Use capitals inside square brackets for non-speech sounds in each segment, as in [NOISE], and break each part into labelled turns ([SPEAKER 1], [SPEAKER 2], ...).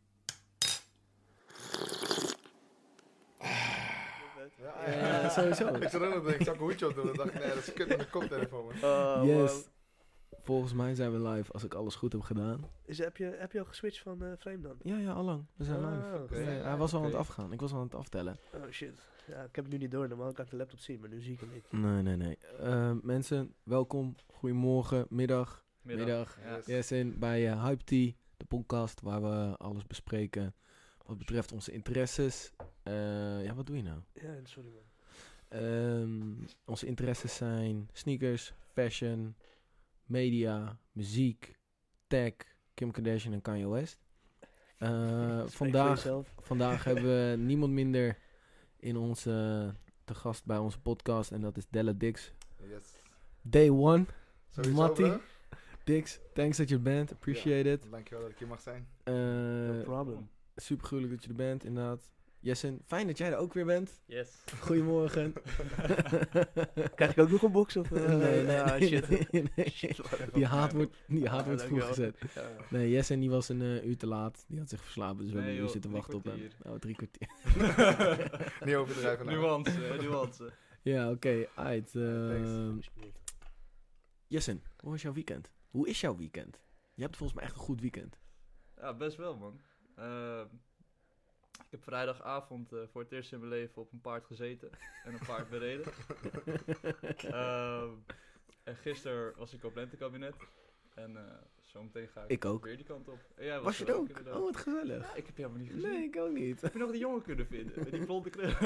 [SPEAKER 1] [LAUGHS]
[SPEAKER 2] sowieso.
[SPEAKER 1] Ik zat ook nog te denken, ik zou een hoedje op doen. Dan dacht ik, nee, dat is kut met de koptelefoon. man.
[SPEAKER 2] Oh,
[SPEAKER 3] Yes.
[SPEAKER 2] wow.
[SPEAKER 3] Volgens mij zijn we live als ik alles goed heb gedaan.
[SPEAKER 2] Is, heb, je, heb je al geswitcht van eh, frame dan?
[SPEAKER 3] Ja, ja, allang. We zijn
[SPEAKER 2] Ah,
[SPEAKER 3] live.
[SPEAKER 2] oké.
[SPEAKER 3] Ja,
[SPEAKER 1] Ja,
[SPEAKER 3] hij was al aan het
[SPEAKER 1] oké.
[SPEAKER 3] afgaan. Ik was al aan het aftellen.
[SPEAKER 2] Oh shit. Ja, ik heb het nu niet door. Normaal kan ik de laptop zien, maar nu zie ik hem niet.
[SPEAKER 3] Nee, nee, nee. Eh, mensen, welkom. Goedemorgen, middag. Middag.
[SPEAKER 1] Yes.
[SPEAKER 3] Yes, in bij eh, Hype Tea, de podcast waar we alles bespreken wat betreft onze interesses. Eh, ja, wat doe je nou?
[SPEAKER 2] Ja, sorry man.
[SPEAKER 3] Ehm, onze interesses zijn sneakers, fashion, media, muziek, tech, Kim Kardashian en Kanye West.
[SPEAKER 2] [LAUGHS]
[SPEAKER 3] Eh,
[SPEAKER 2] Spreek voor
[SPEAKER 3] vandaag,
[SPEAKER 2] jezelf.
[SPEAKER 3] vandaag hebben we niemand minder in onze, te gast bij onze podcast en dat is Della Dix.
[SPEAKER 1] Yes.
[SPEAKER 3] Day one,
[SPEAKER 1] Sowieso,
[SPEAKER 3] Mattie.
[SPEAKER 1] bro.
[SPEAKER 3] Dix, thanks dat je er bent, appreciate it.
[SPEAKER 1] Dankjewel dat ik hier mag zijn.
[SPEAKER 2] No
[SPEAKER 3] Eh
[SPEAKER 2] problem.
[SPEAKER 3] super gruwelijk dat je er bent, inderdaad. Jessen, fijn dat jij er ook weer [LAUGHS] bent.
[SPEAKER 4] [LAUGHS] Yes.
[SPEAKER 3] Goedemorgen.
[SPEAKER 2] Krijg ik ook nog een box of... eh,
[SPEAKER 3] Nee, [LAUGHS] nee,
[SPEAKER 2] ah,
[SPEAKER 3] nee,
[SPEAKER 2] shit.
[SPEAKER 3] [LAUGHS] nee, nee.
[SPEAKER 2] Shit, man.
[SPEAKER 3] Die haat wordt, die haat
[SPEAKER 2] Ah,
[SPEAKER 3] wordt vroeg
[SPEAKER 2] dankjewel.
[SPEAKER 3] gezet.
[SPEAKER 2] Ja.
[SPEAKER 3] Nee, Jesse die was een eh, uur te laat. Die had zich verslapen, dus we
[SPEAKER 4] Nee,
[SPEAKER 3] hebben een uur
[SPEAKER 4] joh,
[SPEAKER 3] zitten
[SPEAKER 4] drie
[SPEAKER 3] wachten op hem.
[SPEAKER 4] kwartier.
[SPEAKER 3] Oh, drie kwartier. [LAUGHS]
[SPEAKER 1] Niet overdrijven. nou.
[SPEAKER 4] nuance, eh, nuance.
[SPEAKER 3] Ja, oké, uit. Ehm,
[SPEAKER 1] Thanks.
[SPEAKER 3] Jesse, hoe was jouw weekend? Hoe is jouw weekend? Je hebt volgens mij echt een goed
[SPEAKER 4] [LAUGHS]
[SPEAKER 3] weekend.
[SPEAKER 4] Ja, best wel, man. Ehm, ik heb vrijdagavond eh, voor het eerst in mijn leven op een paard gezeten en een paard
[SPEAKER 3] [LAUGHS]
[SPEAKER 4] bereden. Ehm, en gisteren was ik op lentekabinet. En eh zometeen ga ik,
[SPEAKER 3] Ik ook.
[SPEAKER 4] weer die kant op. En jij was,
[SPEAKER 3] Was je
[SPEAKER 4] er
[SPEAKER 3] er ook?
[SPEAKER 4] inderdaad.
[SPEAKER 3] Oh, wat gezellig.
[SPEAKER 4] Ja, ik heb je helemaal niet gezien.
[SPEAKER 3] Nee, ik ook niet.
[SPEAKER 4] Heb je nog die jongen [LAUGHS] kunnen vinden? Met
[SPEAKER 3] [LAUGHS]
[SPEAKER 4] die blonde kleur.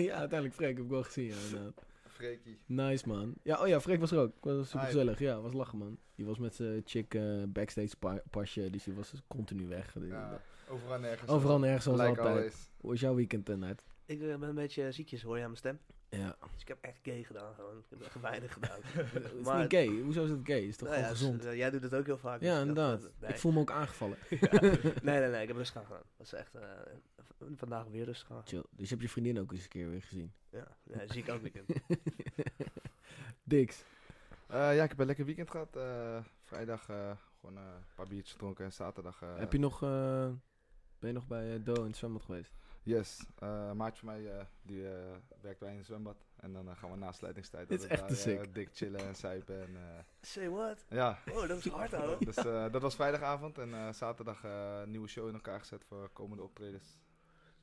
[SPEAKER 3] ja, uiteindelijk Freek heb ik wel gezien. Ja, inderdaad.
[SPEAKER 1] Freekie.
[SPEAKER 3] nice man. Ja, oh ja, Freek was er ook. Was super
[SPEAKER 1] Hype.
[SPEAKER 3] gezellig. Ja, was lachen man. Die was met zijn chick eh, backstage pa- pasje, dus die was continu weg.
[SPEAKER 1] Ja, overal nergens.
[SPEAKER 3] Overal nergens zoals
[SPEAKER 1] Like
[SPEAKER 3] altijd.
[SPEAKER 1] always.
[SPEAKER 3] Hoe is jouw weekend, eh, Ned?
[SPEAKER 2] Ik eh, ben een beetje ziekjes, hoor je aan mijn stem.
[SPEAKER 3] Ja.
[SPEAKER 2] Dus ik heb echt gay gedaan gewoon. Ik heb echt weinig gedaan.
[SPEAKER 3] [LAUGHS] Het is
[SPEAKER 2] Maar-
[SPEAKER 3] niet gay. Hoezo is het gay? Het is toch
[SPEAKER 2] Nou ja,
[SPEAKER 3] gewoon gezond?
[SPEAKER 2] dus, eh, jij doet het ook heel vaak. dus
[SPEAKER 3] ja,
[SPEAKER 2] ik dacht,
[SPEAKER 3] inderdaad.
[SPEAKER 2] eh, nee.
[SPEAKER 3] Ik
[SPEAKER 2] [LAUGHS]
[SPEAKER 3] voel me ook
[SPEAKER 4] [LAUGHS]
[SPEAKER 3] aangevallen.
[SPEAKER 2] nee, nee, nee, ik heb rustig aan gedaan. Dat is echt eh, v- vandaag weer rustig aan.
[SPEAKER 3] Chill. Dus je hebt je vriendin ook eens een keer weer gezien. [LAUGHS]
[SPEAKER 2] Ja, ja zie ik ook weer.
[SPEAKER 3] Dix.
[SPEAKER 1] Eh, ja, ik heb een lekker weekend gehad. Eh, vrijdag eh, gewoon eh, een paar biertjes gedronken. En zaterdag... eh,
[SPEAKER 3] Heb je nog... eh, ben je nog bij eh, Do in het zwembad geweest?
[SPEAKER 1] Yes, eh, een maatje van mij eh, die eh, werkt bij een zwembad. En dan eh, gaan we na sluitingstijd
[SPEAKER 3] Dit is
[SPEAKER 1] altijd
[SPEAKER 3] echt te
[SPEAKER 1] daar, eh,
[SPEAKER 3] sick.
[SPEAKER 1] dik chillen en zuipen. En, eh,
[SPEAKER 2] Say what?
[SPEAKER 1] ja,
[SPEAKER 2] Oh, dat is hard
[SPEAKER 1] [LAUGHS]
[SPEAKER 2] hoor.
[SPEAKER 1] dus eh, dat was vrijdagavond. En eh, zaterdag eh, een nieuwe show in elkaar gezet voor komende optredens.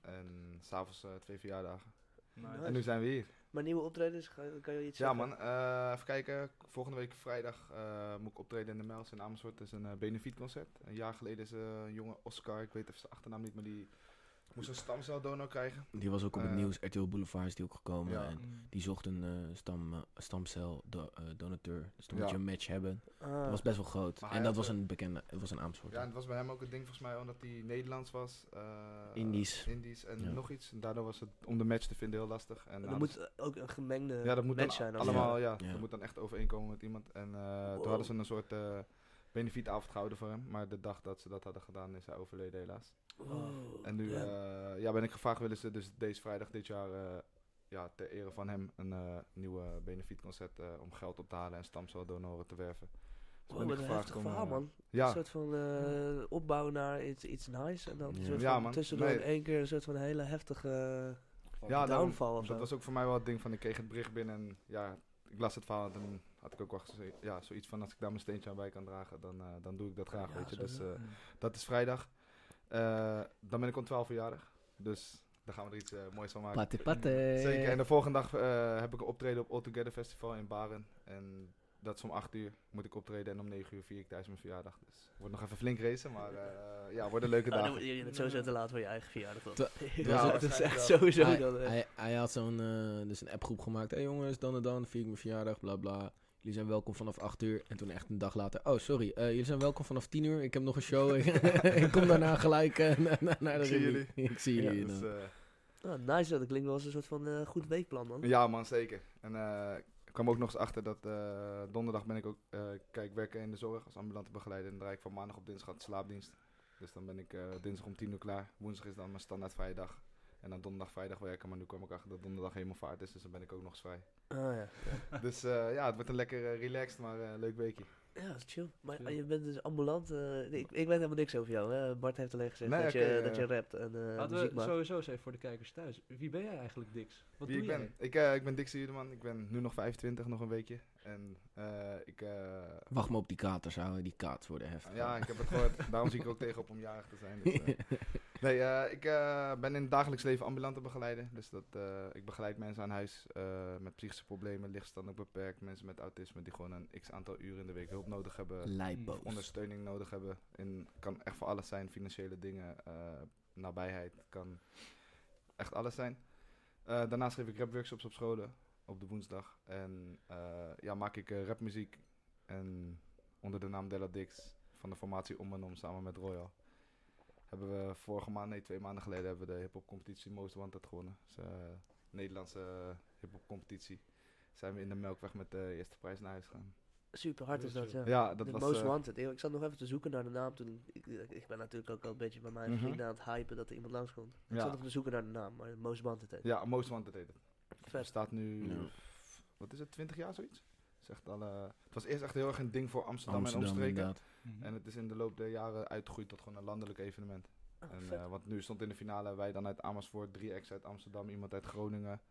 [SPEAKER 1] En s'avonds eh twee verjaardagen.
[SPEAKER 2] Nice.
[SPEAKER 1] En nu zijn we hier.
[SPEAKER 2] Maar nieuwe optredens, ga- kan je iets
[SPEAKER 1] Ja
[SPEAKER 2] zeggen?
[SPEAKER 1] man, eh, even kijken. Volgende week vrijdag eh, moet ik optreden in de Mels in Amersfoort. Het is een eh, benefietconcert. Een jaar geleden is eh, een jonge Oscar, ik weet even zijn achternaam niet, maar die moest een stamceldonor krijgen.
[SPEAKER 3] Die was ook op het
[SPEAKER 1] Eh,
[SPEAKER 3] nieuws. RTL Boulevard is die ook gekomen.
[SPEAKER 1] ja.
[SPEAKER 3] En
[SPEAKER 4] Mm.
[SPEAKER 3] die zocht een eh, stam, eh, stamcel do- eh, donateur. Dus dan moet
[SPEAKER 1] Ja.
[SPEAKER 3] je een match hebben.
[SPEAKER 2] Ah,
[SPEAKER 3] Dat was best wel groot.
[SPEAKER 1] Maar
[SPEAKER 3] en
[SPEAKER 1] hij
[SPEAKER 3] dat
[SPEAKER 1] had,
[SPEAKER 3] was
[SPEAKER 1] eh,
[SPEAKER 3] een bekende... Het was een Amersfoort.
[SPEAKER 1] Ja, en het was bij hem ook het ding volgens mij omdat hij Nederlands was. eh,
[SPEAKER 3] Indisch.
[SPEAKER 1] Indisch en
[SPEAKER 3] Ja.
[SPEAKER 1] nog iets. En daardoor was het om de match te vinden heel lastig. En
[SPEAKER 2] dan
[SPEAKER 1] hadden
[SPEAKER 2] moet
[SPEAKER 1] ze-
[SPEAKER 2] eh, ook een gemengde
[SPEAKER 1] ja, dat moet dan
[SPEAKER 2] match zijn. als-
[SPEAKER 1] allemaal, ja.
[SPEAKER 3] Ja.
[SPEAKER 1] Dat moet dan echt overeenkomen met iemand. En eh,
[SPEAKER 2] Wow.
[SPEAKER 1] toen hadden ze een soort eh benefietavond gehouden voor hem. Maar de dag dat ze dat hadden gedaan is hij overleden helaas.
[SPEAKER 2] Oh,
[SPEAKER 1] En nu
[SPEAKER 2] ja.
[SPEAKER 1] eh, ja, ben ik gevraagd willen ze dus deze vrijdag dit jaar eh, ja, ter ere van hem een eh nieuwe benefietconcert eh, om geld op te halen en stamceldonoren te werven. Dus
[SPEAKER 2] Wow,
[SPEAKER 1] ben ik
[SPEAKER 2] wat een
[SPEAKER 1] gevraagd
[SPEAKER 2] heftig
[SPEAKER 1] om,
[SPEAKER 2] verhaal
[SPEAKER 1] eh,
[SPEAKER 2] man. Een
[SPEAKER 1] Ja,
[SPEAKER 2] soort van eh, opbouw naar iets, iets nice. En dan
[SPEAKER 3] Ja.
[SPEAKER 2] een soort
[SPEAKER 1] Ja,
[SPEAKER 2] van
[SPEAKER 1] man.
[SPEAKER 2] tussendoor
[SPEAKER 1] Nee.
[SPEAKER 2] in één keer een soort van hele heftige eh,
[SPEAKER 1] Ja, daarom.
[SPEAKER 2] downfall of zo.
[SPEAKER 1] dat was ook voor mij wel het ding van ik kreeg het bericht binnen en ja, ik las het verhaal en dan had ik ook wel geze- ja, zoiets van als ik daar mijn steentje aan bij kan dragen, dan, eh, dan doe ik dat graag,
[SPEAKER 2] Ja,
[SPEAKER 1] weet je.
[SPEAKER 2] zo
[SPEAKER 1] Dus
[SPEAKER 2] doen.
[SPEAKER 1] eh, dat is vrijdag. Eh, dan ben ik om 12 verjaardag, dus daar gaan we er iets eh, moois van maken.
[SPEAKER 3] Patte patte.
[SPEAKER 1] Zeker, en de volgende dag eh, heb ik een optreden op All Together Festival in Baren en dat is om 8 uur moet ik optreden en om 9 uur vier ik thuis mijn verjaardag. Dus wordt nog even flink racen, maar eh, ja, wordt een leuke
[SPEAKER 2] Ah,
[SPEAKER 1] dag.
[SPEAKER 2] dan- je bent sowieso te laat voor je eigen verjaardag. toch? [LAUGHS]
[SPEAKER 3] Dat-
[SPEAKER 2] Ja,
[SPEAKER 3] was
[SPEAKER 2] dat is echt
[SPEAKER 1] wel.
[SPEAKER 2] sowieso
[SPEAKER 3] hij,
[SPEAKER 2] dan. eh.
[SPEAKER 3] hij, hij had zo'n eh, dus een appgroep gemaakt. Hé hey jongens, dan en dan vier ik mijn verjaardag, bla bla. Jullie zijn welkom vanaf 8 uur. En toen echt een dag later. Oh, sorry. eh, jullie zijn welkom vanaf 10 uur. Ik heb nog een show. ik, [LAUGHS] ik kom daarna gelijk eh, na- na- naar de
[SPEAKER 1] Ik zie
[SPEAKER 3] reunie. Ik zie jullie. nou.
[SPEAKER 1] Dus,
[SPEAKER 3] dan.
[SPEAKER 1] eh,
[SPEAKER 2] Ah, nice, dat klinkt wel als een soort van eh, goed weekplan, man.
[SPEAKER 1] Ja, man, zeker. En eh, ik kwam ook nog eens achter dat eh, donderdag ben ik ook, eh, kijk, werken in de zorg als ambulante begeleider. En dan rijd ik van maandag op dinsdag aan de slaapdienst. Dus dan ben ik eh, dinsdag om 10 uur klaar. Woensdag is dan mijn standaard vrije dag. En En dan donderdag, vrijdag werken. Maar nu kwam ik achter dat donderdag helemaal vaart is. Dus dan ben ik ook nog eens vrij.
[SPEAKER 4] [LAUGHS]
[SPEAKER 2] Ah ja.
[SPEAKER 1] dus eh, ja, het wordt een lekker eh, relaxed, maar eh, leuk weekje.
[SPEAKER 2] Ja, dat is chill. Maar
[SPEAKER 4] Chill.
[SPEAKER 2] je bent dus ambulant. eh, ik, ik weet helemaal niks over jou. Hè? Bart heeft alleen gezegd
[SPEAKER 1] Nee,
[SPEAKER 2] dat,
[SPEAKER 1] oké,
[SPEAKER 2] je,
[SPEAKER 1] ja,
[SPEAKER 2] dat je
[SPEAKER 1] ja.
[SPEAKER 2] rapt en eh,
[SPEAKER 4] Laten
[SPEAKER 2] muziek
[SPEAKER 4] we
[SPEAKER 2] maakt.
[SPEAKER 4] sowieso eens even voor de kijkers thuis. Wie ben jij eigenlijk, Dix? Wat
[SPEAKER 1] Wie
[SPEAKER 4] doe
[SPEAKER 1] ik
[SPEAKER 4] jij?
[SPEAKER 1] ben? Ik, eh, ik ben Dixie Judeman. Ik ben nu nog 25, nog een weekje. En eh, ik... eh,
[SPEAKER 3] Wacht maar op die katers, houden. Die katers worden heftig.
[SPEAKER 1] Ja, ik heb het gehoord. Daarom zie ik er ook tegen op om jarig te [LAUGHS] zijn. Dus, eh.
[SPEAKER 3] [LAUGHS]
[SPEAKER 1] Nee, eh, ik eh, ben in het dagelijks leven ambulante begeleider. Dus dat, eh, ik begeleid mensen aan huis eh, met psychische problemen, lichtstanden beperkt. Mensen met autisme die gewoon een x aantal uren in de week hulp nodig hebben.
[SPEAKER 3] Lijpboos.
[SPEAKER 1] Of ondersteuning nodig hebben. En kan echt voor alles zijn. Financiële dingen, eh, nabijheid. Kan echt alles zijn. Eh, daarnaast geef ik rapworkshops op scholen. Op de woensdag. En eh, ja, maak ik eh, rapmuziek. En onder de naam Della Dix van de formatie Om en Om samen met Royal. Hebben we vorige maand, nee twee maanden geleden, hebben we de hip-hop competitie Most Wanted gewonnen. Dus, eh, Nederlandse eh, hip-hop competitie. Zijn we in de Melkweg met de eerste prijs naar huis gegaan.
[SPEAKER 2] Super hard is dat, ja.
[SPEAKER 1] Ja, dat
[SPEAKER 2] de
[SPEAKER 1] was.
[SPEAKER 2] Most
[SPEAKER 1] eh,
[SPEAKER 2] Wanted. Ik zat nog even te zoeken naar de naam toen. Ik, ik ben natuurlijk ook al een beetje bij mijn
[SPEAKER 1] Mhm.
[SPEAKER 2] vrienden aan het hypen dat er iemand langskomt. Ik
[SPEAKER 1] Ja.
[SPEAKER 2] zat nog te zoeken naar de naam, maar Most Wanted heet.
[SPEAKER 1] Ja, Most Wanted heet het. Het
[SPEAKER 2] Vet.
[SPEAKER 1] staat nu,
[SPEAKER 3] Ja.
[SPEAKER 1] wat is het, 20 jaar zoiets? Het, is echt al, eh, het was eerst echt heel erg een ding voor Amsterdam, en
[SPEAKER 3] Amsterdam,
[SPEAKER 1] omstreken.
[SPEAKER 3] inderdaad.
[SPEAKER 4] Mhm.
[SPEAKER 1] En het is in de loop der jaren uitgegroeid tot gewoon een landelijk evenement.
[SPEAKER 2] Ah,
[SPEAKER 1] En,
[SPEAKER 2] vet.
[SPEAKER 1] eh, want nu stond in de finale wij dan uit Amersfoort, drie ex uit Amsterdam, iemand uit Groningen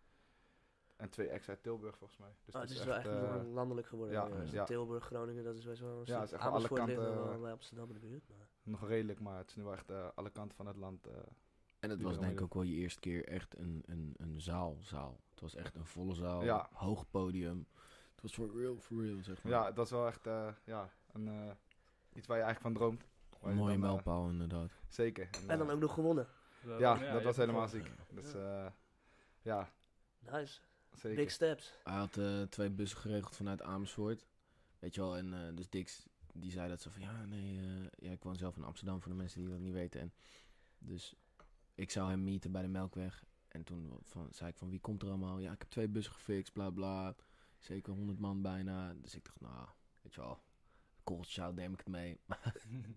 [SPEAKER 1] en twee ex uit Tilburg volgens mij. Dus
[SPEAKER 2] Ah,
[SPEAKER 1] het
[SPEAKER 2] dus het is
[SPEAKER 1] is
[SPEAKER 2] wel
[SPEAKER 1] echt,
[SPEAKER 2] echt nog
[SPEAKER 1] eh,
[SPEAKER 2] wel landelijk geworden.
[SPEAKER 1] ja,
[SPEAKER 2] Ja, Dus
[SPEAKER 1] ja.
[SPEAKER 2] Tilburg, Groningen, dat is best wel een stuk.
[SPEAKER 1] het is echt wel alle
[SPEAKER 2] Amersfoort ligt nog
[SPEAKER 1] kanten, eh,
[SPEAKER 2] wel bij Amsterdam in de buurt. Maar.
[SPEAKER 1] nog redelijk, maar het is nu wel echt eh, alle kanten van het land. eh,
[SPEAKER 3] En het
[SPEAKER 1] Die
[SPEAKER 3] was
[SPEAKER 1] wil
[SPEAKER 3] denk ik
[SPEAKER 1] je.
[SPEAKER 3] ook wel je eerste keer echt een, een, een zaal, zaal. Het was echt een volle zaal,
[SPEAKER 1] Ja.
[SPEAKER 3] hoog podium. Het was for real, for real, zeg maar.
[SPEAKER 1] ja, het was wel echt eh, ja, een, eh, iets waar je eigenlijk van droomt. Waar
[SPEAKER 3] een
[SPEAKER 1] je
[SPEAKER 3] mooie
[SPEAKER 1] dan, eh,
[SPEAKER 3] mijlpaal, inderdaad.
[SPEAKER 1] zeker.
[SPEAKER 2] En dan
[SPEAKER 1] eh,
[SPEAKER 2] ook nog gewonnen.
[SPEAKER 4] Wel,
[SPEAKER 1] Ja,
[SPEAKER 4] je
[SPEAKER 1] dat
[SPEAKER 4] hebt
[SPEAKER 1] was helemaal
[SPEAKER 4] gevoel.
[SPEAKER 1] ziek. Dus eh, ja,
[SPEAKER 2] Nice.
[SPEAKER 1] zeker.
[SPEAKER 2] Big steps.
[SPEAKER 3] Hij had eh, twee bussen geregeld vanuit Amersfoort. Weet je wel, en eh, dus Dix die zei dat ze van ja, nee, eh, ja, ik woon zelf in Amsterdam voor de mensen die dat niet weten. En dus ik zou hem meeten bij de Melkweg. En toen wa- van, zei ik van wie komt er allemaal? Ja, ik heb twee bussen gefixt, bla bla. Zeker 100 man bijna. Dus ik dacht, nou, weet je wel, cold shout neem ik het mee. [LAUGHS] Maar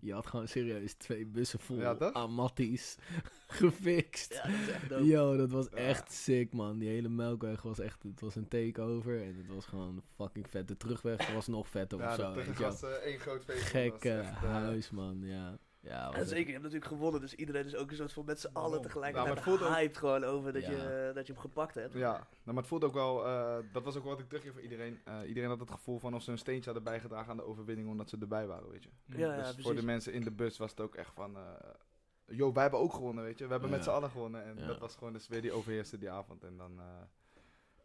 [SPEAKER 3] je had gewoon serieus twee bussen vol
[SPEAKER 1] Ja, toch?
[SPEAKER 3] aan matties [LAUGHS] gefixt.
[SPEAKER 2] Ja, dat is
[SPEAKER 1] [LAUGHS]
[SPEAKER 2] echt dope.
[SPEAKER 3] Yo, dat was
[SPEAKER 1] Ja.
[SPEAKER 3] echt sick, man. Die hele Melkweg was echt... Het was een takeover en het was gewoon fucking vet. De terugweg was nog vetter
[SPEAKER 1] Ja,
[SPEAKER 3] of zo,
[SPEAKER 1] dat
[SPEAKER 3] weet je wel.
[SPEAKER 1] was eh, één groot feest. Dat
[SPEAKER 3] Gekke
[SPEAKER 1] was echt, eh,
[SPEAKER 3] huis, man. Ja, ja
[SPEAKER 2] En
[SPEAKER 3] was
[SPEAKER 2] zeker, je hebt natuurlijk gewonnen, dus iedereen is ook een soort van met z'n allen
[SPEAKER 4] Waarom?
[SPEAKER 1] Ja, maar
[SPEAKER 2] tegelijkertijd
[SPEAKER 1] het voelt ook-
[SPEAKER 2] hyped gewoon over dat,
[SPEAKER 3] Ja.
[SPEAKER 2] je, eh, dat je hem gepakt hebt.
[SPEAKER 1] Ja, nou, maar het voelde ook wel, eh, dat was ook wel wat ik teruggeef voor iedereen. Eh, iedereen had het gevoel van of ze een steentje hadden bijgedragen aan de overwinning omdat ze erbij waren, weet je.
[SPEAKER 2] Ja,
[SPEAKER 1] dus
[SPEAKER 2] precies.
[SPEAKER 1] voor de mensen in de bus was het ook echt van, eh yo, wij hebben ook gewonnen, weet je. We hebben
[SPEAKER 3] Ja.
[SPEAKER 1] met z'n allen gewonnen en
[SPEAKER 3] Ja.
[SPEAKER 1] dat was gewoon dus weer die overheerste die avond. En dan, eh,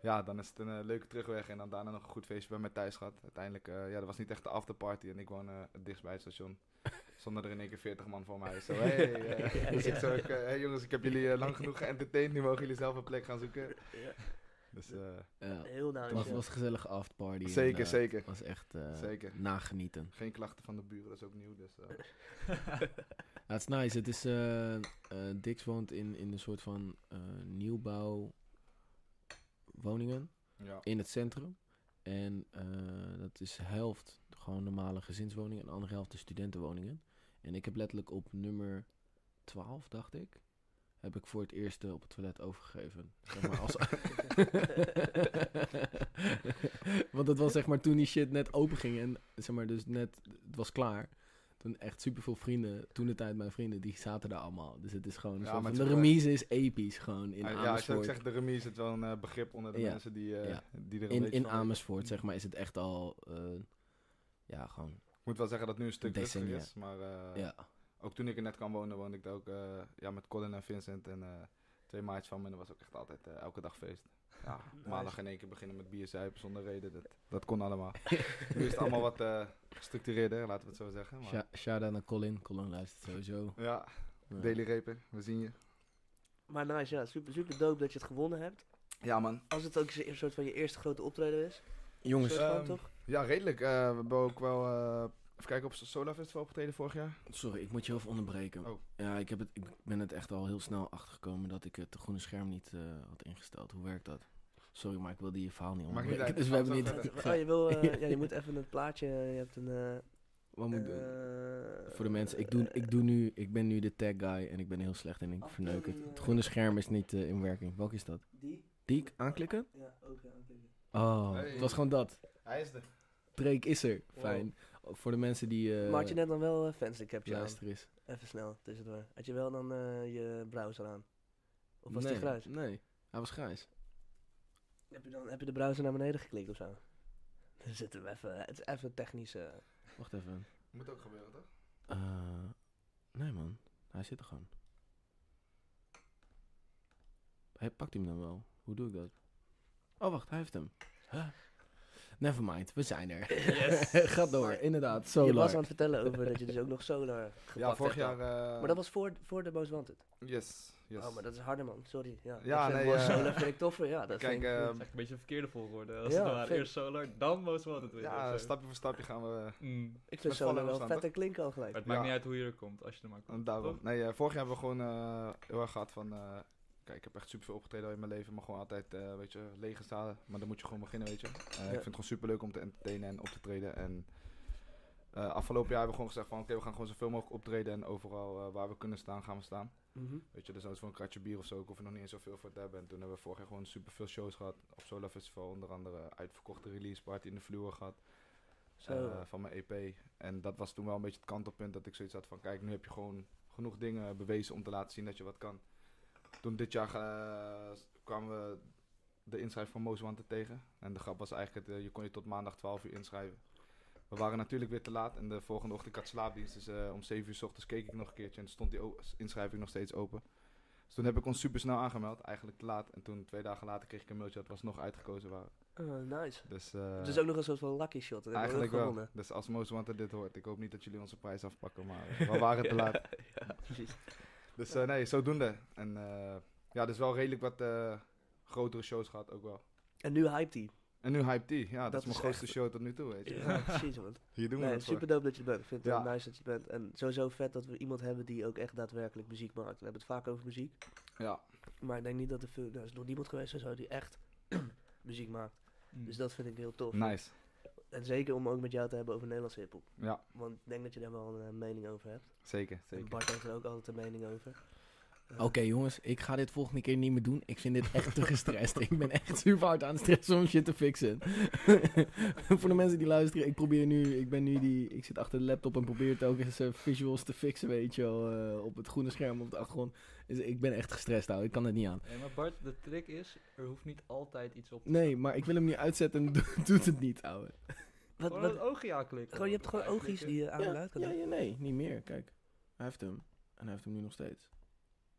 [SPEAKER 1] ja, dan is het een eh, leuke terugweg en dan daarna nog een goed feestje bij mij thuis gehad. Uiteindelijk, eh, ja, dat was niet echt de afterparty en ik woon eh, het dichtst bij het
[SPEAKER 3] [LAUGHS]
[SPEAKER 1] station. Zonder er in één keer 40 man voor mij. Zo, hey, eh,
[SPEAKER 2] Ja,
[SPEAKER 1] dus [LAUGHS] ik
[SPEAKER 2] ja.
[SPEAKER 1] zo, ik, eh, hey, jongens, ik heb jullie eh, lang genoeg geëntertaind. Nu mogen jullie zelf een plek gaan zoeken.
[SPEAKER 2] Ja,
[SPEAKER 1] Dus, eh,
[SPEAKER 3] Ja,
[SPEAKER 2] heel nice.
[SPEAKER 3] dat
[SPEAKER 2] ja.
[SPEAKER 3] was een gezellige afterparty.
[SPEAKER 1] Zeker,
[SPEAKER 3] inderdaad.
[SPEAKER 1] zeker.
[SPEAKER 3] Het was echt eh,
[SPEAKER 1] Zeker.
[SPEAKER 3] nagenieten.
[SPEAKER 1] Geen klachten van de buren, dat is ook nieuw. Dus, eh,
[SPEAKER 3] Ja, het is nice. Het is, eh, eh, Dix woont in, in een soort van eh, nieuwbouw woningen.
[SPEAKER 1] ja.
[SPEAKER 3] in het centrum. En eh, dat is helft gewoon normale gezinswoningen en de andere helft de studentenwoningen. En ik heb letterlijk op nummer 12, dacht ik, heb ik voor het eerst eh, op het toilet overgegeven. Zeg maar als... [LAUGHS] Want dat was zeg maar toen die shit net open ging en zeg maar dus net, het was klaar. Toen echt superveel vrienden, toen de tijd mijn vrienden, die zaten daar allemaal. Dus het is gewoon, een
[SPEAKER 1] Ja,
[SPEAKER 3] soort
[SPEAKER 1] maar
[SPEAKER 3] van-
[SPEAKER 1] het
[SPEAKER 3] de
[SPEAKER 1] is gewoon-
[SPEAKER 3] remise is episch gewoon in
[SPEAKER 1] Ah, ja, als je ook
[SPEAKER 3] Amersfoort.
[SPEAKER 1] zegt, de remise is het wel een eh, begrip onder de
[SPEAKER 3] Ja.
[SPEAKER 1] mensen die, eh,
[SPEAKER 3] Ja.
[SPEAKER 1] die er een
[SPEAKER 3] In,
[SPEAKER 1] beetje
[SPEAKER 3] in
[SPEAKER 1] van-
[SPEAKER 3] Amersfoort, zeg maar, is het echt al. eh, ja, gewoon.
[SPEAKER 1] Ik moet wel zeggen dat het nu een stuk
[SPEAKER 3] Decennia.
[SPEAKER 1] rustiger is. Maar eh,
[SPEAKER 3] ja.
[SPEAKER 1] ook toen ik er net kwam wonen, woonde ik daar ook eh, ja, met Colin en Vincent en eh, twee maatjes van me. En dat was ook echt altijd eh, elke dag feest. [LAUGHS] Ja, maandag in één keer beginnen met bier zuipen zonder reden. Dat, dat kon allemaal.
[SPEAKER 3] [LAUGHS]
[SPEAKER 1] nu is het allemaal wat eh, gestructureerder, laten we het zo zeggen. Maar, ja,
[SPEAKER 3] Sha- Shout-out naar Colin. Colin luistert sowieso. Ja.
[SPEAKER 1] Daily Repen, we zien je.
[SPEAKER 2] [LAUGHS] Maar nice, ja. Super, super dope dat je het gewonnen hebt.
[SPEAKER 1] Ja man,
[SPEAKER 2] Als het ook een soort van je eerste grote optreden is.
[SPEAKER 3] Jongens,
[SPEAKER 2] Soort van,
[SPEAKER 1] Ehm,
[SPEAKER 2] toch?
[SPEAKER 1] ja redelijk. Eh, we hebben ook wel, eh even kijken, op Solar Festival opgetreden vorig jaar.
[SPEAKER 3] sorry, ik moet je heel even onderbreken.
[SPEAKER 1] Oh.
[SPEAKER 3] Ja, ik, heb het, ik ben het echt al heel snel achtergekomen dat ik het groene scherm niet eh, had ingesteld. Hoe werkt dat? Sorry, maar ik wilde je verhaal niet
[SPEAKER 1] Maakt niet
[SPEAKER 3] onderbreken.
[SPEAKER 1] uit.
[SPEAKER 3] [LAUGHS] Dus we hebben
[SPEAKER 1] Gaan we
[SPEAKER 3] niet...
[SPEAKER 1] zo
[SPEAKER 2] Oh, je, wil, eh, ja, je moet even een plaatje. Je hebt een, eh,
[SPEAKER 3] Wat moet ik doen?
[SPEAKER 2] Eh,
[SPEAKER 3] Voor de mensen, ik, doe, ik, doe nu, ik ben nu de tag guy en ik ben heel slecht en ik verneuk
[SPEAKER 1] eh.
[SPEAKER 3] het. Het groene scherm is niet eh, in werking. Welke is dat?
[SPEAKER 2] Die?
[SPEAKER 3] Die ik aanklikken?
[SPEAKER 2] Ja, ook ja, aanklikken.
[SPEAKER 3] Oh,
[SPEAKER 1] Hey.
[SPEAKER 3] het was gewoon dat.
[SPEAKER 1] Hij is de.
[SPEAKER 3] Drake is er. Fijn. Voor de mensen die... eh
[SPEAKER 2] maar had je net dan wel eh, fancy capture aan?
[SPEAKER 3] luisteren is.
[SPEAKER 2] Even snel, tussendoor. Had je wel dan eh, je browser aan? Of was
[SPEAKER 3] nee,
[SPEAKER 2] die grijs?
[SPEAKER 3] Nee, hij was grijs.
[SPEAKER 2] Heb je, dan, heb je de browser naar beneden geklikt of zo? Dan zitten we even... Het is even technisch... eh,
[SPEAKER 3] Wacht even.
[SPEAKER 1] Moet ook gebeuren, toch?
[SPEAKER 3] Eh, nee man, hij zit er gewoon. Hij pakt hem dan wel. Hoe doe ik dat? Oh wacht, hij heeft hem. Huh? Nevermind, we zijn er.
[SPEAKER 2] [LAUGHS]
[SPEAKER 4] Yes.
[SPEAKER 3] [LAUGHS] Ga door, inderdaad. Solar.
[SPEAKER 2] Je was aan het vertellen over dat je dus ook nog solar gepakt
[SPEAKER 1] [LAUGHS] Ja, vorig
[SPEAKER 2] hebt
[SPEAKER 1] jaar.
[SPEAKER 2] dan.
[SPEAKER 1] eh,
[SPEAKER 2] Maar dat was voor, voor de Most Wanted.
[SPEAKER 1] Yes, yes.
[SPEAKER 2] Oh, maar dat is harder man, sorry. Ja,
[SPEAKER 1] Ja,
[SPEAKER 2] ik vind
[SPEAKER 1] nee,
[SPEAKER 2] Most
[SPEAKER 1] eh,
[SPEAKER 2] solar vind ik toffer, ja. Dat
[SPEAKER 1] Kijk,
[SPEAKER 2] vind ik
[SPEAKER 1] ehm,
[SPEAKER 2] goed.
[SPEAKER 4] is eigenlijk een beetje een verkeerde volgorde. Als
[SPEAKER 2] Ja,
[SPEAKER 4] het nou waren
[SPEAKER 2] vind-
[SPEAKER 4] eerst Solar, dan Most Wanted weer.
[SPEAKER 1] ja,
[SPEAKER 4] of zo.
[SPEAKER 1] stapje voor stapje gaan we.
[SPEAKER 4] Mm.
[SPEAKER 2] ik vind
[SPEAKER 1] met vallen
[SPEAKER 2] solar wel
[SPEAKER 1] staan,
[SPEAKER 2] vet en klinken al gelijk.
[SPEAKER 4] Maar het maakt
[SPEAKER 1] Ja.
[SPEAKER 4] niet uit hoe je er komt, als je er maar komt.
[SPEAKER 1] En daarom.
[SPEAKER 4] toch?
[SPEAKER 1] Nee, eh, vorig jaar hebben we gewoon eh, heel erg gehad van. eh, kijk, ik heb echt super veel opgetreden al in mijn leven, maar gewoon altijd, eh, weet je, lege zalen. Maar dan moet je gewoon beginnen, weet je. Eh, Ik vind het gewoon super leuk om te entertainen en op te treden. En eh, afgelopen jaar hebben we gewoon gezegd van, oké, we gaan gewoon zoveel mogelijk optreden en overal eh, waar we kunnen staan, gaan we staan.
[SPEAKER 2] Mhm.
[SPEAKER 1] Weet je, dus dat is voor een kratje bier of zo. Ik hoef er nog niet eens zoveel voor te hebben. En toen hebben we vorig jaar gewoon super veel shows gehad. Op Solar Festival onder andere. Uitverkochte release party in de vloer gehad.
[SPEAKER 2] Zo.
[SPEAKER 1] eh, van mijn EP. En dat was toen wel een beetje het kantelpunt dat ik zoiets had van... Kijk, nu heb je gewoon genoeg dingen bewezen om te laten zien dat je wat kan. Toen dit jaar eh, kwamen we de inschrijving van Most Wanted tegen. En de grap was eigenlijk, het, eh, je kon je tot maandag 12 uur inschrijven. We waren natuurlijk weer te laat en de volgende ochtend ik had slaapdienst. Dus eh, om 7 uur 's ochtends keek ik nog een keertje en stond die o- inschrijving nog steeds open. Dus toen heb ik ons super snel aangemeld, eigenlijk te laat. En toen twee dagen later kreeg ik een mailtje dat we alsnog uitgekozen waren.
[SPEAKER 2] Oh, nice.
[SPEAKER 1] Dus, eh,
[SPEAKER 2] Het is ook nog een soort van lucky shot. Dat hebben we ook
[SPEAKER 1] eigenlijk wel.
[SPEAKER 2] gewonnen.
[SPEAKER 1] Dus als Most Wanted dit hoort, ik hoop niet dat jullie onze prijs afpakken, maar eh, we waren te laat.
[SPEAKER 2] [LAUGHS] Ja, precies.
[SPEAKER 1] Dus eh, nee, zodoende. En eh, ja, dus wel redelijk wat eh, grotere shows gehad ook wel.
[SPEAKER 2] En nu hyped hij.
[SPEAKER 1] En nu Hype T, ja, dat,
[SPEAKER 2] Dat
[SPEAKER 1] is mijn
[SPEAKER 2] is
[SPEAKER 1] grootste
[SPEAKER 2] echt-
[SPEAKER 1] show tot nu toe, weet je.
[SPEAKER 2] Ja, precies man.
[SPEAKER 1] Hier [LAUGHS] doen we
[SPEAKER 2] Nee,
[SPEAKER 1] het voor.
[SPEAKER 2] super dope dat je er bent. Ik vind het
[SPEAKER 1] Ja.
[SPEAKER 2] wel nice dat je er bent. En sowieso vet dat we iemand hebben die ook echt daadwerkelijk muziek maakt. We hebben het vaak over muziek.
[SPEAKER 1] Ja,
[SPEAKER 2] Maar ik denk niet dat er veel... Er is nog niemand geweest of zo die echt [CLEARS THROAT] muziek maakt.
[SPEAKER 4] Mm.
[SPEAKER 2] Dus dat vind ik heel tof.
[SPEAKER 1] nice.
[SPEAKER 2] En zeker om ook met jou te hebben over Nederlandse hiphop.
[SPEAKER 1] Ja,
[SPEAKER 2] Want ik denk dat je daar wel een eh, mening over hebt.
[SPEAKER 1] zeker,
[SPEAKER 2] En
[SPEAKER 1] zeker.
[SPEAKER 2] Bart heeft er ook altijd een mening over. Eh,
[SPEAKER 3] Oké jongens, ik ga dit volgende keer niet meer doen. Ik vind dit echt te gestrest. ik ben echt super hard aan het stressen om shit te fixen. [LAUGHS] Voor de mensen die luisteren, ik probeer nu, ik ben nu die, ik zit achter de laptop en probeer telkens eh, visuals te fixen, weet je wel, eh, op het groene scherm op de achtergrond. Dus ik ben echt gestrest, ouwe. Ik kan het niet aan.
[SPEAKER 4] Nee, maar Bart, de trick is, er hoeft niet altijd iets op te
[SPEAKER 3] Nee, maar ik wil hem nu uitzetten en [LAUGHS] do- doet het niet, ouwe.
[SPEAKER 2] Wat,
[SPEAKER 4] Gewoon
[SPEAKER 2] wat,
[SPEAKER 4] het oogje aanklikken.
[SPEAKER 2] gewoon, je hebt gewoon oogjes
[SPEAKER 4] Aanklikken.
[SPEAKER 2] die je aan en uit kan
[SPEAKER 3] ja,
[SPEAKER 2] doen.
[SPEAKER 3] ja, nee, niet meer. Kijk, hij heeft hem. En hij heeft hem nu nog steeds.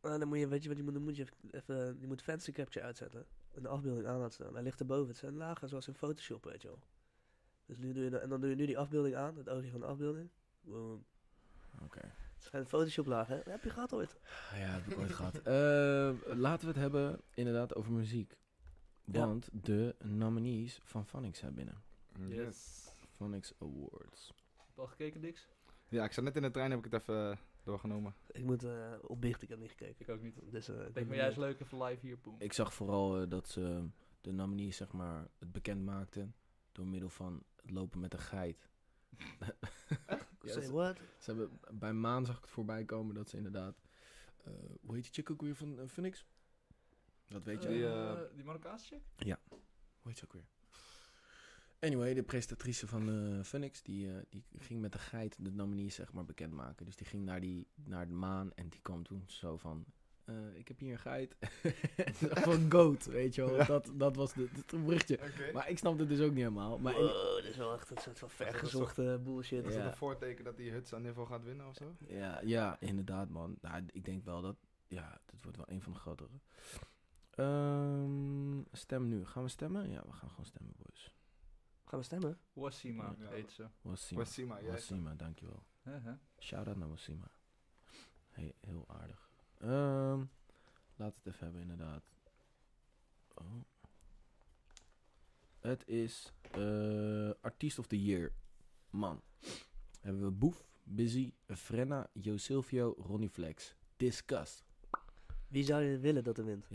[SPEAKER 2] Ah, dan moet je, weet je wat, je moet, dan moet je even- even, je moet fancy capture uitzetten. En de afbeelding aan laten staan. Hij ligt erboven. Het zijn lagen zoals in Photoshop, weet je wel. Dus nu doe je, dat- en dan doe je nu die afbeelding aan, het oogje van de afbeelding. Boom.
[SPEAKER 3] Oké.
[SPEAKER 2] Het zijn Photoshop lagen, hè? Dat heb je gehad ooit.
[SPEAKER 3] Ah Ja, heb ik ooit gehad. [LAUGHS] Eh, laten we het hebben inderdaad over muziek.
[SPEAKER 2] Ja.
[SPEAKER 3] Want de nominees van Phonics zijn binnen.
[SPEAKER 1] Mm, Yes.
[SPEAKER 3] Phonics Awards.
[SPEAKER 4] Heb je al gekeken, Dix?
[SPEAKER 1] Ja, ik zat net in de trein, heb ik het even eh, doorgenomen.
[SPEAKER 2] Ik moet eh opbiechten, ik heb niet gekeken.
[SPEAKER 4] Ik ook niet.
[SPEAKER 2] Dus, eh, ik
[SPEAKER 4] Ik
[SPEAKER 2] ben
[SPEAKER 4] denk maar juist
[SPEAKER 2] benieuwd.
[SPEAKER 4] leuk even live hier, boem.
[SPEAKER 3] Ik zag vooral eh, dat ze de nominees zeg maar, het bekend maakten door middel van het lopen met een geit. Ja,
[SPEAKER 2] Say
[SPEAKER 3] ze-
[SPEAKER 2] what?
[SPEAKER 3] Ze hebben, bij Maan zag ik het voorbij komen dat ze inderdaad... eh, hoe heet die chick ook weer van eh, Phoenix? Dat weet je.
[SPEAKER 1] Die,
[SPEAKER 4] Die,
[SPEAKER 1] eh,
[SPEAKER 4] die Marokkaanse chick?
[SPEAKER 3] Hoe heet ze ook weer? Anyway, de presentatrice van eh Phoenix, die, eh, die ging met de geit de nominees zeg maar bekendmaken. Dus die ging naar, die, naar de maan en die kwam toen zo van... eh, ik heb hier een geit. [LAUGHS] Van goat, weet je wel.
[SPEAKER 1] Ja.
[SPEAKER 3] Dat, dat was de- het berichtje.
[SPEAKER 1] Oké.
[SPEAKER 3] Maar ik snap het dus ook niet helemaal. Maar in-
[SPEAKER 2] wow, dit is wel echt een soort van
[SPEAKER 1] dat
[SPEAKER 2] vergezochte bullshit.
[SPEAKER 1] Is
[SPEAKER 3] Ja.
[SPEAKER 1] dat een voorteken dat die Huts aan niveau gaat winnen of zo?
[SPEAKER 3] ja, ja, inderdaad man. Nou, ik denk wel dat... Ja, dit wordt wel een van de grotere. Ehm, stem nu. Gaan we stemmen? Ja, we gaan gewoon stemmen, boys.
[SPEAKER 2] Gaan we stemmen?
[SPEAKER 4] Wassima
[SPEAKER 1] Ja.
[SPEAKER 4] heet ze.
[SPEAKER 3] Wassima.
[SPEAKER 1] Wassima, jij.
[SPEAKER 3] Wassima, dankjewel.
[SPEAKER 4] Hè, hè?
[SPEAKER 3] Shout-out naar Wassima. He- heel aardig. Ehm laat het even hebben, inderdaad. Oh. Het is eh Artiest of the Year. Man. Hebben we Boef, Busy, Frenna, Jo Silvio, Ronnie Flex. Disgust.
[SPEAKER 2] Wie zou je willen dat er wint?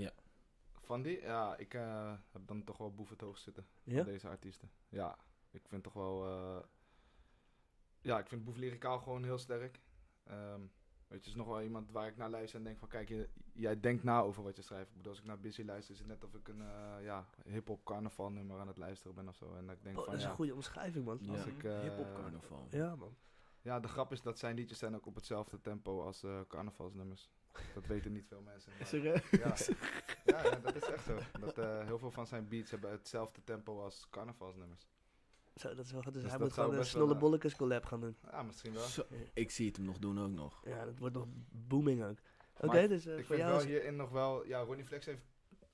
[SPEAKER 1] Van die? Ja, ik eh, heb dan toch wel boef het hoog zitten.
[SPEAKER 2] Ja?
[SPEAKER 1] van deze artiesten. Ja, ik vind toch wel. eh, ja, ik vind Boef Lyricaal gewoon heel sterk. Ehm, weet je, is nog wel iemand waar ik naar luister en denk van... Kijk, je- jij denkt na over wat je schrijft. Ik bedoel, als ik naar Busy luister, is het net of ik een eh, ja, hip-hop carnaval nummer aan het luisteren ben of zo. En dat ik denk
[SPEAKER 2] Oh,
[SPEAKER 1] van,
[SPEAKER 2] dat is
[SPEAKER 1] ja,
[SPEAKER 2] een goede omschrijving, man.
[SPEAKER 3] Ja.
[SPEAKER 1] als ik... eh,
[SPEAKER 3] Hip-hop carnaval.
[SPEAKER 2] Ja, man.
[SPEAKER 1] Ja, de grap is dat zijn liedjes zijn ook op hetzelfde tempo als eh, carnavalsnummers. Dat weten niet veel mensen.
[SPEAKER 2] [LAUGHS]
[SPEAKER 1] maar- ja. Ja, ja, dat is echt zo. Dat, eh, heel veel van zijn beats hebben hetzelfde tempo als carnavalsnummers.
[SPEAKER 2] Zo, dat is wel goed. Dus,
[SPEAKER 1] Dus
[SPEAKER 2] hij
[SPEAKER 1] dat
[SPEAKER 2] moet
[SPEAKER 1] zou
[SPEAKER 2] gewoon een
[SPEAKER 1] best wel, eh,
[SPEAKER 2] snolle bolletjes collab gaan doen.
[SPEAKER 1] Ja, misschien wel.
[SPEAKER 3] Zo, ik zie het hem nog doen ook nog.
[SPEAKER 2] Ja, dat wordt nog booming ook. Oké,
[SPEAKER 1] Maar
[SPEAKER 2] dus eh,
[SPEAKER 1] Ik
[SPEAKER 2] voor
[SPEAKER 1] vind
[SPEAKER 2] jou
[SPEAKER 1] wel
[SPEAKER 2] is...
[SPEAKER 1] hierin nog wel... Ja, Ronnie Flex heeft,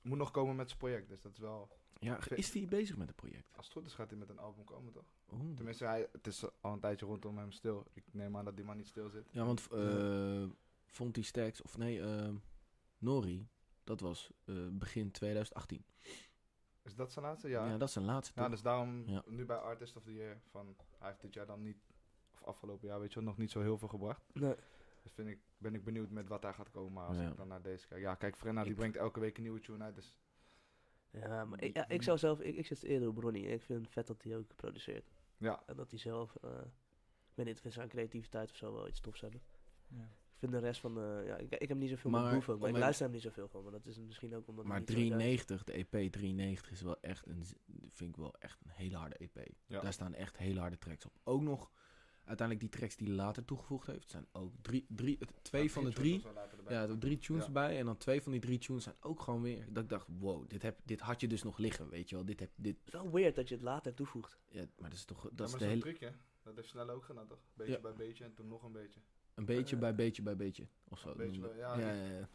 [SPEAKER 1] moet nog komen met zijn project. Dus dat is wel...
[SPEAKER 3] Ja,
[SPEAKER 1] vind-
[SPEAKER 3] is hij bezig met het project? Oh.
[SPEAKER 1] Als het goed is gaat hij met een album komen, toch?
[SPEAKER 3] Oeh.
[SPEAKER 1] Tenminste, hij, het is al een tijdje rondom hem stil. Ik neem aan dat die man niet stil zit.
[SPEAKER 3] Ja, want eh Fonty Stacks, of nee, eh, Nori, dat was eh, begin 2018.
[SPEAKER 1] Is dat zijn laatste?
[SPEAKER 3] Ja,
[SPEAKER 1] Ja. Ja,
[SPEAKER 3] dat is zijn laatste. toch?
[SPEAKER 1] dus daarom
[SPEAKER 3] Ja.
[SPEAKER 1] nu bij Artist of the Year. Van, hij heeft dit jaar dan niet... Of afgelopen jaar, weet je wel, nog niet zo heel veel gebracht.
[SPEAKER 2] Nee,
[SPEAKER 1] Dus vind ik, ben ik benieuwd met wat daar gaat komen. Maar als
[SPEAKER 3] Ja.
[SPEAKER 1] ik dan naar deze kijk... Ja, kijk, Frenna, die
[SPEAKER 3] Ik-
[SPEAKER 1] brengt elke week een nieuwe tune uit. Dus
[SPEAKER 2] ja, maar ik, ja, ik zou zelf... Ik, ik zit eerder op Ronnie. Ik vind het vet dat hij ook produceert.
[SPEAKER 1] ja,
[SPEAKER 2] En dat hij zelf... eh, ik weet niet, ik vind zijn creativiteit of zo wel iets tofs hebben.
[SPEAKER 4] Ja.
[SPEAKER 2] Ik vind de rest van... eh, ja, ik, ik heb niet zoveel
[SPEAKER 3] Maar
[SPEAKER 2] met Boef ook, maar ik
[SPEAKER 3] omdat-
[SPEAKER 2] luister hem niet zoveel van. Maar dat is misschien ook omdat...
[SPEAKER 3] Maar
[SPEAKER 2] ik niet zo thuis-
[SPEAKER 3] 93, de EP 93 is wel echt een, z- vind ik wel echt een hele harde EP.
[SPEAKER 1] Ja.
[SPEAKER 3] Daar staan echt hele harde tracks op. Ook nog uiteindelijk die tracks die hij later toegevoegd heeft, zijn ook drie, drie het- twee
[SPEAKER 1] Ja,
[SPEAKER 3] van de
[SPEAKER 1] tunes
[SPEAKER 3] drie.
[SPEAKER 1] of zo laten erbij.
[SPEAKER 3] Ja, er waren drie tunes
[SPEAKER 1] Ja.
[SPEAKER 3] bij en dan twee van die drie tunes zijn ook gewoon weer. Dat ik dacht, wow, dit, heb, dit had je dus nog liggen, weet je wel. Dit heb, dit,
[SPEAKER 2] Het is wel weird dat je het later toevoegt.
[SPEAKER 3] ja, maar dat is toch,
[SPEAKER 1] Ja,
[SPEAKER 3] dat is
[SPEAKER 1] maar
[SPEAKER 3] de
[SPEAKER 1] zo'n
[SPEAKER 3] hele,
[SPEAKER 1] truc, hè? Dat heeft snel ook gedaan, toch? Beetje
[SPEAKER 3] Ja.
[SPEAKER 1] bij beetje en toen nog een beetje.
[SPEAKER 3] een beetje
[SPEAKER 2] eh,
[SPEAKER 3] bij beetje bij beetje, of zo.
[SPEAKER 1] beetje
[SPEAKER 3] noemde-
[SPEAKER 1] bij- ja,
[SPEAKER 3] ja,
[SPEAKER 1] die-
[SPEAKER 3] ja, ja.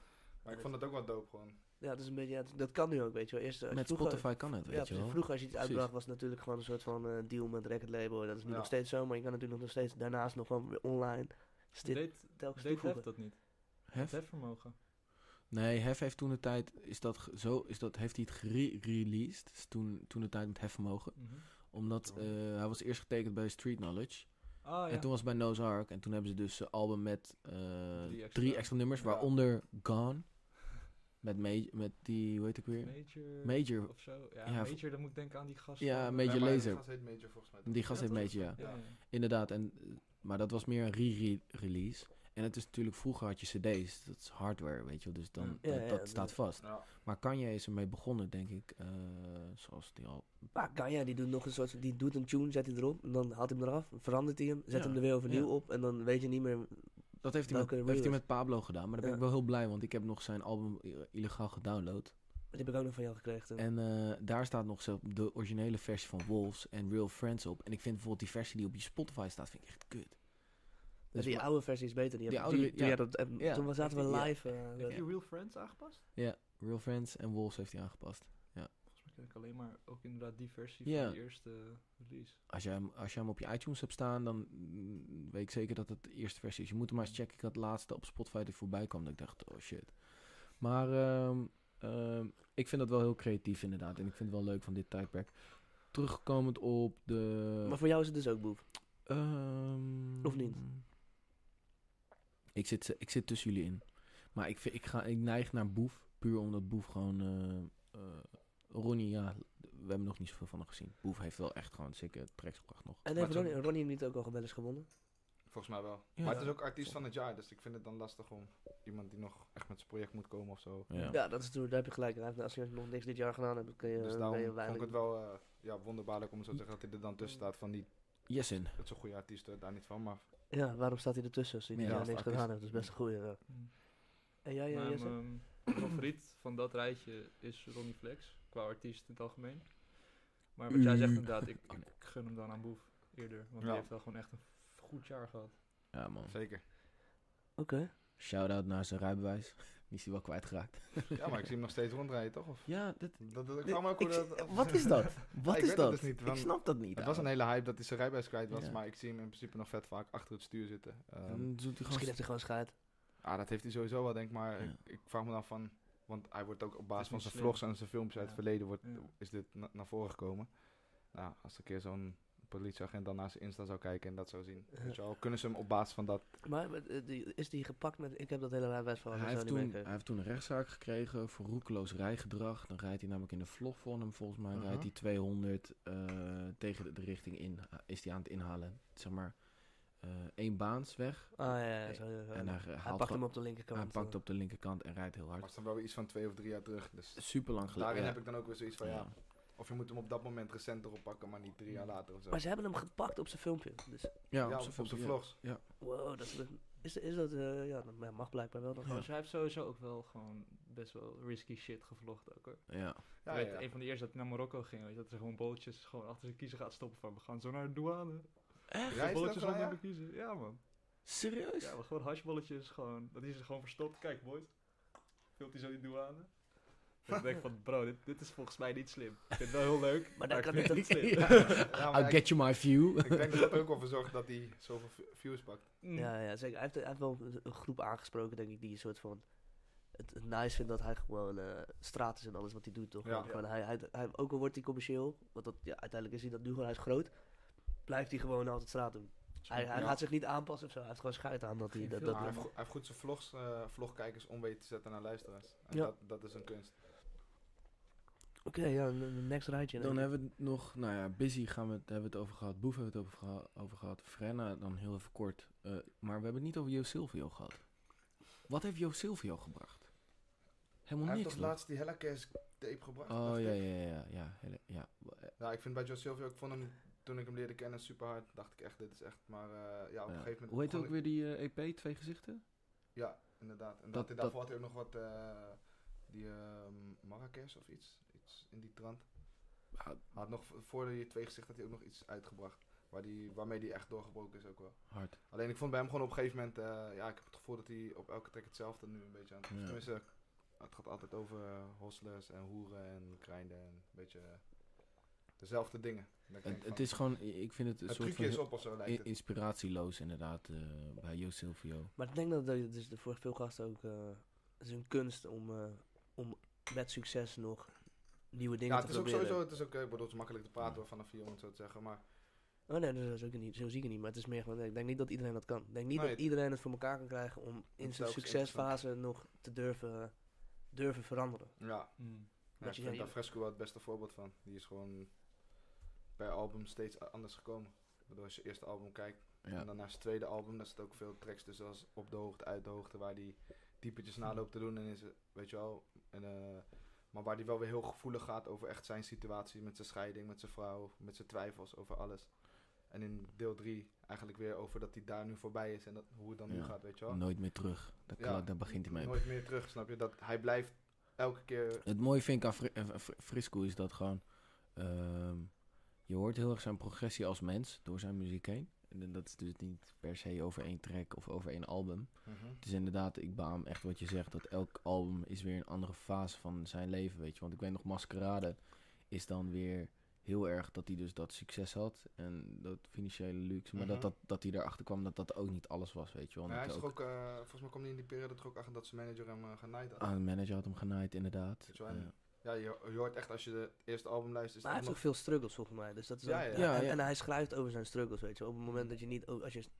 [SPEAKER 1] Maar ik vond het ook wel dope, gewoon.
[SPEAKER 2] Ja, dat is een beetje... ja, dat- dat kan nu ook, weet je wel. Eerst, eh, als je
[SPEAKER 3] Met
[SPEAKER 2] vroeger-
[SPEAKER 3] Spotify kan het,
[SPEAKER 2] ja,
[SPEAKER 3] weet je
[SPEAKER 2] precies.
[SPEAKER 3] wel.
[SPEAKER 2] Vroeger als je iets
[SPEAKER 3] Precies.
[SPEAKER 2] uitbracht was het natuurlijk gewoon een soort van eh, deal met record label. Dat is nu
[SPEAKER 1] Ja.
[SPEAKER 2] nog steeds zo, maar je kan natuurlijk nog steeds daarnaast nog gewoon weer online. Dus dit
[SPEAKER 4] Deed,
[SPEAKER 2] telkens
[SPEAKER 4] deed
[SPEAKER 2] toevoegen.
[SPEAKER 4] Hef dat niet?
[SPEAKER 3] Hef?
[SPEAKER 4] Het hefvermogen.
[SPEAKER 3] Nee, Hef heeft toen de tijd, is dat ge- zo, is dat, heeft hij het gereleased? Is Toen, toen de tijd met Hefvermogen.
[SPEAKER 4] Mhm.
[SPEAKER 3] Omdat
[SPEAKER 1] Oh.
[SPEAKER 3] eh, hij was eerst getekend bij Street Knowledge.
[SPEAKER 4] Ah ja.
[SPEAKER 3] En toen was het bij Noah's Ark. En toen hebben ze dus een album met eh, drie, extra.
[SPEAKER 4] extra.
[SPEAKER 3] nummers.
[SPEAKER 1] Ja.
[SPEAKER 3] Waaronder Gone. Met, ma- met die, hoe heet ik weer?
[SPEAKER 4] Major,
[SPEAKER 3] Major.
[SPEAKER 4] of zo. Ja,
[SPEAKER 3] Ja,
[SPEAKER 4] Major, dan moet ik denken aan die gast.
[SPEAKER 3] Ja,
[SPEAKER 4] van-
[SPEAKER 3] Major
[SPEAKER 1] maar die
[SPEAKER 3] Lazer.
[SPEAKER 1] gast heet Major volgens mij. toch?
[SPEAKER 3] Die gast
[SPEAKER 4] Ja,
[SPEAKER 3] heeft
[SPEAKER 4] toch?
[SPEAKER 3] Major, ja.
[SPEAKER 4] Ja, ja.
[SPEAKER 3] Inderdaad. En, eh, maar dat was meer een re-release. En het is natuurlijk, vroeger had je cd's. Dat is hardware, weet je wel. Dus dan,
[SPEAKER 2] Ja,
[SPEAKER 3] dat,
[SPEAKER 2] ja,
[SPEAKER 3] dat
[SPEAKER 2] dat-
[SPEAKER 3] staat vast.
[SPEAKER 1] Ja.
[SPEAKER 3] Maar Kanye is ermee begonnen, denk ik. eh, zoals die al...
[SPEAKER 2] Maar Kanye die doet nog een soort, die doet een tune, zet hij erop, en dan haalt hij hem eraf, verandert hij hem, zet
[SPEAKER 3] Ja,
[SPEAKER 2] hem er weer overnieuw
[SPEAKER 3] ja.
[SPEAKER 2] op en dan weet je niet meer.
[SPEAKER 3] Dat heeft hij, met,
[SPEAKER 2] Welke
[SPEAKER 3] heeft hij
[SPEAKER 2] release?
[SPEAKER 3] met Pablo gedaan. Maar daar ben
[SPEAKER 2] Ja.
[SPEAKER 3] ik wel heel blij. Want ik heb nog zijn album eh, illegaal gedownload.
[SPEAKER 2] Die heb ik ook nog van jou gekregen. toen.
[SPEAKER 3] En eh, daar staat nog zo de originele versie van Wolves en Real Friends op. En ik vind bijvoorbeeld die versie die op je Spotify staat, vind ik echt kut.
[SPEAKER 2] Maar
[SPEAKER 3] Dus
[SPEAKER 2] die
[SPEAKER 3] ma-
[SPEAKER 2] oude versie is beter. Die
[SPEAKER 3] Die
[SPEAKER 2] heb-
[SPEAKER 3] oude-
[SPEAKER 2] die- toen
[SPEAKER 3] ja.
[SPEAKER 2] jij dat- en
[SPEAKER 3] Ja.
[SPEAKER 2] Toen was- zaten we
[SPEAKER 3] Ja.
[SPEAKER 2] live. eh,
[SPEAKER 4] Heb je
[SPEAKER 2] dat-
[SPEAKER 4] Real Friends aangepast?
[SPEAKER 3] Real Friends en Wolves heeft hij aangepast.
[SPEAKER 4] Volgens mij ken ik alleen maar ook inderdaad die versie
[SPEAKER 3] Ja.
[SPEAKER 4] van de eerste release.
[SPEAKER 3] Als jij, hem, als jij hem op je iTunes hebt staan, dan mm, weet ik zeker dat het de eerste versie is. Je moet hem maar eens checken. Ik had het laatste op Spotify die voorbij kwam. Dat ik dacht, oh shit. Maar ehm, ehm, ik vind dat wel heel creatief inderdaad. En ik vind het wel leuk van dit tijdperk. Terugkomend op de...
[SPEAKER 2] Maar voor jou is het dus ook boef.
[SPEAKER 3] Ehm,
[SPEAKER 2] Of niet?
[SPEAKER 3] Ik zit, ik zit tussen jullie in. Maar ik, vind- ik, ga, ik neig naar Boef. Puur omdat Boef gewoon... eh, eh, Ronnie, ja, we hebben nog niet zoveel van hem gezien. Boef heeft wel echt gewoon zikke tracks gebracht nog.
[SPEAKER 2] En
[SPEAKER 1] Maar
[SPEAKER 2] heeft
[SPEAKER 1] toen-
[SPEAKER 2] Ronnie, Ronnie hem niet ook al wel eens gewonnen?
[SPEAKER 1] Volgens mij wel.
[SPEAKER 3] Ja.
[SPEAKER 1] Maar het is ook artiest van het jaar, dus ik vind het dan lastig om iemand die nog echt met zijn project moet komen of zo.
[SPEAKER 3] Ja.
[SPEAKER 2] Ja, dat is natuurlijk, daar heb je gelijk. Hij heeft- Als je nog niks dit jaar gedaan hebt, dan kun je,
[SPEAKER 1] dus
[SPEAKER 2] ben
[SPEAKER 1] daarom
[SPEAKER 2] je
[SPEAKER 1] vond ik
[SPEAKER 2] weinig-
[SPEAKER 1] het wel eh, ja, wonderbaarlijk om zo te zeggen dat hij er dan tussen staat. Van die,
[SPEAKER 3] Yesin.
[SPEAKER 1] het is een goede artiest, eh, daar niet van, maar
[SPEAKER 2] Ja, waarom staat hij ertussen als hij
[SPEAKER 3] Ja,
[SPEAKER 2] dit jaar
[SPEAKER 1] als
[SPEAKER 2] niks
[SPEAKER 1] artiest.
[SPEAKER 2] gedaan heeft? Dat is best een goeie. ja.
[SPEAKER 4] Mhm.
[SPEAKER 2] En jij, eh,
[SPEAKER 4] Mijn
[SPEAKER 2] Jesse?
[SPEAKER 3] [CLEARS THROAT]
[SPEAKER 4] ehm, favoriet van dat rijtje is Ronnie Flex, qua artiest in het algemeen. Maar wat jij zegt
[SPEAKER 3] U.
[SPEAKER 4] inderdaad, ik,
[SPEAKER 3] Oh, nee.
[SPEAKER 4] ik gun hem dan aan Boef eerder. Want
[SPEAKER 1] Ja.
[SPEAKER 4] die heeft wel gewoon echt een f- goed jaar gehad.
[SPEAKER 3] Ja, man.
[SPEAKER 1] zeker.
[SPEAKER 2] Oké.
[SPEAKER 3] Shout-out naar zijn rijbewijs. [LAUGHS] Die is hij wel kwijtgeraakt.
[SPEAKER 1] Ja, maar ik zie hem nog steeds rondrijden, toch? Of,
[SPEAKER 3] Ja, dat...
[SPEAKER 1] dat, dat, ik
[SPEAKER 3] dit-
[SPEAKER 1] vraag me ook hoe
[SPEAKER 3] ik-
[SPEAKER 1] dat...
[SPEAKER 3] Wat is dat? Wat
[SPEAKER 1] ik
[SPEAKER 3] is
[SPEAKER 1] weet het
[SPEAKER 3] dat?
[SPEAKER 1] dus niet,
[SPEAKER 3] ik
[SPEAKER 1] want
[SPEAKER 3] snap dat
[SPEAKER 1] [LAUGHS]
[SPEAKER 3] niet.
[SPEAKER 1] Het was een
[SPEAKER 3] ouwe.
[SPEAKER 1] hele hype dat hij zijn rijbewijs kwijt was,
[SPEAKER 3] Ja.
[SPEAKER 1] maar ik zie hem in principe nog vet vaak achter het stuur zitten. Ehm,
[SPEAKER 3] Dan doet hij
[SPEAKER 2] Misschien
[SPEAKER 3] gewoon...
[SPEAKER 2] heeft hij gewoon scheid.
[SPEAKER 1] Ah, dat heeft hij sowieso wel, denk ik. Maar
[SPEAKER 3] Ja.
[SPEAKER 1] ik, ik vraag me dan van... Want hij wordt ook op basis van
[SPEAKER 4] niet
[SPEAKER 1] zijn
[SPEAKER 4] slim.
[SPEAKER 1] vlogs en zijn filmpjes uit het
[SPEAKER 4] Ja.
[SPEAKER 1] verleden... Wordt,
[SPEAKER 4] Ja.
[SPEAKER 1] is dit na- naar voren gekomen. Nou, als een keer zo'n politieagent dan naar zijn Insta zou kijken en dat zou zien.
[SPEAKER 2] Ja.
[SPEAKER 1] Weet je wel, kunnen ze hem op basis van dat...
[SPEAKER 2] Maar eh, die- is die gepakt met... Ik heb dat hele rijbewijs van
[SPEAKER 3] Hij heeft,
[SPEAKER 2] niet
[SPEAKER 3] toen,
[SPEAKER 2] meegekregen.
[SPEAKER 3] hij heeft toen een rechtszaak gekregen voor roekeloos rijgedrag. Dan rijdt hij namelijk in de vlog van hem. Volgens mij
[SPEAKER 1] Aha.
[SPEAKER 3] rijdt hij 200 eh, tegen de, de richting in. Is hij aan het inhalen. Zeg maar, één baansweg.
[SPEAKER 2] Ah ja, ja, zo,
[SPEAKER 3] En
[SPEAKER 2] hij,
[SPEAKER 3] hij haalt
[SPEAKER 2] pakt
[SPEAKER 3] gewoon-
[SPEAKER 2] hem op de linkerkant. eh.
[SPEAKER 3] Hij pakt op de linkerkant en rijdt heel
[SPEAKER 1] eh. Maar
[SPEAKER 3] hard.
[SPEAKER 1] het is dan wel weer iets van twee of drie jaar terug. Dus
[SPEAKER 3] Super lang geleden.
[SPEAKER 1] daarin heb ik dan ook weer zoiets van, ja. Of je moet hem op dat moment recent erop pakken, maar niet drie jaar later of zo.
[SPEAKER 2] Maar ze hebben hem gepakt op zijn filmpje. Dus
[SPEAKER 3] Ja,
[SPEAKER 1] Ja, op,
[SPEAKER 3] op zijn
[SPEAKER 1] op zijn
[SPEAKER 3] filmpje, ja.
[SPEAKER 1] vlogs.
[SPEAKER 2] wow, dat is, is, is dat... eh, ja, dat mag blijkbaar wel. Dan
[SPEAKER 3] Ja.
[SPEAKER 4] Dus hij heeft sowieso ook wel gewoon best wel risky shit gevlogd ook hoor.
[SPEAKER 3] Ja.
[SPEAKER 1] Ja,
[SPEAKER 4] ik
[SPEAKER 1] ja,
[SPEAKER 4] weet,
[SPEAKER 1] ja.
[SPEAKER 4] een van de eerste dat ik naar Marokko ging, weet je, dat er gewoon bootjes gewoon achter zijn kiezen gaat stoppen van, we gaan zo naar de douane.
[SPEAKER 1] Reis dat
[SPEAKER 4] bootjes
[SPEAKER 1] wel,
[SPEAKER 4] zonder
[SPEAKER 1] ja?
[SPEAKER 4] bekiezen. Ja man.
[SPEAKER 3] Serieus?
[SPEAKER 4] Ja, maar gewoon hashbolletjes, gewoon, dat is er gewoon verstopt. Kijk boys, vult hij zo die [LAUGHS] douane. En ik denk van, bro, dit, dit is volgens mij niet slim. Ik vind het wel heel leuk, maar,
[SPEAKER 2] dan
[SPEAKER 4] ik
[SPEAKER 2] kan
[SPEAKER 4] vind
[SPEAKER 2] ik
[SPEAKER 4] het niet slim.
[SPEAKER 3] Ja.
[SPEAKER 1] Ja, maar
[SPEAKER 3] I'll
[SPEAKER 1] ik,
[SPEAKER 3] get you my
[SPEAKER 1] [LAUGHS]
[SPEAKER 3] view.
[SPEAKER 1] ik denk dat dat ook wel voor zorgt dat hij zoveel v- views pakt.
[SPEAKER 2] [LAUGHS]
[SPEAKER 4] Mm.
[SPEAKER 2] Ja, ja, zeker. Hij heeft, hij heeft wel een, een groep aangesproken, denk ik, die een soort van... Het, het nice vindt dat hij gewoon eh straat is en alles wat hij doet, toch?
[SPEAKER 1] Ja.
[SPEAKER 2] Want Gewoon, hij, hij, hij- ook al wordt hij commercieel, want dat, ja, uiteindelijk is hij dat nu gewoon, hij is groot, blijft hij gewoon altijd straat doen. Hij, hij
[SPEAKER 1] Ja.
[SPEAKER 2] gaat zich niet aanpassen of zo, hij heeft gewoon schijt aan dat hij...
[SPEAKER 4] Geen
[SPEAKER 2] Dat,
[SPEAKER 4] filter.
[SPEAKER 2] dat,
[SPEAKER 1] Maar hij, heeft, go- hij heeft goed zijn vlogs, eh, vlogkijkers om weten te zetten naar luisteraars. En
[SPEAKER 2] Ja.
[SPEAKER 1] dat, dat is een kunst.
[SPEAKER 2] Oké, ja, een- een next rijtje.
[SPEAKER 3] Dan
[SPEAKER 2] denk ik.
[SPEAKER 3] hebben we het nog, nou ja, Busy gaan we het, hebben we het over gehad. Boef hebben we het over, geha- over gehad. Frenna dan heel even kort. Eh, maar we hebben het niet over Jo Silvio gehad. Wat heeft Jo Silvio gebracht? Helemaal
[SPEAKER 1] Hij heeft
[SPEAKER 3] niks.
[SPEAKER 1] toch
[SPEAKER 3] man.
[SPEAKER 1] laatst die Hellacase tape gebracht?
[SPEAKER 3] Oh
[SPEAKER 1] dacht
[SPEAKER 3] ja,
[SPEAKER 1] ik?
[SPEAKER 3] ja, ja, ja, hele- ja.
[SPEAKER 1] Ja, ik vind bij Joe Silvio, ik vond hem toen ik hem leerde kennen super hard. Dacht ik echt, dit is echt. Maar eh, ja, op een
[SPEAKER 3] Ja.
[SPEAKER 1] gegeven moment.
[SPEAKER 3] Hoe heet
[SPEAKER 1] begon
[SPEAKER 3] ook
[SPEAKER 1] ik-
[SPEAKER 3] weer die eh, EP, Twee Gezichten?
[SPEAKER 1] Ja, inderdaad. En dat,
[SPEAKER 3] Dat-
[SPEAKER 1] hij daarvoor had hij ook nog wat. eh, die ehm Marrakesh of iets. Iets in die trant.
[SPEAKER 3] Ah,
[SPEAKER 1] Hij had nog v- voor die twee gezicht had hij ook nog iets uitgebracht. Waar die, waarmee hij echt doorgebroken is ook wel.
[SPEAKER 3] Hard.
[SPEAKER 1] Alleen ik vond bij hem gewoon op een gegeven moment. eh, ja, ik heb het gevoel dat hij op elke track hetzelfde nu een beetje aan het.
[SPEAKER 3] Ja.
[SPEAKER 1] Tenminste, het gaat altijd over eh, hostlers en hoeren en grinden en een beetje. eh, dezelfde dingen. En ik denk
[SPEAKER 3] Het, het
[SPEAKER 1] van,
[SPEAKER 3] is gewoon, i- ik vind het een
[SPEAKER 1] het
[SPEAKER 3] soort
[SPEAKER 1] trucje
[SPEAKER 3] van
[SPEAKER 1] is
[SPEAKER 3] heel
[SPEAKER 1] op of zo lijkt
[SPEAKER 3] i-
[SPEAKER 1] het.
[SPEAKER 3] inspiratieloos inderdaad eh, bij Jo Silvio.
[SPEAKER 2] Maar ik denk dat dat dus voor veel gasten ook... eh het is een kunst om, eh, om met succes nog nieuwe dingen
[SPEAKER 1] Ja,
[SPEAKER 2] te
[SPEAKER 1] het is ook
[SPEAKER 2] proberen.
[SPEAKER 1] sowieso, het is ook, eh, ik bedoel, het is makkelijk te praten
[SPEAKER 3] Ja.
[SPEAKER 1] hoor, vanaf hier om het zo te zeggen, maar
[SPEAKER 2] Oh nee, dat is ook niet, zo zie ik het niet. Maar het is meer gewoon, ik denk niet dat iedereen dat kan. Ik denk niet
[SPEAKER 1] Nee,
[SPEAKER 2] dat
[SPEAKER 1] het-
[SPEAKER 2] iedereen het voor elkaar kan krijgen om in
[SPEAKER 1] is
[SPEAKER 2] zijn
[SPEAKER 1] telkens
[SPEAKER 2] succesfase nog te durven, durven veranderen.
[SPEAKER 1] ja,
[SPEAKER 4] Mm.
[SPEAKER 1] ja ik
[SPEAKER 2] je-
[SPEAKER 1] vind
[SPEAKER 2] ja,
[SPEAKER 1] daar Fresco wel het beste voorbeeld van. Die is gewoon per album steeds a- anders gekomen. Waardoor als je eerste album kijkt en
[SPEAKER 3] Ja.
[SPEAKER 1] dan naar zijn tweede album, daar zitten ook veel tracks tussen als op de hoogte, uit de hoogte, waar die typetjes
[SPEAKER 3] Mhm.
[SPEAKER 1] na loopt te doen en is, het- weet je wel, en, eh, maar waar die wel weer heel gevoelig gaat over echt zijn situatie met zijn scheiding, met zijn vrouw, met zijn twijfels over alles. En in deel 3 eigenlijk weer over dat hij daar nu voorbij is en dat, hoe het dan nu
[SPEAKER 3] Ja.
[SPEAKER 1] gaat, weet je wel.
[SPEAKER 3] Nooit meer terug. Daar,
[SPEAKER 1] Ja.
[SPEAKER 3] kla- daar begint hij mee.
[SPEAKER 1] Nooit meer terug, snap je? Dat hij blijft elke keer.
[SPEAKER 3] Het mooie vind ik aan Fri- eh, Fri- Frisco is dat gewoon... ehm, je hoort heel erg zijn progressie als mens door zijn muziek heen. En dat is dus niet per se over één track of over één album.
[SPEAKER 1] Mhm.
[SPEAKER 3] Het is inderdaad, ik baam echt wat je zegt, dat elk album is weer een andere fase van zijn leven, weet je. Want ik weet nog, Maskerade is dan weer heel erg dat hij dus dat succes had en dat financiële luxe. Maar
[SPEAKER 1] Mhm.
[SPEAKER 3] dat, dat, dat hij erachter kwam dat dat ook niet alles was, weet je. wel.
[SPEAKER 1] Maar hij
[SPEAKER 3] Dat
[SPEAKER 1] is toch
[SPEAKER 3] ook-
[SPEAKER 1] ook, eh, volgens mij kwam hij in die periode er ook achter dat zijn manager hem eh, genaaid had.
[SPEAKER 3] Ah, de manager had hem genaaid, inderdaad.
[SPEAKER 1] Weet je wel, en-
[SPEAKER 3] Ja.
[SPEAKER 1] Ja, je, je hoort echt als je het eerste album luistert. is
[SPEAKER 2] Maar hij
[SPEAKER 1] het
[SPEAKER 2] heeft ook
[SPEAKER 1] allemaal-
[SPEAKER 2] veel struggles volgens mij. Dus dat is
[SPEAKER 1] Ja,
[SPEAKER 2] ook-
[SPEAKER 1] ja. Mm.
[SPEAKER 3] Ja,
[SPEAKER 2] en,
[SPEAKER 3] ja.
[SPEAKER 2] en hij schrijft over zijn struggles, weet je. wel. Op het moment dat je niet, ook als je s-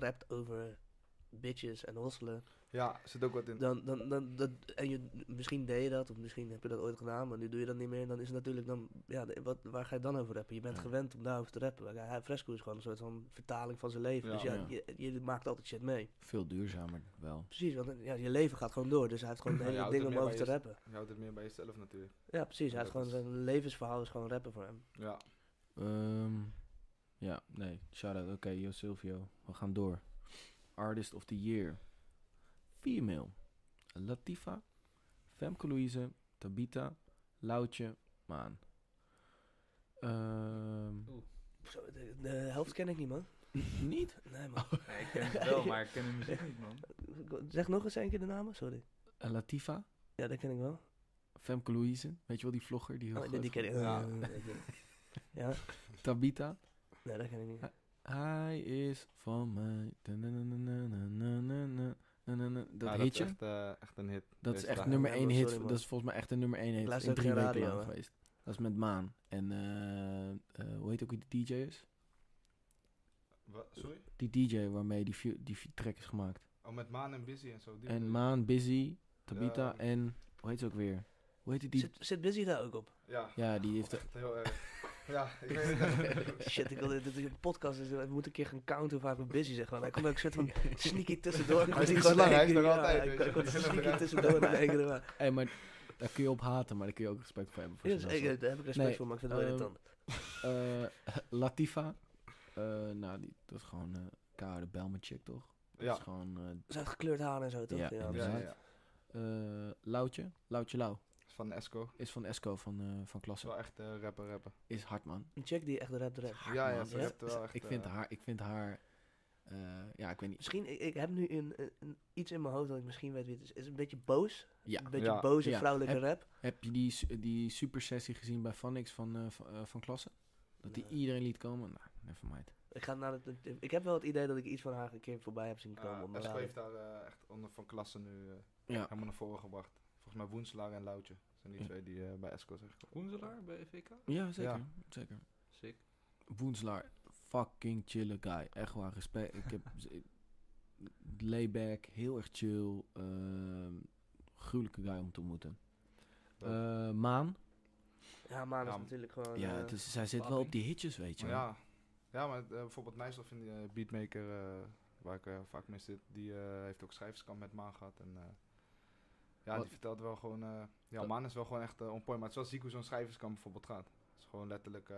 [SPEAKER 2] rapt over bitches en hosselen,
[SPEAKER 1] ja, er zit ook wat in.
[SPEAKER 2] dan, dan, dan dat, en je, misschien deed je dat, of misschien heb je dat ooit gedaan, maar nu doe je dat niet meer. Dan is het natuurlijk dan, ja, de- wat, waar ga je dan over rappen? Je bent
[SPEAKER 3] Ja.
[SPEAKER 2] gewend om daarover te rappen. Maar Hij, Fresco is gewoon een soort van vertaling van zijn leven.
[SPEAKER 1] Ja.
[SPEAKER 2] dus ja,
[SPEAKER 3] Ja.
[SPEAKER 2] Je, je maakt altijd shit mee.
[SPEAKER 3] Veel duurzamer wel.
[SPEAKER 2] Precies, want eh, ja, je leven gaat gewoon door. Dus hij heeft
[SPEAKER 1] [CLEARS THROAT]
[SPEAKER 2] gewoon
[SPEAKER 1] Ja,
[SPEAKER 2] een
[SPEAKER 1] je
[SPEAKER 2] hele
[SPEAKER 1] houdt
[SPEAKER 2] ding
[SPEAKER 1] het
[SPEAKER 2] om
[SPEAKER 1] meer
[SPEAKER 2] over te
[SPEAKER 1] bij
[SPEAKER 2] rappen.
[SPEAKER 1] Je houdt het meer bij jezelf natuurlijk.
[SPEAKER 2] Ja, precies. Hij heeft
[SPEAKER 1] Dat
[SPEAKER 2] gewoon zijn levensverhaal is gewoon rappen voor hem.
[SPEAKER 1] Ja,
[SPEAKER 3] Ehm, ja, nee. Shout-out. Oké, Jo Silvio. We gaan door. Artist of the Year. Female. Latifa. Femke Louise. Tabita. Loutje.
[SPEAKER 2] [LAUGHS]
[SPEAKER 3] Maan. Ehm,
[SPEAKER 2] Zo, de, de helft ken ik niet, man.
[SPEAKER 3] niet?
[SPEAKER 2] Nee,
[SPEAKER 1] [LAUGHS]
[SPEAKER 2] man.
[SPEAKER 4] [LAUGHS] Nee, ik ken het wel, maar ik ken de muziek niet man.
[SPEAKER 2] Zeg nog eens een keer de namen, sorry.
[SPEAKER 3] Eh, Latifa.
[SPEAKER 2] Ja, dat ken ik wel.
[SPEAKER 3] Femke Louise. Weet je wel, die vlogger? Die heel
[SPEAKER 2] Oh, die, die
[SPEAKER 3] groot
[SPEAKER 2] ken ik.
[SPEAKER 1] Ja.
[SPEAKER 2] Ja. ja,
[SPEAKER 3] was. Tabita.
[SPEAKER 2] nee, dat ken ik niet.
[SPEAKER 3] Hij is van mij. Da-na-na-na-na-na-na-na-na. Na-na-na.
[SPEAKER 2] Ah,
[SPEAKER 3] Dat
[SPEAKER 1] Ja,
[SPEAKER 3] hitje.
[SPEAKER 1] echt, eh, echt een hit.
[SPEAKER 3] Dat
[SPEAKER 1] Dus
[SPEAKER 3] is echt
[SPEAKER 1] daar-
[SPEAKER 3] nummer
[SPEAKER 2] Ja,
[SPEAKER 3] 1
[SPEAKER 2] maar
[SPEAKER 3] hit.
[SPEAKER 2] sorry, man.
[SPEAKER 3] dat is volgens mij echt een nummer 1 hit
[SPEAKER 2] luister
[SPEAKER 3] in
[SPEAKER 2] ook
[SPEAKER 3] drie
[SPEAKER 2] geen
[SPEAKER 3] weken
[SPEAKER 2] radio,
[SPEAKER 3] lang
[SPEAKER 2] hè.
[SPEAKER 3] geweest. Dat is met Maan. En eh, eh, hoe heet ook wie die DJ is?
[SPEAKER 1] Wa- Sorry?
[SPEAKER 3] Die DJ waarmee die, view- die vi- track is gemaakt.
[SPEAKER 1] Oh, met Maan en Busy en zo. Die
[SPEAKER 3] En Maan, Busy, Tabita
[SPEAKER 1] Ja.
[SPEAKER 3] en hoe heet ze ook weer? Hoe heet die?
[SPEAKER 2] Zit, zit Busy daar ook op?
[SPEAKER 1] Ja, Oh,
[SPEAKER 2] Oh,
[SPEAKER 3] Ja, die heeft...
[SPEAKER 1] echt heel erg. [LAUGHS] Ja, ik weet het.
[SPEAKER 3] [LAUGHS]
[SPEAKER 2] Shit, ik wil dit, dit is een podcast, dus we moeten een keer gaan counteren waar ik ben busy zeg. Maar hij komt ook een soort
[SPEAKER 3] [LAUGHS]
[SPEAKER 2] van sneaky tussendoor.
[SPEAKER 1] Hij is
[SPEAKER 2] Komt
[SPEAKER 1] niet slecht, hij is
[SPEAKER 2] kijken,
[SPEAKER 1] er
[SPEAKER 2] ja,
[SPEAKER 1] altijd,
[SPEAKER 2] Hij
[SPEAKER 1] weet je.
[SPEAKER 2] komt
[SPEAKER 1] Hij is er
[SPEAKER 2] sneaky
[SPEAKER 1] altijd.
[SPEAKER 2] tussendoor naar kijken. Maar.
[SPEAKER 3] Hey, maar daar kun je op haten, maar daar kun je ook respect voor hebben. Voor
[SPEAKER 2] Ja, dus
[SPEAKER 3] zijn
[SPEAKER 2] ik-
[SPEAKER 3] hustle.
[SPEAKER 2] daar heb ik respect
[SPEAKER 3] Nee,
[SPEAKER 2] voor, maar ik vind het wel
[SPEAKER 3] ehm,
[SPEAKER 2] irritant.
[SPEAKER 3] Eh, [LAUGHS] Latifa. Eh, nou, die, dat is gewoon eh koude Belmen-chick, toch? Dat is
[SPEAKER 1] Ja,
[SPEAKER 3] gewoon eh,
[SPEAKER 2] Ze had gekleurd haar en zo, toch?
[SPEAKER 3] Ja,
[SPEAKER 1] ja, ja,
[SPEAKER 3] inderdaad.
[SPEAKER 1] ja.
[SPEAKER 3] eh, Loutje. Loutje Lau.
[SPEAKER 1] Van Esco.
[SPEAKER 3] Is van Esco van, eh, van
[SPEAKER 1] Is
[SPEAKER 3] Klasse.
[SPEAKER 1] wel echt eh rapper, rapper.
[SPEAKER 3] Is hard, man.
[SPEAKER 2] Een chick die echt rap rap.
[SPEAKER 3] Hard,
[SPEAKER 1] Ja, ja,
[SPEAKER 3] man.
[SPEAKER 1] ze
[SPEAKER 3] Is-
[SPEAKER 1] rapt wel
[SPEAKER 3] is-
[SPEAKER 1] echt,
[SPEAKER 3] Ik vind
[SPEAKER 1] eh,
[SPEAKER 3] haar... Ik vind haar eh, ja, ik weet niet.
[SPEAKER 2] Misschien, ik, ik heb nu een, een- iets in mijn hoofd dat ik misschien weet wie het is. Is een beetje boos.
[SPEAKER 3] Ja.
[SPEAKER 2] Een beetje
[SPEAKER 1] Ja.
[SPEAKER 2] boze
[SPEAKER 3] Ja.
[SPEAKER 2] vrouwelijke rap.
[SPEAKER 3] Heb je die, su- die super sessie gezien bij Phonics van, eh, van, eh, van Klasse? Dat die
[SPEAKER 2] Nee.
[SPEAKER 3] iedereen liet komen? Nou, nevermind.
[SPEAKER 2] Ik, ga naar het, ik heb wel het idee dat ik iets van haar een keer voorbij heb zien
[SPEAKER 3] Ah,
[SPEAKER 2] komen. op
[SPEAKER 1] Eh
[SPEAKER 2] mijn
[SPEAKER 1] Esco
[SPEAKER 2] radar.
[SPEAKER 1] heeft daar eh, echt onder van klasse nu eh,
[SPEAKER 3] Ja.
[SPEAKER 1] helemaal naar voren gebracht. Volgens mij Woenselaar en Loutje. zijn die
[SPEAKER 3] Ja.
[SPEAKER 1] twee die eh, bij Esco zijn gekomen.
[SPEAKER 4] Woenselaar bij VK?
[SPEAKER 3] Ja, zeker. Zeker.
[SPEAKER 4] Sick.
[SPEAKER 3] Woenselaar, fucking chille guy. Echt waar, respect. Ik heb z- layback, heel erg chill. ehm gruwelijke guy om te ontmoeten.
[SPEAKER 1] Dope.
[SPEAKER 3] Eh, Maan,
[SPEAKER 2] Ja, maar dat
[SPEAKER 1] Ja,
[SPEAKER 2] is natuurlijk gewoon...
[SPEAKER 3] ja,
[SPEAKER 2] eh,
[SPEAKER 3] het is, zij zit wel op die hitjes, weet je.
[SPEAKER 1] Maar Oh, Ja, ja maar eh, bijvoorbeeld Nijsdorf in die eh, beatmaker, eh, waar ik eh, vaak mee zit, die eh, heeft ook schrijverskamp met Maan gehad. En, eh, ja,
[SPEAKER 3] Wat-
[SPEAKER 1] die vertelt wel gewoon... eh, ja,
[SPEAKER 3] Dat-
[SPEAKER 1] Maan is wel gewoon echt eh, on point. Maar het is wel ziek hoe zo'n schrijverskamp bijvoorbeeld gaat. Het is gewoon letterlijk... eh,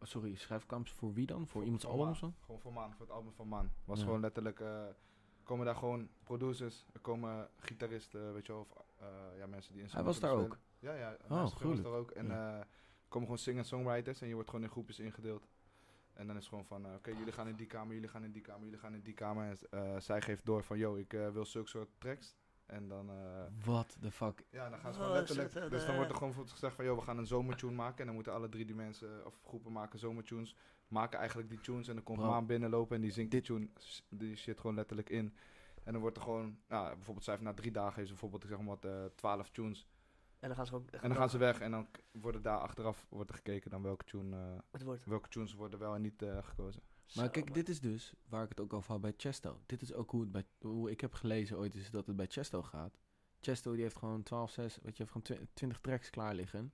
[SPEAKER 3] Oh, sorry, schrijfkamps voor wie dan? Voor iemands
[SPEAKER 1] voor
[SPEAKER 3] album
[SPEAKER 1] Maan.
[SPEAKER 3] of zo?
[SPEAKER 1] Gewoon voor Maan, voor het album van Maan. Was
[SPEAKER 3] Ja.
[SPEAKER 1] gewoon letterlijk... eh, komen daar gewoon producers, er komen gitaristen, weet je wel, of eh, ja, mensen die in
[SPEAKER 3] was daar ook? Oh,
[SPEAKER 1] Ja, ja. Nijsdorf was
[SPEAKER 3] gruwelijk.
[SPEAKER 1] daar ook. En eh, er komen gewoon singer-songwriters en je wordt gewoon in groepjes ingedeeld. En dan is het gewoon van, eh, oké, jullie gaan in die kamer, jullie gaan in die kamer, jullie gaan in die kamer. En eh, zij geeft door van, yo, ik eh, wil zulke soort tracks. En dan... eh,
[SPEAKER 3] What the fuck?
[SPEAKER 1] ja, dan gaan ze
[SPEAKER 2] Oh,
[SPEAKER 1] gewoon letterlijk.
[SPEAKER 2] shit, eh,
[SPEAKER 1] Dus dan
[SPEAKER 2] de-
[SPEAKER 1] wordt er gewoon bijvoorbeeld gezegd van, joh, we gaan een zomertune maken. En dan moeten alle drie die mensen, of groepen maken zomertunes. Maken eigenlijk die tunes. En dan komt
[SPEAKER 3] Bro.
[SPEAKER 1] Maan binnenlopen en die zingt die tune, s- die shit gewoon letterlijk in. En dan wordt er gewoon, nou, bijvoorbeeld zij heeft na drie dagen heeft ze bijvoorbeeld, ik zeg maar wat, eh, 12 tunes.
[SPEAKER 2] En dan gaan ze ook...
[SPEAKER 1] En dan gaan ze weg en dan k- worden daar achteraf wordt er gekeken dan welke, tune, eh,
[SPEAKER 2] Het wordt...
[SPEAKER 1] welke tunes worden wel en niet eh, gekozen.
[SPEAKER 3] Maar
[SPEAKER 2] Zo,
[SPEAKER 3] kijk,
[SPEAKER 2] man.
[SPEAKER 3] dit is dus waar ik het ook over had bij Chesto. Dit is ook hoe, het bij, hoe ik heb gelezen ooit is dat het bij Chesto gaat. Chesto die heeft gewoon 12, 6, weet je, heeft gewoon 20 20 tracks klaar liggen.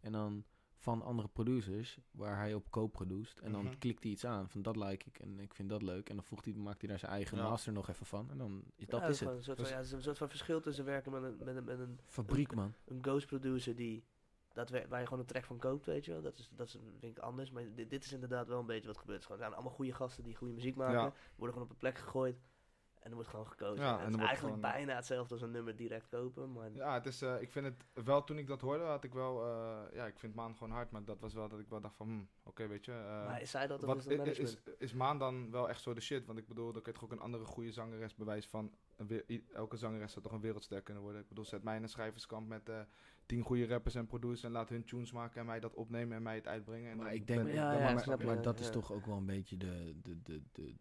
[SPEAKER 3] En dan van andere producers, waar hij op co-produceert. En dan
[SPEAKER 1] Mhm.
[SPEAKER 3] klikt hij iets aan van dat like ik en ik vind dat leuk. En dan voegt hij, maakt hij daar zijn eigen
[SPEAKER 1] Ja.
[SPEAKER 3] master nog even van. En dan is
[SPEAKER 2] Ja,
[SPEAKER 3] dat is
[SPEAKER 2] gewoon
[SPEAKER 3] het.
[SPEAKER 2] Een soort, van,
[SPEAKER 1] Dus-
[SPEAKER 2] ja, het is een soort van verschil tussen werken met een, met een, met een,
[SPEAKER 3] Fabriek, man.
[SPEAKER 2] een ghost producer die... Dat we, waar je gewoon een track van koopt, weet je wel. Dat is, dat is vind ik anders. Maar dit, dit is inderdaad wel een beetje wat gebeurt. Het is gewoon- Het zijn allemaal goede gasten die goede muziek maken.
[SPEAKER 1] Ja.
[SPEAKER 2] Worden gewoon op een plek gegooid. En er wordt gewoon gekozen.
[SPEAKER 1] Ja,
[SPEAKER 2] En het
[SPEAKER 1] en dan
[SPEAKER 2] is
[SPEAKER 1] wordt
[SPEAKER 2] eigenlijk
[SPEAKER 1] gewoon-
[SPEAKER 2] bijna hetzelfde als een nummer direct kopen. Maar
[SPEAKER 1] Ja, het is, eh, ik vind het wel, toen ik dat hoorde, had ik wel, eh, ja, ik vind Maan gewoon hard. Maar dat was wel dat ik wel dacht van, hmm, oké, weet je. eh,
[SPEAKER 2] Maar is zij dat of
[SPEAKER 1] Wat
[SPEAKER 2] is
[SPEAKER 1] i-
[SPEAKER 2] dat
[SPEAKER 1] i-
[SPEAKER 2] management?
[SPEAKER 1] is, is Maan dan wel echt zo de shit? Want ik bedoel, dan kun je toch ook een andere goede zangeres bewijs van... een we- i- elke zangeres zou toch een wereldster kunnen worden? Ik bedoel, zet mij in een schrijverskamp met eh, tien goede rappers en producers... en laat hun tunes maken en mij dat opnemen en mij het uitbrengen. En
[SPEAKER 3] Maar
[SPEAKER 1] dan
[SPEAKER 3] ik denk,
[SPEAKER 1] ben
[SPEAKER 2] Ja,
[SPEAKER 1] dan
[SPEAKER 2] ja,
[SPEAKER 1] ben
[SPEAKER 2] ik
[SPEAKER 1] ik-
[SPEAKER 2] snap
[SPEAKER 3] maar
[SPEAKER 2] je,
[SPEAKER 3] dat
[SPEAKER 2] ja.
[SPEAKER 3] is toch ook wel een beetje de, de, de, de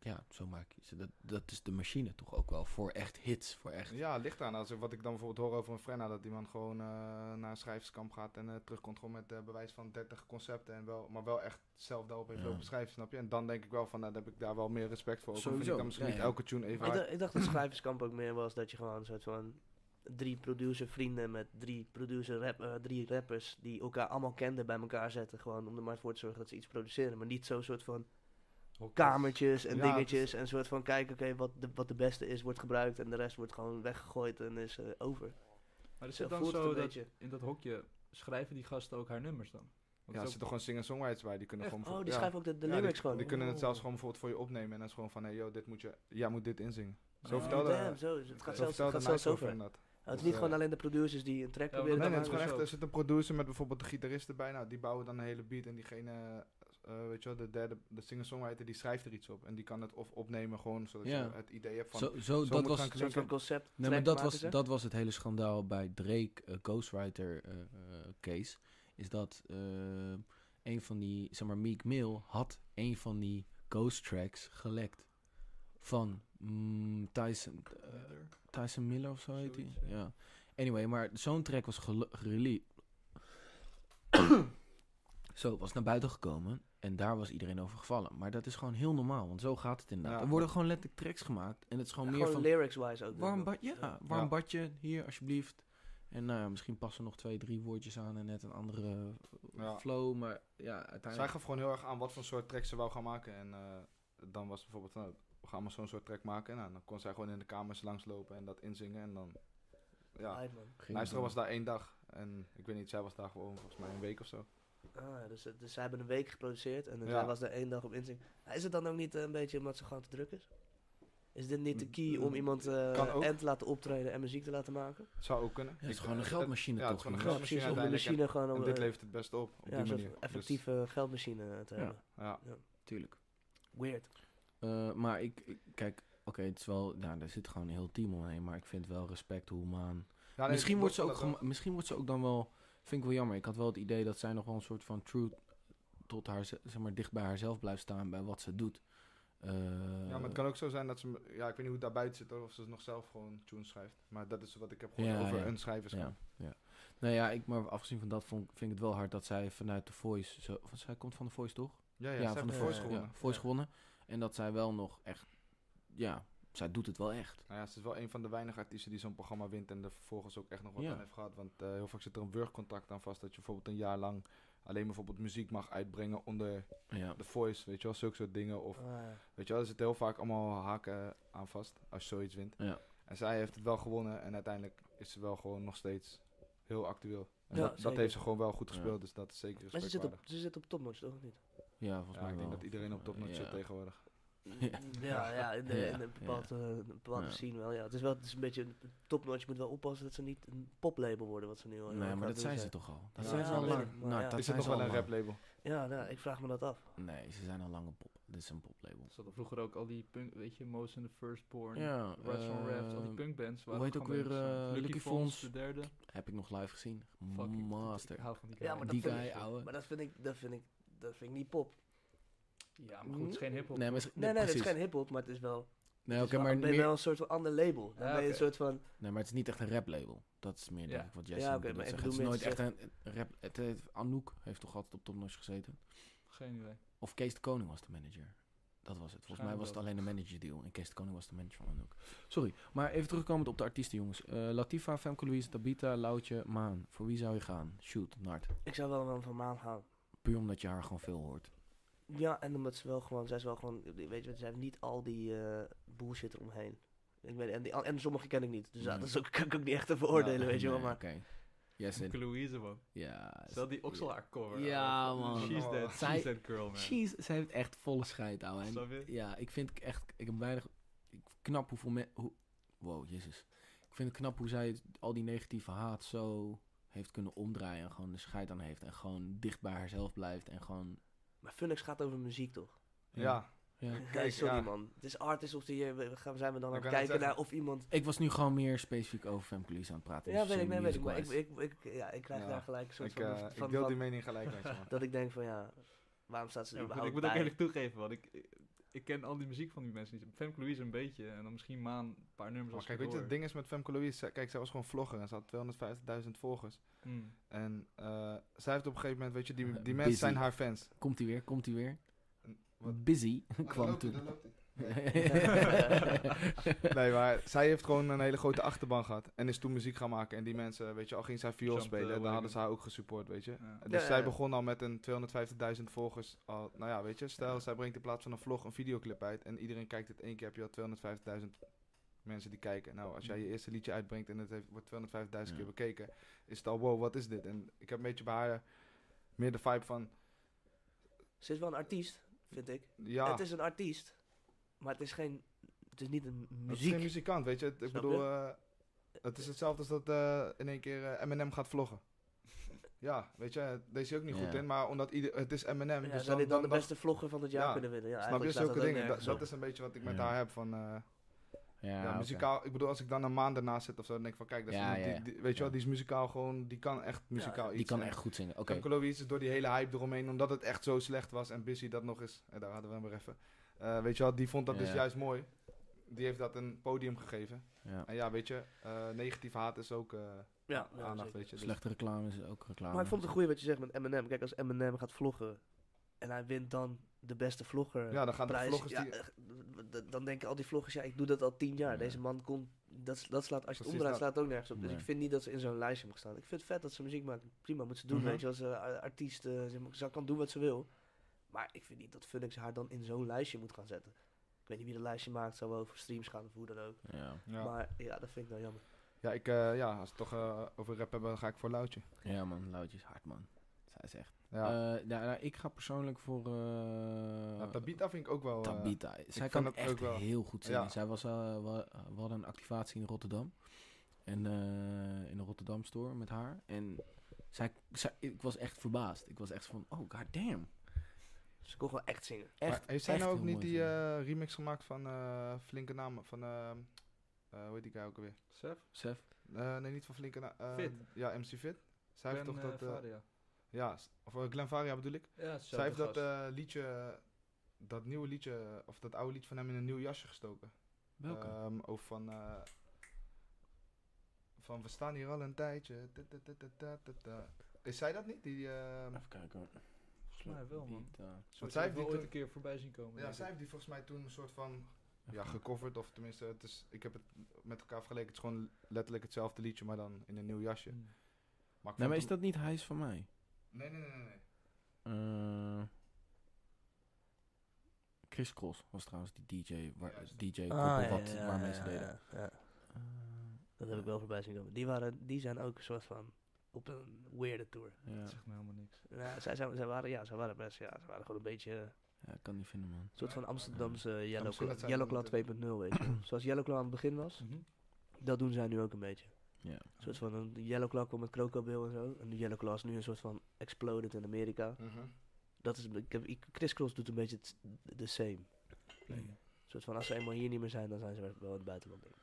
[SPEAKER 3] ja, zo maak je ze. Dat, dat is de machine toch ook wel voor echt hits, voor echt
[SPEAKER 1] Ja, ligt aan. Als, ik- wat ik dan bijvoorbeeld hoor over een Frenna... dat die man gewoon eh, naar een schrijverskamp gaat... en eh, terugkomt gewoon met eh, bewijs van 30 concepten... En wel, maar wel echt zelf daarop heeft
[SPEAKER 3] Ja.
[SPEAKER 1] lopen schrijven, snap je? En dan denk ik wel van, nou, dan heb ik daar wel meer respect voor. Ook al vind
[SPEAKER 3] Sowieso,
[SPEAKER 1] ik dan misschien
[SPEAKER 3] ja,
[SPEAKER 1] niet
[SPEAKER 3] ja.
[SPEAKER 1] elke tune even
[SPEAKER 2] Maar ik,
[SPEAKER 1] hard.
[SPEAKER 2] dacht, ik dacht dat schrijverskamp ook meer was dat je gewoon een soort van drie producer vrienden met drie producer rap, eh, drie rappers die elkaar allemaal kenden bij elkaar zetten. Gewoon om er maar voor te zorgen dat ze iets produceren. Maar niet zo'n soort van kamertjes en
[SPEAKER 1] Ja, dus-
[SPEAKER 2] dingetjes. En een soort van kijken, oké, wat, de, wat de beste is, wordt gebruikt. En de rest wordt gewoon weggegooid en is eh, over.
[SPEAKER 4] Maar is
[SPEAKER 2] Zo
[SPEAKER 4] het dan
[SPEAKER 2] voelt het
[SPEAKER 4] zo
[SPEAKER 2] een
[SPEAKER 4] dat
[SPEAKER 2] beetje.
[SPEAKER 4] in dat hokje schrijven die gasten ook haar nummers dan? Want
[SPEAKER 1] Ja,
[SPEAKER 4] het
[SPEAKER 1] er
[SPEAKER 4] is
[SPEAKER 1] zitten
[SPEAKER 4] ook-
[SPEAKER 1] gewoon singer-songwriters bij. Die kunnen
[SPEAKER 4] Echt?
[SPEAKER 1] gewoon...
[SPEAKER 2] Oh, die
[SPEAKER 1] ja.
[SPEAKER 2] schrijven ook de, de
[SPEAKER 1] Ja,
[SPEAKER 2] lyrics
[SPEAKER 1] die,
[SPEAKER 2] gewoon.
[SPEAKER 1] Die kunnen het
[SPEAKER 2] Oh.
[SPEAKER 1] zelfs gewoon bijvoorbeeld voor je opnemen. En dan is gewoon van, hey, yo, dit moet je... Jij moet dit inzingen. Zo
[SPEAKER 4] Oh,
[SPEAKER 1] vertelde...
[SPEAKER 2] damn, zo, het gaat
[SPEAKER 1] zo
[SPEAKER 2] zelfs, het
[SPEAKER 1] vertelde
[SPEAKER 2] gaat zelfs
[SPEAKER 1] Nigel
[SPEAKER 2] over.
[SPEAKER 1] van dat.
[SPEAKER 2] Oh, het is
[SPEAKER 1] Dus,
[SPEAKER 2] niet
[SPEAKER 1] eh,
[SPEAKER 2] gewoon alleen de producers die een track
[SPEAKER 4] Ja,
[SPEAKER 2] proberen
[SPEAKER 4] want-
[SPEAKER 2] te
[SPEAKER 1] Nee, nee, het is
[SPEAKER 2] maken.
[SPEAKER 1] gewoon
[SPEAKER 4] maken
[SPEAKER 1] echt...
[SPEAKER 4] ze
[SPEAKER 1] Er zit een producer met bijvoorbeeld de gitarist erbij. Nou, die bouwen dan een hele beat. En diegene, eh, weet je wel, de derde... De singer-songwriter, die schrijft er iets op. En die kan het of opnemen gewoon, zodat
[SPEAKER 3] Ja.
[SPEAKER 1] je het idee hebt van...
[SPEAKER 3] Zo, zo,
[SPEAKER 1] zo
[SPEAKER 3] dat
[SPEAKER 1] moet
[SPEAKER 3] was
[SPEAKER 1] gaan
[SPEAKER 3] het-
[SPEAKER 2] Een soort van
[SPEAKER 1] klinken.
[SPEAKER 2] concept.
[SPEAKER 3] Nee, maar
[SPEAKER 2] track
[SPEAKER 3] dat
[SPEAKER 2] maken
[SPEAKER 3] was,
[SPEAKER 2] ze.
[SPEAKER 3] dat was het hele schandaal bij Drake eh, Ghostwriter eh, eh, case. Is dat eh, een van die, zeg maar, Meek Mill had een van die ghost tracks gelekt. Van mm, Tyson, eh, Tyson Miller of zo heet hij.
[SPEAKER 1] Zoiets, ja.
[SPEAKER 3] Ja. Anyway, maar zo'n track was gele-
[SPEAKER 1] [COUGHS]
[SPEAKER 3] gereleased. zo, was naar buiten gekomen. En daar was iedereen over gevallen. Maar dat is gewoon heel normaal, want zo gaat het inderdaad.
[SPEAKER 1] Ja.
[SPEAKER 3] Er worden gewoon letterlijk tracks gemaakt. En het is gewoon
[SPEAKER 2] Ja,
[SPEAKER 3] meer
[SPEAKER 2] gewoon
[SPEAKER 3] van...
[SPEAKER 2] lyrics-wise ook. denk
[SPEAKER 3] Warm bad,
[SPEAKER 2] ik.
[SPEAKER 3] ja, warm badje, hier alsjeblieft. En nou ja, misschien passen nog twee, drie woordjes aan en net een andere eh,
[SPEAKER 1] Ja.
[SPEAKER 3] flow. Maar ja, uiteindelijk...
[SPEAKER 1] Zij gaf gewoon heel erg aan wat voor soort track ze wou gaan maken. En eh, dan was het bijvoorbeeld, nou, we gaan maar zo'n soort track maken. Nou, dan kon zij gewoon in de kamers langslopen en dat inzingen. En dan, ja.
[SPEAKER 2] Hype, man.
[SPEAKER 3] Ging
[SPEAKER 1] Luisteren was
[SPEAKER 3] het
[SPEAKER 1] daar één dag. En ik weet niet, zij was daar gewoon volgens mij een week of zo.
[SPEAKER 2] Ah, ja, dus, dus zij hebben een week geproduceerd en
[SPEAKER 1] Ja.
[SPEAKER 2] zij was daar één dag op inzien. Is het dan ook niet eh, een beetje omdat ze gewoon te druk is? Is dit niet de key om iemand
[SPEAKER 1] Kan ook.
[SPEAKER 2] eh en te laten optreden en muziek te laten maken?
[SPEAKER 1] Zou ook kunnen.
[SPEAKER 3] wel. Ja, het is
[SPEAKER 1] Ik-
[SPEAKER 3] gewoon een
[SPEAKER 1] eh,
[SPEAKER 3] geldmachine
[SPEAKER 1] ja, het
[SPEAKER 3] toch?
[SPEAKER 1] is gewoon een
[SPEAKER 3] jongens?
[SPEAKER 2] Ja,
[SPEAKER 1] geld-
[SPEAKER 2] precies,
[SPEAKER 1] machine
[SPEAKER 2] om de machine
[SPEAKER 1] uiteindelijk.
[SPEAKER 2] gewoon...
[SPEAKER 1] En
[SPEAKER 2] om,
[SPEAKER 1] dit
[SPEAKER 2] eh,
[SPEAKER 1] levert het best op, op
[SPEAKER 2] ja,
[SPEAKER 1] die
[SPEAKER 2] een soort
[SPEAKER 1] manier. Dus,
[SPEAKER 2] effectieve geldmachine eh, te
[SPEAKER 3] Ja.
[SPEAKER 2] hebben.
[SPEAKER 1] ja.
[SPEAKER 3] Tuurlijk.
[SPEAKER 2] Weird.
[SPEAKER 3] Eh, maar ik, ik- kijk, oké, het is wel, nou, daar zit gewoon een heel team omheen. Maar ik vind wel respect hoe man.
[SPEAKER 1] Ja, nee,
[SPEAKER 3] misschien,
[SPEAKER 1] dat-
[SPEAKER 3] wordt ze
[SPEAKER 1] dat-
[SPEAKER 3] ook
[SPEAKER 1] dat-
[SPEAKER 3] gema- misschien wordt ze ook dan wel, vind ik wel jammer. Ik had wel het idee dat zij nog wel een soort van truth tot haar, ze- zeg maar, dicht bij haarzelf blijft staan bij wat ze doet. Eh,
[SPEAKER 1] Ja, maar het kan ook zo zijn dat ze... Ja, ik weet niet hoe het daar buiten zit hoor, of ze nog zelf gewoon tunes schrijft. Maar dat is wat ik heb gehoord
[SPEAKER 3] Ja,
[SPEAKER 1] over
[SPEAKER 3] ja.
[SPEAKER 1] een schrijverschap.
[SPEAKER 3] Ja, ja. Nou ja, ik, maar afgezien van dat vond, vind ik het wel hard dat zij vanuit de Voice... Zo, want zij komt van de Voice, toch?
[SPEAKER 1] Ja, ja, ze
[SPEAKER 3] van
[SPEAKER 1] hebben
[SPEAKER 2] de-
[SPEAKER 1] de voice
[SPEAKER 2] eh,
[SPEAKER 1] gewonnen.
[SPEAKER 3] Ja, voice
[SPEAKER 2] Ja.
[SPEAKER 3] gewonnen. En dat zij wel nog echt... Ja, zij doet het wel echt.
[SPEAKER 1] Nou ja, ze is wel een van de weinige artiesten die zo'n programma wint en er vervolgens ook echt nog wat
[SPEAKER 3] Ja.
[SPEAKER 1] aan heeft gehad. Want eh, heel vaak zit er een werkcontract aan vast dat je bijvoorbeeld een jaar lang alleen bijvoorbeeld muziek mag uitbrengen onder
[SPEAKER 3] Ja.
[SPEAKER 1] de voice, weet je wel, zulke soort dingen. Of
[SPEAKER 2] Ah, ja.
[SPEAKER 1] weet je wel, er zitten heel vaak allemaal haken aan vast als je zoiets wint.
[SPEAKER 3] Ja.
[SPEAKER 1] En zij heeft het wel gewonnen en uiteindelijk is ze wel gewoon nog steeds heel actueel. En
[SPEAKER 2] Ja,
[SPEAKER 1] dat, dat
[SPEAKER 2] zeker.
[SPEAKER 1] heeft ze gewoon wel goed
[SPEAKER 3] Ja.
[SPEAKER 1] gespeeld, dus dat is zeker
[SPEAKER 2] Maar ze zit,
[SPEAKER 1] respectwaardig.
[SPEAKER 2] op, ze zit op topnotch, toch? Of niet?
[SPEAKER 3] ja, volgens
[SPEAKER 1] Ja,
[SPEAKER 3] mij
[SPEAKER 1] ik denk
[SPEAKER 3] wel.
[SPEAKER 1] dat iedereen op topnotch
[SPEAKER 3] Ja.
[SPEAKER 1] zit tegenwoordig.
[SPEAKER 3] Ja.
[SPEAKER 2] Ja, ja, in, de,
[SPEAKER 3] Ja,
[SPEAKER 2] in een bepaald, eh, een bepaalde
[SPEAKER 3] Ja.
[SPEAKER 2] scene wel. Ja. Het is wel het is een beetje een topnotch. Je moet wel oppassen dat ze niet een poplabel worden, wat ze nu al heel erg
[SPEAKER 3] Nee, maar
[SPEAKER 2] aan
[SPEAKER 3] dat
[SPEAKER 2] het
[SPEAKER 3] zijn
[SPEAKER 2] doen
[SPEAKER 3] ze toch al. Dat
[SPEAKER 2] Ja,
[SPEAKER 3] zijn ze
[SPEAKER 2] dat
[SPEAKER 3] al
[SPEAKER 2] weet
[SPEAKER 3] lang.
[SPEAKER 2] ik, maar
[SPEAKER 3] Nou,
[SPEAKER 2] ja.
[SPEAKER 1] Is
[SPEAKER 3] dat
[SPEAKER 1] het
[SPEAKER 3] zijn
[SPEAKER 1] nog
[SPEAKER 3] ze al
[SPEAKER 1] wel een
[SPEAKER 3] lang.
[SPEAKER 1] raplabel?
[SPEAKER 2] Ja, nou, ik vraag me dat af.
[SPEAKER 3] Nee, ze zijn al lang een pop. Dit is een poplabel.
[SPEAKER 4] Er zaten vroeger ook al die punk, weet je, Moos and the Firstborn,
[SPEAKER 3] Ja,
[SPEAKER 4] Rats on Raft, al die
[SPEAKER 3] eh,
[SPEAKER 4] punkbands.
[SPEAKER 3] hoe
[SPEAKER 4] waren
[SPEAKER 3] heet ook
[SPEAKER 4] gewoon
[SPEAKER 3] weer,
[SPEAKER 4] bands.
[SPEAKER 3] eh, Lucky Fons?
[SPEAKER 4] de derde.
[SPEAKER 3] Heb ik nog live gezien.
[SPEAKER 4] Fucking
[SPEAKER 3] Master.
[SPEAKER 4] hou van die
[SPEAKER 2] Ja,
[SPEAKER 4] guy.
[SPEAKER 2] maar dat
[SPEAKER 3] Die
[SPEAKER 2] vind
[SPEAKER 3] guy,
[SPEAKER 2] ik-
[SPEAKER 3] ouwe.
[SPEAKER 2] Maar dat vind ik, dat vind ik, dat vind ik niet pop.
[SPEAKER 4] Ja, maar goed, het is geen hiphop.
[SPEAKER 3] Nee, maar
[SPEAKER 4] toch?
[SPEAKER 3] is-
[SPEAKER 2] Nee, nee, dat is
[SPEAKER 3] precies.
[SPEAKER 2] geen hip-hop, maar het is wel.
[SPEAKER 3] Nee,
[SPEAKER 2] het is
[SPEAKER 3] oké,
[SPEAKER 2] wel-
[SPEAKER 3] maar
[SPEAKER 2] ben je
[SPEAKER 3] meer-
[SPEAKER 2] wel een soort van ander label. Dan ben
[SPEAKER 4] Ja,
[SPEAKER 2] je een
[SPEAKER 4] oké.
[SPEAKER 2] soort van.
[SPEAKER 3] Nee, maar het is niet echt een raplabel. Dat is meer denk
[SPEAKER 4] Ja.
[SPEAKER 3] ik wat jij
[SPEAKER 2] Ja,
[SPEAKER 3] zegt.
[SPEAKER 2] oké, maar ik
[SPEAKER 3] het is
[SPEAKER 2] bedoel
[SPEAKER 3] nooit
[SPEAKER 2] meer
[SPEAKER 3] echt
[SPEAKER 2] te
[SPEAKER 3] een een rap. Het, heeft- Anouk heeft toch altijd op topnotch gezeten?
[SPEAKER 4] Geen idee.
[SPEAKER 3] Of Kees de Koning was de manager. Dat was het. Volgens mij was het alleen een managerdeal. En Kees de Koning was de manager van Anouk. Sorry, maar even terugkomend op de artiesten, jongens. Eh, Latifa, Femke Louise, Tabita, Loutje, Maan. Voor wie zou je gaan? Shoot, Nart.
[SPEAKER 2] Ik zou wel wel van Maan gaan.
[SPEAKER 3] Puur omdat je haar gewoon veel hoort.
[SPEAKER 2] Ja, en omdat ze wel gewoon, zij is wel gewoon, weet je, ze heeft niet al die eh, bullshit eromheen. Ik weet, en, die, al- en sommige ken ik niet, dus ja,
[SPEAKER 3] Nee.
[SPEAKER 2] dat is ook, kan ik ook niet echt te veroordelen, weet je wel.
[SPEAKER 3] Nee,
[SPEAKER 2] Maar
[SPEAKER 3] Oké. Jij zit.
[SPEAKER 4] Onkel Louise, man.
[SPEAKER 3] Ja.
[SPEAKER 4] Stel die okselaar cover.
[SPEAKER 3] Ja, man.
[SPEAKER 4] She's
[SPEAKER 1] Oh.
[SPEAKER 4] that,
[SPEAKER 3] Zij-
[SPEAKER 4] she's that girl, man.
[SPEAKER 3] Jeez, ze heeft echt volle scheid, ouwe. En
[SPEAKER 4] Snap je?
[SPEAKER 3] Ja, ik vind echt, ik heb weinig, ik knap hoeveel mensen, hoe, wow, jezus. Ik vind het knap hoe zij het- al die negatieve haat zo heeft kunnen omdraaien en gewoon de scheid aan heeft en gewoon dicht bij haarzelf blijft en gewoon...
[SPEAKER 2] Maar Funix gaat over muziek toch?
[SPEAKER 1] Ja,
[SPEAKER 3] ja.
[SPEAKER 2] Nee,
[SPEAKER 1] Kijk,
[SPEAKER 2] sorry
[SPEAKER 1] ja.
[SPEAKER 2] man. Het is artist of die, eh, we- we gaan, zijn we dan
[SPEAKER 1] Ik
[SPEAKER 2] aan het
[SPEAKER 1] wou net
[SPEAKER 2] kijken naar
[SPEAKER 1] zeggen.
[SPEAKER 2] of iemand...
[SPEAKER 3] Ik was nu gewoon meer specifiek over Femke Louise aan het praten.
[SPEAKER 2] Ja,
[SPEAKER 3] dus
[SPEAKER 2] weet ik,
[SPEAKER 3] zo
[SPEAKER 2] nee, weet ik, maar ik,
[SPEAKER 3] music-wise.
[SPEAKER 2] ik, ik- ja, ik krijg
[SPEAKER 1] Ja.
[SPEAKER 2] daar gelijk een soort
[SPEAKER 1] Ik,
[SPEAKER 2] van,
[SPEAKER 1] eh,
[SPEAKER 2] van,
[SPEAKER 1] ik deel
[SPEAKER 2] van-
[SPEAKER 1] die mening gelijk met je, man.
[SPEAKER 2] [LAUGHS] dat ik denk van ja, waarom staat ze
[SPEAKER 4] Ja,
[SPEAKER 2] er
[SPEAKER 4] maar
[SPEAKER 2] überhaupt
[SPEAKER 4] goed, ik moet ook
[SPEAKER 2] bij?
[SPEAKER 4] eerlijk toegeven, want ik, ik- ik ken al die muziek van die mensen niet. Femke Louise een beetje en dan misschien Maan een paar nummers
[SPEAKER 1] Maar
[SPEAKER 4] als
[SPEAKER 1] kijk,
[SPEAKER 4] ik
[SPEAKER 1] weet je, het
[SPEAKER 4] hoor.
[SPEAKER 1] ding is met Femke Louise, zij- kijk, zij was gewoon vlogger en ze had 250.000 volgers.
[SPEAKER 4] Mm.
[SPEAKER 1] En eh, zij heeft op een gegeven moment, weet je, die, die
[SPEAKER 3] Busy.
[SPEAKER 1] mensen zijn haar fans.
[SPEAKER 3] Komt ie weer, komt ie weer.
[SPEAKER 1] Wat?
[SPEAKER 3] Busy [LAUGHS] kwam toen.
[SPEAKER 1] [LAUGHS] Nee, maar zij heeft gewoon een hele grote achterban gehad en is toen muziek gaan maken. En die mensen, weet je, al ging zij viool
[SPEAKER 4] Jumped, eh,
[SPEAKER 1] spelen, dan
[SPEAKER 4] wagon.
[SPEAKER 1] hadden ze haar ook gesupport, weet je.
[SPEAKER 4] Ja.
[SPEAKER 1] Dus
[SPEAKER 2] Ja,
[SPEAKER 1] zij
[SPEAKER 2] ja.
[SPEAKER 1] begon al met een 250.000 volgers. Al, nou ja, weet je, stel, zij brengt in plaats van een vlog een videoclip uit en iedereen kijkt het één keer, heb je al 250.000 mensen die kijken. Nou, als jij je eerste liedje uitbrengt en het heeft, wordt 250.000
[SPEAKER 3] Ja.
[SPEAKER 1] keer bekeken, is het al, wow, wat is dit? En ik heb een beetje bij haar meer de vibe van,
[SPEAKER 2] Ze is wel een artiest, vind ik.
[SPEAKER 1] ja,
[SPEAKER 2] Het is een artiest, maar het is geen, het is niet een
[SPEAKER 1] het is
[SPEAKER 2] muziek.
[SPEAKER 1] geen muzikant, weet je. Het- ik
[SPEAKER 2] Snap
[SPEAKER 1] bedoel,
[SPEAKER 2] je?
[SPEAKER 1] eh, het is hetzelfde als dat eh, in één keer eh, Eminem gaat
[SPEAKER 3] [LAUGHS]
[SPEAKER 1] vloggen. Ja, weet je, deze is hij ook niet
[SPEAKER 3] Ja.
[SPEAKER 1] goed in, maar omdat ieder, het is Eminem,
[SPEAKER 2] ja,
[SPEAKER 1] dus
[SPEAKER 2] zou
[SPEAKER 1] dan,
[SPEAKER 2] dit dan de
[SPEAKER 1] dan-
[SPEAKER 2] beste vlogger van het jaar
[SPEAKER 1] Ja,
[SPEAKER 2] kunnen winnen? Ja,
[SPEAKER 1] Snap je,
[SPEAKER 2] eigenlijk slaat
[SPEAKER 1] zulke
[SPEAKER 2] dat ook
[SPEAKER 1] dingen. Dat,
[SPEAKER 2] nergens
[SPEAKER 1] dat
[SPEAKER 2] op.
[SPEAKER 1] is een beetje wat ik met
[SPEAKER 3] Ja.
[SPEAKER 1] haar heb van... eh, ja,
[SPEAKER 3] oké.
[SPEAKER 1] muzikaal. Ik bedoel, als ik dan een maand daarna zit of zo, dan denk ik van... Kijk, dat is
[SPEAKER 3] Ja,
[SPEAKER 1] iemand
[SPEAKER 3] ja,
[SPEAKER 1] die, die-
[SPEAKER 3] ja.
[SPEAKER 1] weet je wel,
[SPEAKER 3] Ja.
[SPEAKER 1] die is muzikaal gewoon... Die kan echt muzikaal iets.
[SPEAKER 3] Die kan
[SPEAKER 1] En
[SPEAKER 3] echt goed zingen, oké.
[SPEAKER 1] Femke Louise is door die hele hype eromheen, omdat het echt zo slecht was. En Busy dat nog eens... En daar hadden we hem weer even. Eh, weet je wel, die vond dat dus
[SPEAKER 3] Ja.
[SPEAKER 1] juist mooi. Die heeft dat een podium gegeven.
[SPEAKER 3] Ja.
[SPEAKER 1] En ja, weet je, eh negatief haat is ook eh,
[SPEAKER 2] Ja, ja,
[SPEAKER 1] aandacht,
[SPEAKER 2] zeker.
[SPEAKER 1] weet je. Dus-
[SPEAKER 3] Slechte reclame is ook reclame.
[SPEAKER 2] Maar ik vond het goed wat je zegt met Eminem. Kijk, als Eminem gaat vloggen en hij wint dan de beste vlogger.
[SPEAKER 4] eh,
[SPEAKER 1] ja, dan gaan de
[SPEAKER 2] prijs,
[SPEAKER 1] vloggers
[SPEAKER 2] ja,
[SPEAKER 1] die...
[SPEAKER 2] eh, d- d- dan denken al die vloggers, ja, ik doe dat al tien jaar.
[SPEAKER 3] Ja.
[SPEAKER 2] Deze man kon dat, s- dat slaat, als je het
[SPEAKER 1] Precies
[SPEAKER 2] omdraait,
[SPEAKER 1] dat.
[SPEAKER 2] slaat het ook nergens op. Dus
[SPEAKER 3] Nee.
[SPEAKER 2] ik vind niet dat ze in zo'n lijstje mag staan. Ik vind het vet dat ze muziek maken. Prima, moet ze doen,
[SPEAKER 1] Mhm.
[SPEAKER 2] weet je. Als eh, a- artiest, eh, ze, mag- ze kan doen wat ze wil. Maar ik vind niet dat Funix haar dan in zo'n lijstje moet gaan zetten. Ik weet niet wie dat lijstje maakt, zou wel over streams gaan of hoe dan ook.
[SPEAKER 3] Ja.
[SPEAKER 1] Ja,
[SPEAKER 2] Maar ja, dat vind ik nou jammer.
[SPEAKER 1] ja, ik, eh, ja als we het toch eh, over rap hebben, dan ga ik voor Loutje.
[SPEAKER 3] ja, man. Loutjes hard, man. Zij is echt...
[SPEAKER 1] Ja.
[SPEAKER 3] Eh, ja, nou, ik ga persoonlijk voor... eh,
[SPEAKER 1] Nou, Tabita vind ik ook wel... eh,
[SPEAKER 3] Tabita. Zij
[SPEAKER 1] vind
[SPEAKER 3] kan
[SPEAKER 1] dat
[SPEAKER 3] echt
[SPEAKER 1] ook wel.
[SPEAKER 3] heel goed zingen.
[SPEAKER 1] Ja.
[SPEAKER 3] Zij was, eh, we, we hadden een activatie in Rotterdam. En, eh, in de Rotterdam store met haar. En zij, zij, ik was echt verbaasd. Ik was echt van, oh god damn.
[SPEAKER 2] Ze kon gewoon echt zingen.
[SPEAKER 1] maar
[SPEAKER 3] Echt,
[SPEAKER 1] heeft zij
[SPEAKER 3] echt
[SPEAKER 1] nou ook
[SPEAKER 3] heel
[SPEAKER 1] niet
[SPEAKER 3] mooi
[SPEAKER 1] die
[SPEAKER 3] zingen.
[SPEAKER 1] eh, remix gemaakt van eh, Flinke Namen? Van, eh, eh, hoe heet die guy ook alweer?
[SPEAKER 4] Sef?
[SPEAKER 3] Sef?
[SPEAKER 1] Eh, nee, niet van Flinke Namen.
[SPEAKER 4] Fit.
[SPEAKER 1] Ja, MC Fit. Zij
[SPEAKER 4] Glenn,
[SPEAKER 1] heeft toch dat...
[SPEAKER 4] eh,
[SPEAKER 1] eh,
[SPEAKER 4] Faria.
[SPEAKER 1] ja, s- of eh, Glenn Varia bedoel ik.
[SPEAKER 4] Ja, het is
[SPEAKER 1] Zij heeft
[SPEAKER 4] dezelfde
[SPEAKER 1] dat
[SPEAKER 4] gast.
[SPEAKER 1] eh, liedje, eh, dat nieuwe liedje, of dat oude liedje van hem in een nieuw jasje gestoken.
[SPEAKER 3] Welke?
[SPEAKER 1] Ehm, over van, eh, van we staan hier al een tijdje. Da, da, da, da, da, da, da. Is zij dat niet? Die, ehm,
[SPEAKER 3] Even kijken. hoor.
[SPEAKER 4] Volgens mij wel, man.
[SPEAKER 3] Tabita.
[SPEAKER 4] Soort
[SPEAKER 1] zij heeft
[SPEAKER 4] zij heeft wel
[SPEAKER 1] die
[SPEAKER 4] ooit
[SPEAKER 1] toen-
[SPEAKER 4] een keer voorbij zien komen.
[SPEAKER 1] ja,
[SPEAKER 4] denk
[SPEAKER 1] zij
[SPEAKER 4] ik.
[SPEAKER 1] heeft die volgens mij toen een soort van ja,
[SPEAKER 3] Even
[SPEAKER 1] gecoverd. Of tenminste, het is, ik heb het met elkaar vergeleken. Het is gewoon letterlijk hetzelfde liedje, maar dan in een nieuw jasje.
[SPEAKER 4] Hmm.
[SPEAKER 1] Maar ik
[SPEAKER 3] Nee, maar
[SPEAKER 1] vond
[SPEAKER 3] is dat niet Hij is van mij?
[SPEAKER 1] toen- Nee, nee, nee, nee. nee.
[SPEAKER 3] Eh, Chris Cross was trouwens die DJ, waar,
[SPEAKER 1] Juist.
[SPEAKER 3] DJ
[SPEAKER 2] Ah,
[SPEAKER 4] Ah,
[SPEAKER 3] koppel wat, waar mensen deden. Eh,
[SPEAKER 2] Dat heb ik wel voorbij zien komen. Die, waren, die zijn ook een soort van op een weirde tour.
[SPEAKER 3] ja.
[SPEAKER 4] Dat zegt me helemaal niks.
[SPEAKER 2] Ja, zij, zij, zij waren, ja, zij waren best, ja, ze waren gewoon een beetje eh,
[SPEAKER 3] ja, ik kan niet vinden, man.
[SPEAKER 2] een soort van Amsterdamse eh, Yellow,
[SPEAKER 1] misschien
[SPEAKER 2] Cla-
[SPEAKER 1] dat zij
[SPEAKER 2] Yellow
[SPEAKER 1] dat
[SPEAKER 2] Claw 2.0, weet je. wel. Zoals Yellow Claw aan het begin was,
[SPEAKER 4] Mhm.
[SPEAKER 2] dat doen zij nu ook een beetje.
[SPEAKER 3] Ja.
[SPEAKER 2] Een soort van een Yellow Claw kwam met Crocodile en zo. En de Yellow Claw is nu een soort van exploded in Amerika.
[SPEAKER 1] Mhm.
[SPEAKER 2] Dat is, ik heb, ik, Chris Cross doet een beetje het- de same. Een soort van als ze eenmaal hier niet meer zijn, dan zijn ze wel in het buitenland. denk ik.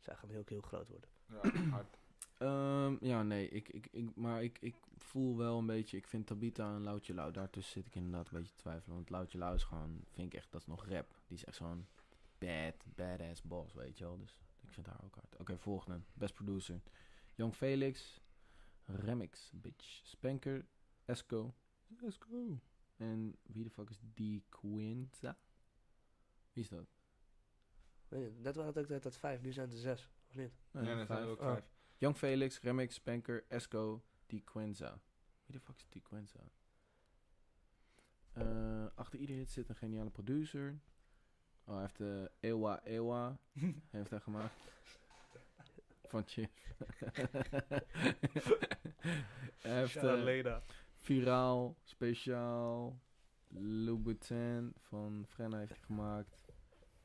[SPEAKER 2] Zij gaan heel, heel groot worden.
[SPEAKER 1] Ja, hard.
[SPEAKER 3] Ehm, ja, nee, ik, ik, ik, maar ik, ik voel wel een beetje, ik vind Tabita en Loutje Lau, daartussen zit ik inderdaad een beetje te twijfelen. Want Loutje Lau is gewoon, vind ik echt, dat is nog rap. Die is echt zo'n bad, badass boss, weet je wel. Dus ik vind haar ook hard. Oké, volgende, best producer. Young Felix, Remix, bitch, Spanker, Esco. Esco. En wie de fuck is die Quinta? Wie is dat?
[SPEAKER 2] Weet je, net waren het ook de hele tijd vijf, nu zijn het er zes. Of niet?
[SPEAKER 1] Nee, nee, dat zijn er
[SPEAKER 3] vijf.
[SPEAKER 1] ook
[SPEAKER 2] Oh.
[SPEAKER 1] vijf.
[SPEAKER 3] Young Felix, Remix, Spanker, Esco, Di Quenza. Wie de fuck is Di Quenza? Eh, achter ieder hit zit een geniale producer. Oh, hij heeft de Ewa Ewa. heeft hij gemaakt. Van Chips. hij heeft eh,
[SPEAKER 4] Leda.
[SPEAKER 3] Viraal, Speciaal, Louboutin van Frenna heeft hij gemaakt.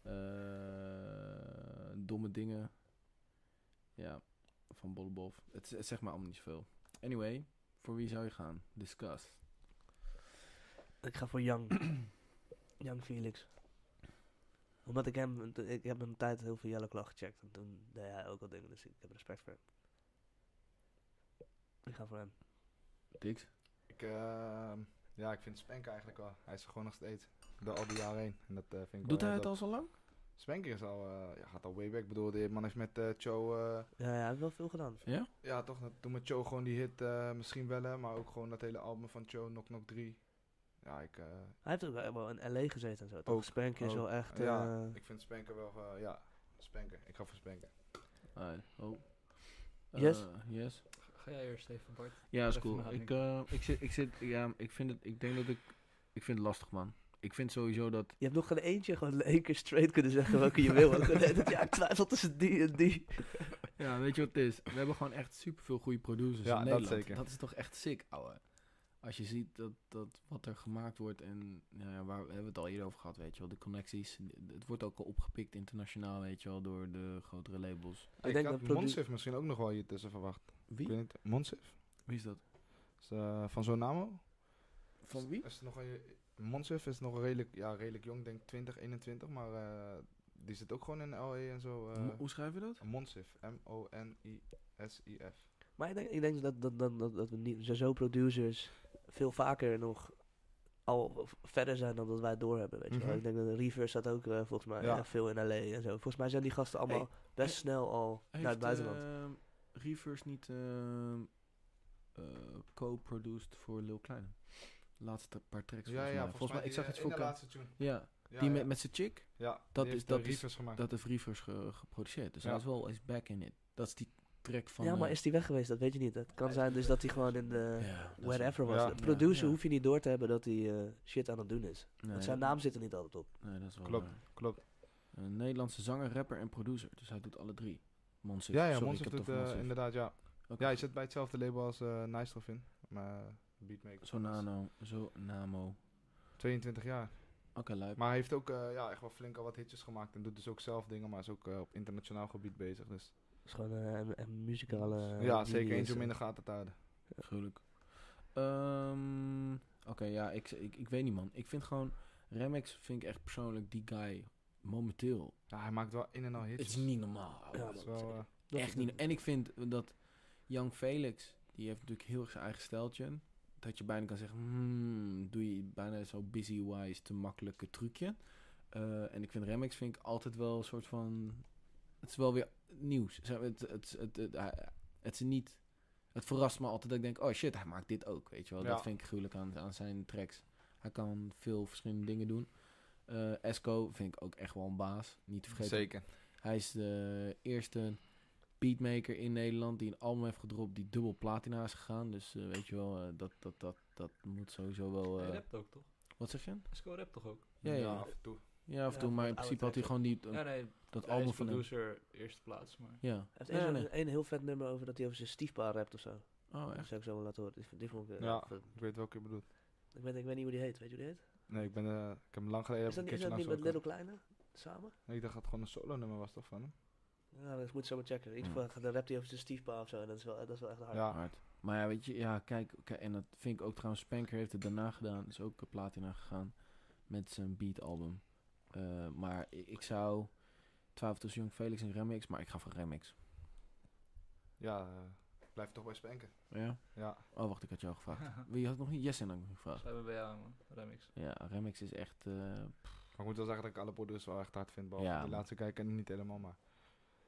[SPEAKER 3] Eh, domme dingen. Ja, van Bollebof. Het, z- het zegt me allemaal niet zoveel. Anyway, voor wie zou je gaan? Discuss.
[SPEAKER 2] Ik ga voor Young. Young Felix. Omdat ik hem, ik heb een tijd heel veel Yellow Claw gecheckt. En toen deed hij ook al dingen, dus ik heb respect voor hem. Ik ga voor hem.
[SPEAKER 3] Dix?
[SPEAKER 1] Ik, ehm, ja, ik vind Spank eigenlijk wel. Hij is er gewoon nog steeds. Door al die jaren heen. En dat, eh, vind ik
[SPEAKER 3] Doet
[SPEAKER 1] wel
[SPEAKER 3] hij het
[SPEAKER 1] dat-
[SPEAKER 3] al zo lang?
[SPEAKER 1] Spank is al, eh, ja, gaat al way back. Ik bedoel, die man heeft met eh Cho, eh,
[SPEAKER 2] Ja, ja, hij heeft wel veel gedaan.
[SPEAKER 3] Ja?
[SPEAKER 1] ja toch, dat- toen met Cho gewoon die hit eh, misschien wel, hè, maar ook gewoon dat hele album van Cho, Knock Knock 3. Ja, ik, eh,
[SPEAKER 2] Hij heeft ook wel helemaal in L.A. gezeten en zo. Toch?
[SPEAKER 1] Ook,
[SPEAKER 2] Spank is
[SPEAKER 1] ook.
[SPEAKER 2] wel echt...
[SPEAKER 1] ja,
[SPEAKER 2] eh,
[SPEAKER 1] ik vind Spanker wel, eh, ja, Spanker. Ik ga voor Spanker.
[SPEAKER 3] Alright, Oh.
[SPEAKER 2] Yes?
[SPEAKER 3] Eh, yes.
[SPEAKER 4] Ga jij eerst even, Bart?
[SPEAKER 3] Ja, is
[SPEAKER 4] Even
[SPEAKER 3] cool.
[SPEAKER 4] nadenken.
[SPEAKER 3] Ik, eh, ik zit, ik zit, ja, ik vind het, ik denk dat ik, ik vind het lastig, man. Ik vind sowieso dat
[SPEAKER 2] Je hebt nog geen eentje gewoon één keer straight kunnen zeggen welke je wil. Want ik weet het, ja, ik twijfel tussen die en die.
[SPEAKER 3] Ja, weet je wat het is? We hebben gewoon echt superveel goede producers
[SPEAKER 1] Ja,
[SPEAKER 3] in
[SPEAKER 1] dat
[SPEAKER 3] Nederland.
[SPEAKER 1] zeker.
[SPEAKER 3] Dat is toch echt sick, ouwe. Als je ziet dat, dat wat er gemaakt wordt en nou ja, waar we hebben het al eerder over gehad, weet je wel, de connecties. Het wordt ook al opgepikt internationaal, weet je wel, door de grotere labels.
[SPEAKER 1] Ik,
[SPEAKER 2] denk
[SPEAKER 1] had
[SPEAKER 2] dat produ-
[SPEAKER 1] Monsif misschien ook nog wel hier tussen verwacht. Ik weet
[SPEAKER 3] Wie?
[SPEAKER 1] niet, Monsif?
[SPEAKER 3] Wie is dat?
[SPEAKER 1] Is, eh, van Zonamo?
[SPEAKER 3] Van wie?
[SPEAKER 1] Is er nog een, Monsif is nog redelijk, ja, redelijk jong, denk 20, 21, maar eh, die zit ook gewoon in LA en zo. eh.
[SPEAKER 3] Hoe schrijven we dat?
[SPEAKER 1] Monsif. M-O-N-I-S-I-F.
[SPEAKER 2] Maar ik denk, ik denk dat, dat, dat, dat, dat we niet, sowieso producers veel vaker nog al v- verder zijn dan dat wij doorhebben, weet je wel.
[SPEAKER 1] Mhm.
[SPEAKER 2] Ik denk dat Reverse staat ook eh, volgens mij
[SPEAKER 1] Ja.
[SPEAKER 2] eh, veel in L.A. en zo. Volgens mij zijn die gasten allemaal best
[SPEAKER 3] eh,
[SPEAKER 2] snel al naar
[SPEAKER 1] eh,
[SPEAKER 2] het buitenland.
[SPEAKER 3] Reverse ehm, niet ehm, eh, co-produced voor Lil Kleine? Laatste paar tracks
[SPEAKER 1] Ja, ja, volgens mij.
[SPEAKER 3] volgens mij ik
[SPEAKER 1] die,
[SPEAKER 3] zag
[SPEAKER 1] eh,
[SPEAKER 3] iets
[SPEAKER 1] in
[SPEAKER 3] voor
[SPEAKER 1] de laatste tune.
[SPEAKER 3] Ja,
[SPEAKER 1] Ja,
[SPEAKER 3] die
[SPEAKER 1] ja.
[SPEAKER 3] met, met zijn chick,
[SPEAKER 1] Ja, die
[SPEAKER 3] dat is-
[SPEAKER 1] heeft, eh,
[SPEAKER 3] dat is-
[SPEAKER 1] Reefers gemaakt.
[SPEAKER 3] dat heeft Reavers ge- geproduceerd. Dus
[SPEAKER 1] Ja.
[SPEAKER 3] hij is wel eens back in it. Dat is die track van...
[SPEAKER 2] ja, maar
[SPEAKER 3] eh,
[SPEAKER 2] is die weg geweest? Dat weet je niet. Het kan
[SPEAKER 4] is
[SPEAKER 2] zijn
[SPEAKER 4] niet
[SPEAKER 2] dus
[SPEAKER 4] weg
[SPEAKER 2] dat hij gewoon in de...
[SPEAKER 3] ja, dat is-
[SPEAKER 2] Whatever was
[SPEAKER 1] Ja.
[SPEAKER 2] het. Producer
[SPEAKER 3] Ja.
[SPEAKER 2] hoef je niet door te hebben dat hij eh, shit aan het doen is.
[SPEAKER 3] Nee,
[SPEAKER 2] Want zijn
[SPEAKER 3] dat-
[SPEAKER 2] naam zit er niet altijd op.
[SPEAKER 3] Nee, dat is wel
[SPEAKER 1] Klopt.
[SPEAKER 3] waar.
[SPEAKER 1] Klopt.
[SPEAKER 3] Een Nederlandse zanger, rapper en producer. Dus hij doet alle drie. Monsif.
[SPEAKER 1] Ja, ja,
[SPEAKER 3] Sorry,
[SPEAKER 1] Monster
[SPEAKER 3] ik heb
[SPEAKER 1] doet
[SPEAKER 3] toch
[SPEAKER 1] eh,
[SPEAKER 3] Monsif.
[SPEAKER 1] inderdaad, ja.
[SPEAKER 3] Ook
[SPEAKER 1] Ja,
[SPEAKER 3] een
[SPEAKER 1] je zit bij hetzelfde label als eh Nice Drop in. Maar eh, beatmaker.
[SPEAKER 3] Sonano, Zonamo. Oké,
[SPEAKER 1] 22 jaar.
[SPEAKER 3] lui.
[SPEAKER 1] Maar hij heeft ook eh, ja, echt wel flink al wat hitjes gemaakt. En doet dus ook zelf dingen, maar is ook eh, op internationaal gebied bezig. Dus.
[SPEAKER 2] Het is gewoon eh, een, een muzikale... eh,
[SPEAKER 1] ja,
[SPEAKER 2] genius,
[SPEAKER 1] zeker eentje
[SPEAKER 2] eh.
[SPEAKER 1] om in de gaten te houden.
[SPEAKER 3] Gruwelijk. Ehm, Oké, ja, ik, ik, ik weet niet, man. Ik vind gewoon... Remix vind ik echt persoonlijk die guy momenteel.
[SPEAKER 1] Ja, hij maakt wel in en al
[SPEAKER 3] Het
[SPEAKER 1] hitjes.
[SPEAKER 3] is niet normaal. ouwe.
[SPEAKER 2] Ja,
[SPEAKER 1] Dat is wel, eh,
[SPEAKER 2] Dat
[SPEAKER 3] echt
[SPEAKER 2] is
[SPEAKER 3] niet.
[SPEAKER 2] het.
[SPEAKER 3] En ik vind dat Young Felix, die heeft natuurlijk heel erg zijn eigen steltje. Dat je bijna kan zeggen, hmm, doe je bijna zo busy-wise te makkelijke trucje. Eh, en ik vind Remix vind ik altijd wel een soort van... Het is wel weer nieuws. Zeg maar, Het, het, het, het, hij- het is niet... Het verrast me altijd dat ik denk, oh shit, hij maakt dit ook, weet je wel.
[SPEAKER 1] Ja.
[SPEAKER 3] Dat vind ik gruwelijk aan, aan zijn tracks. Hij kan veel verschillende dingen doen. Eh, Esco vind ik ook echt wel een baas. Niet te vergeten
[SPEAKER 1] zeker.
[SPEAKER 3] hij is de eerste beatmaker in Nederland die een album heeft gedropt die dubbel platina is gegaan. Dus eh, weet je wel, eh, dat, dat, dat, dat moet sowieso wel... eh,
[SPEAKER 4] Hij rapt ook toch?
[SPEAKER 3] wat zeg je?
[SPEAKER 4] Esco rapt toch ook?
[SPEAKER 3] Ja, ja. ja.
[SPEAKER 1] af en toe.
[SPEAKER 3] of toe, maar in principe had hij gewoon die,
[SPEAKER 4] Ja, nee,
[SPEAKER 3] dat
[SPEAKER 4] hij
[SPEAKER 3] album
[SPEAKER 4] is
[SPEAKER 3] van hem.
[SPEAKER 4] producer eerste plaats, maar...
[SPEAKER 3] Ja.
[SPEAKER 2] Hij heeft
[SPEAKER 3] Nee,
[SPEAKER 2] één
[SPEAKER 3] nee,
[SPEAKER 2] zo'n- één heel vet nummer over dat hij over zijn stiefpa rapt of zo.
[SPEAKER 3] nee. Oh,
[SPEAKER 2] Dat
[SPEAKER 3] echt?
[SPEAKER 2] zou ik zo wel laten horen. Die, die vond ik... eh,
[SPEAKER 1] Ja.
[SPEAKER 2] vet.
[SPEAKER 1] Ik weet welke je bedoelt.
[SPEAKER 2] ik, weet, ik weet niet hoe die heet. Weet je hoe die heet?
[SPEAKER 1] Nee, ik, ben, eh, ik heb hem lang geleden
[SPEAKER 2] is dat,
[SPEAKER 1] heb ik
[SPEAKER 2] niet- is
[SPEAKER 1] een
[SPEAKER 2] dat niet
[SPEAKER 1] keertje
[SPEAKER 2] met
[SPEAKER 1] naar
[SPEAKER 2] Little Kleine? Samen?
[SPEAKER 1] Nee, ik dacht dat het gewoon een solo nummer was toch van hem?
[SPEAKER 2] Ja, dat moet ik zo maar checken. In ieder
[SPEAKER 3] Ja.
[SPEAKER 2] geval gaat- dan rapt hij over zijn stiefpa of zo. En dat is wel, dat is wel echt hard.
[SPEAKER 1] Ja.
[SPEAKER 3] Hard. Maar Hmm. ja, weet je, ja, kijk, kijk, en dat vind ik ook trouwens, Spanker heeft het daarna gedaan, is ook eh, platina gegaan met zijn beatalbum. Eh, maar ik, ik zou twijfelen tussen Jong Felix en Remix, maar ik ga voor Remix.
[SPEAKER 1] Ja, eh, blijf toch bij Spanken.
[SPEAKER 3] Ja?
[SPEAKER 1] Ja,
[SPEAKER 3] Oh, wacht, ik had jou gevraagd.
[SPEAKER 4] [LAUGHS]
[SPEAKER 3] Wie had nog niet? Yes, en dan gevraagd.
[SPEAKER 4] Schrijf me bij jou, man. Remix.
[SPEAKER 3] Ja, Remix is echt. eh,
[SPEAKER 1] maar ik moet wel zeggen dat ik alle producers wel echt hard vind. Behalve
[SPEAKER 3] Ja,
[SPEAKER 1] die
[SPEAKER 3] man.
[SPEAKER 1] laatste kijken niet helemaal, maar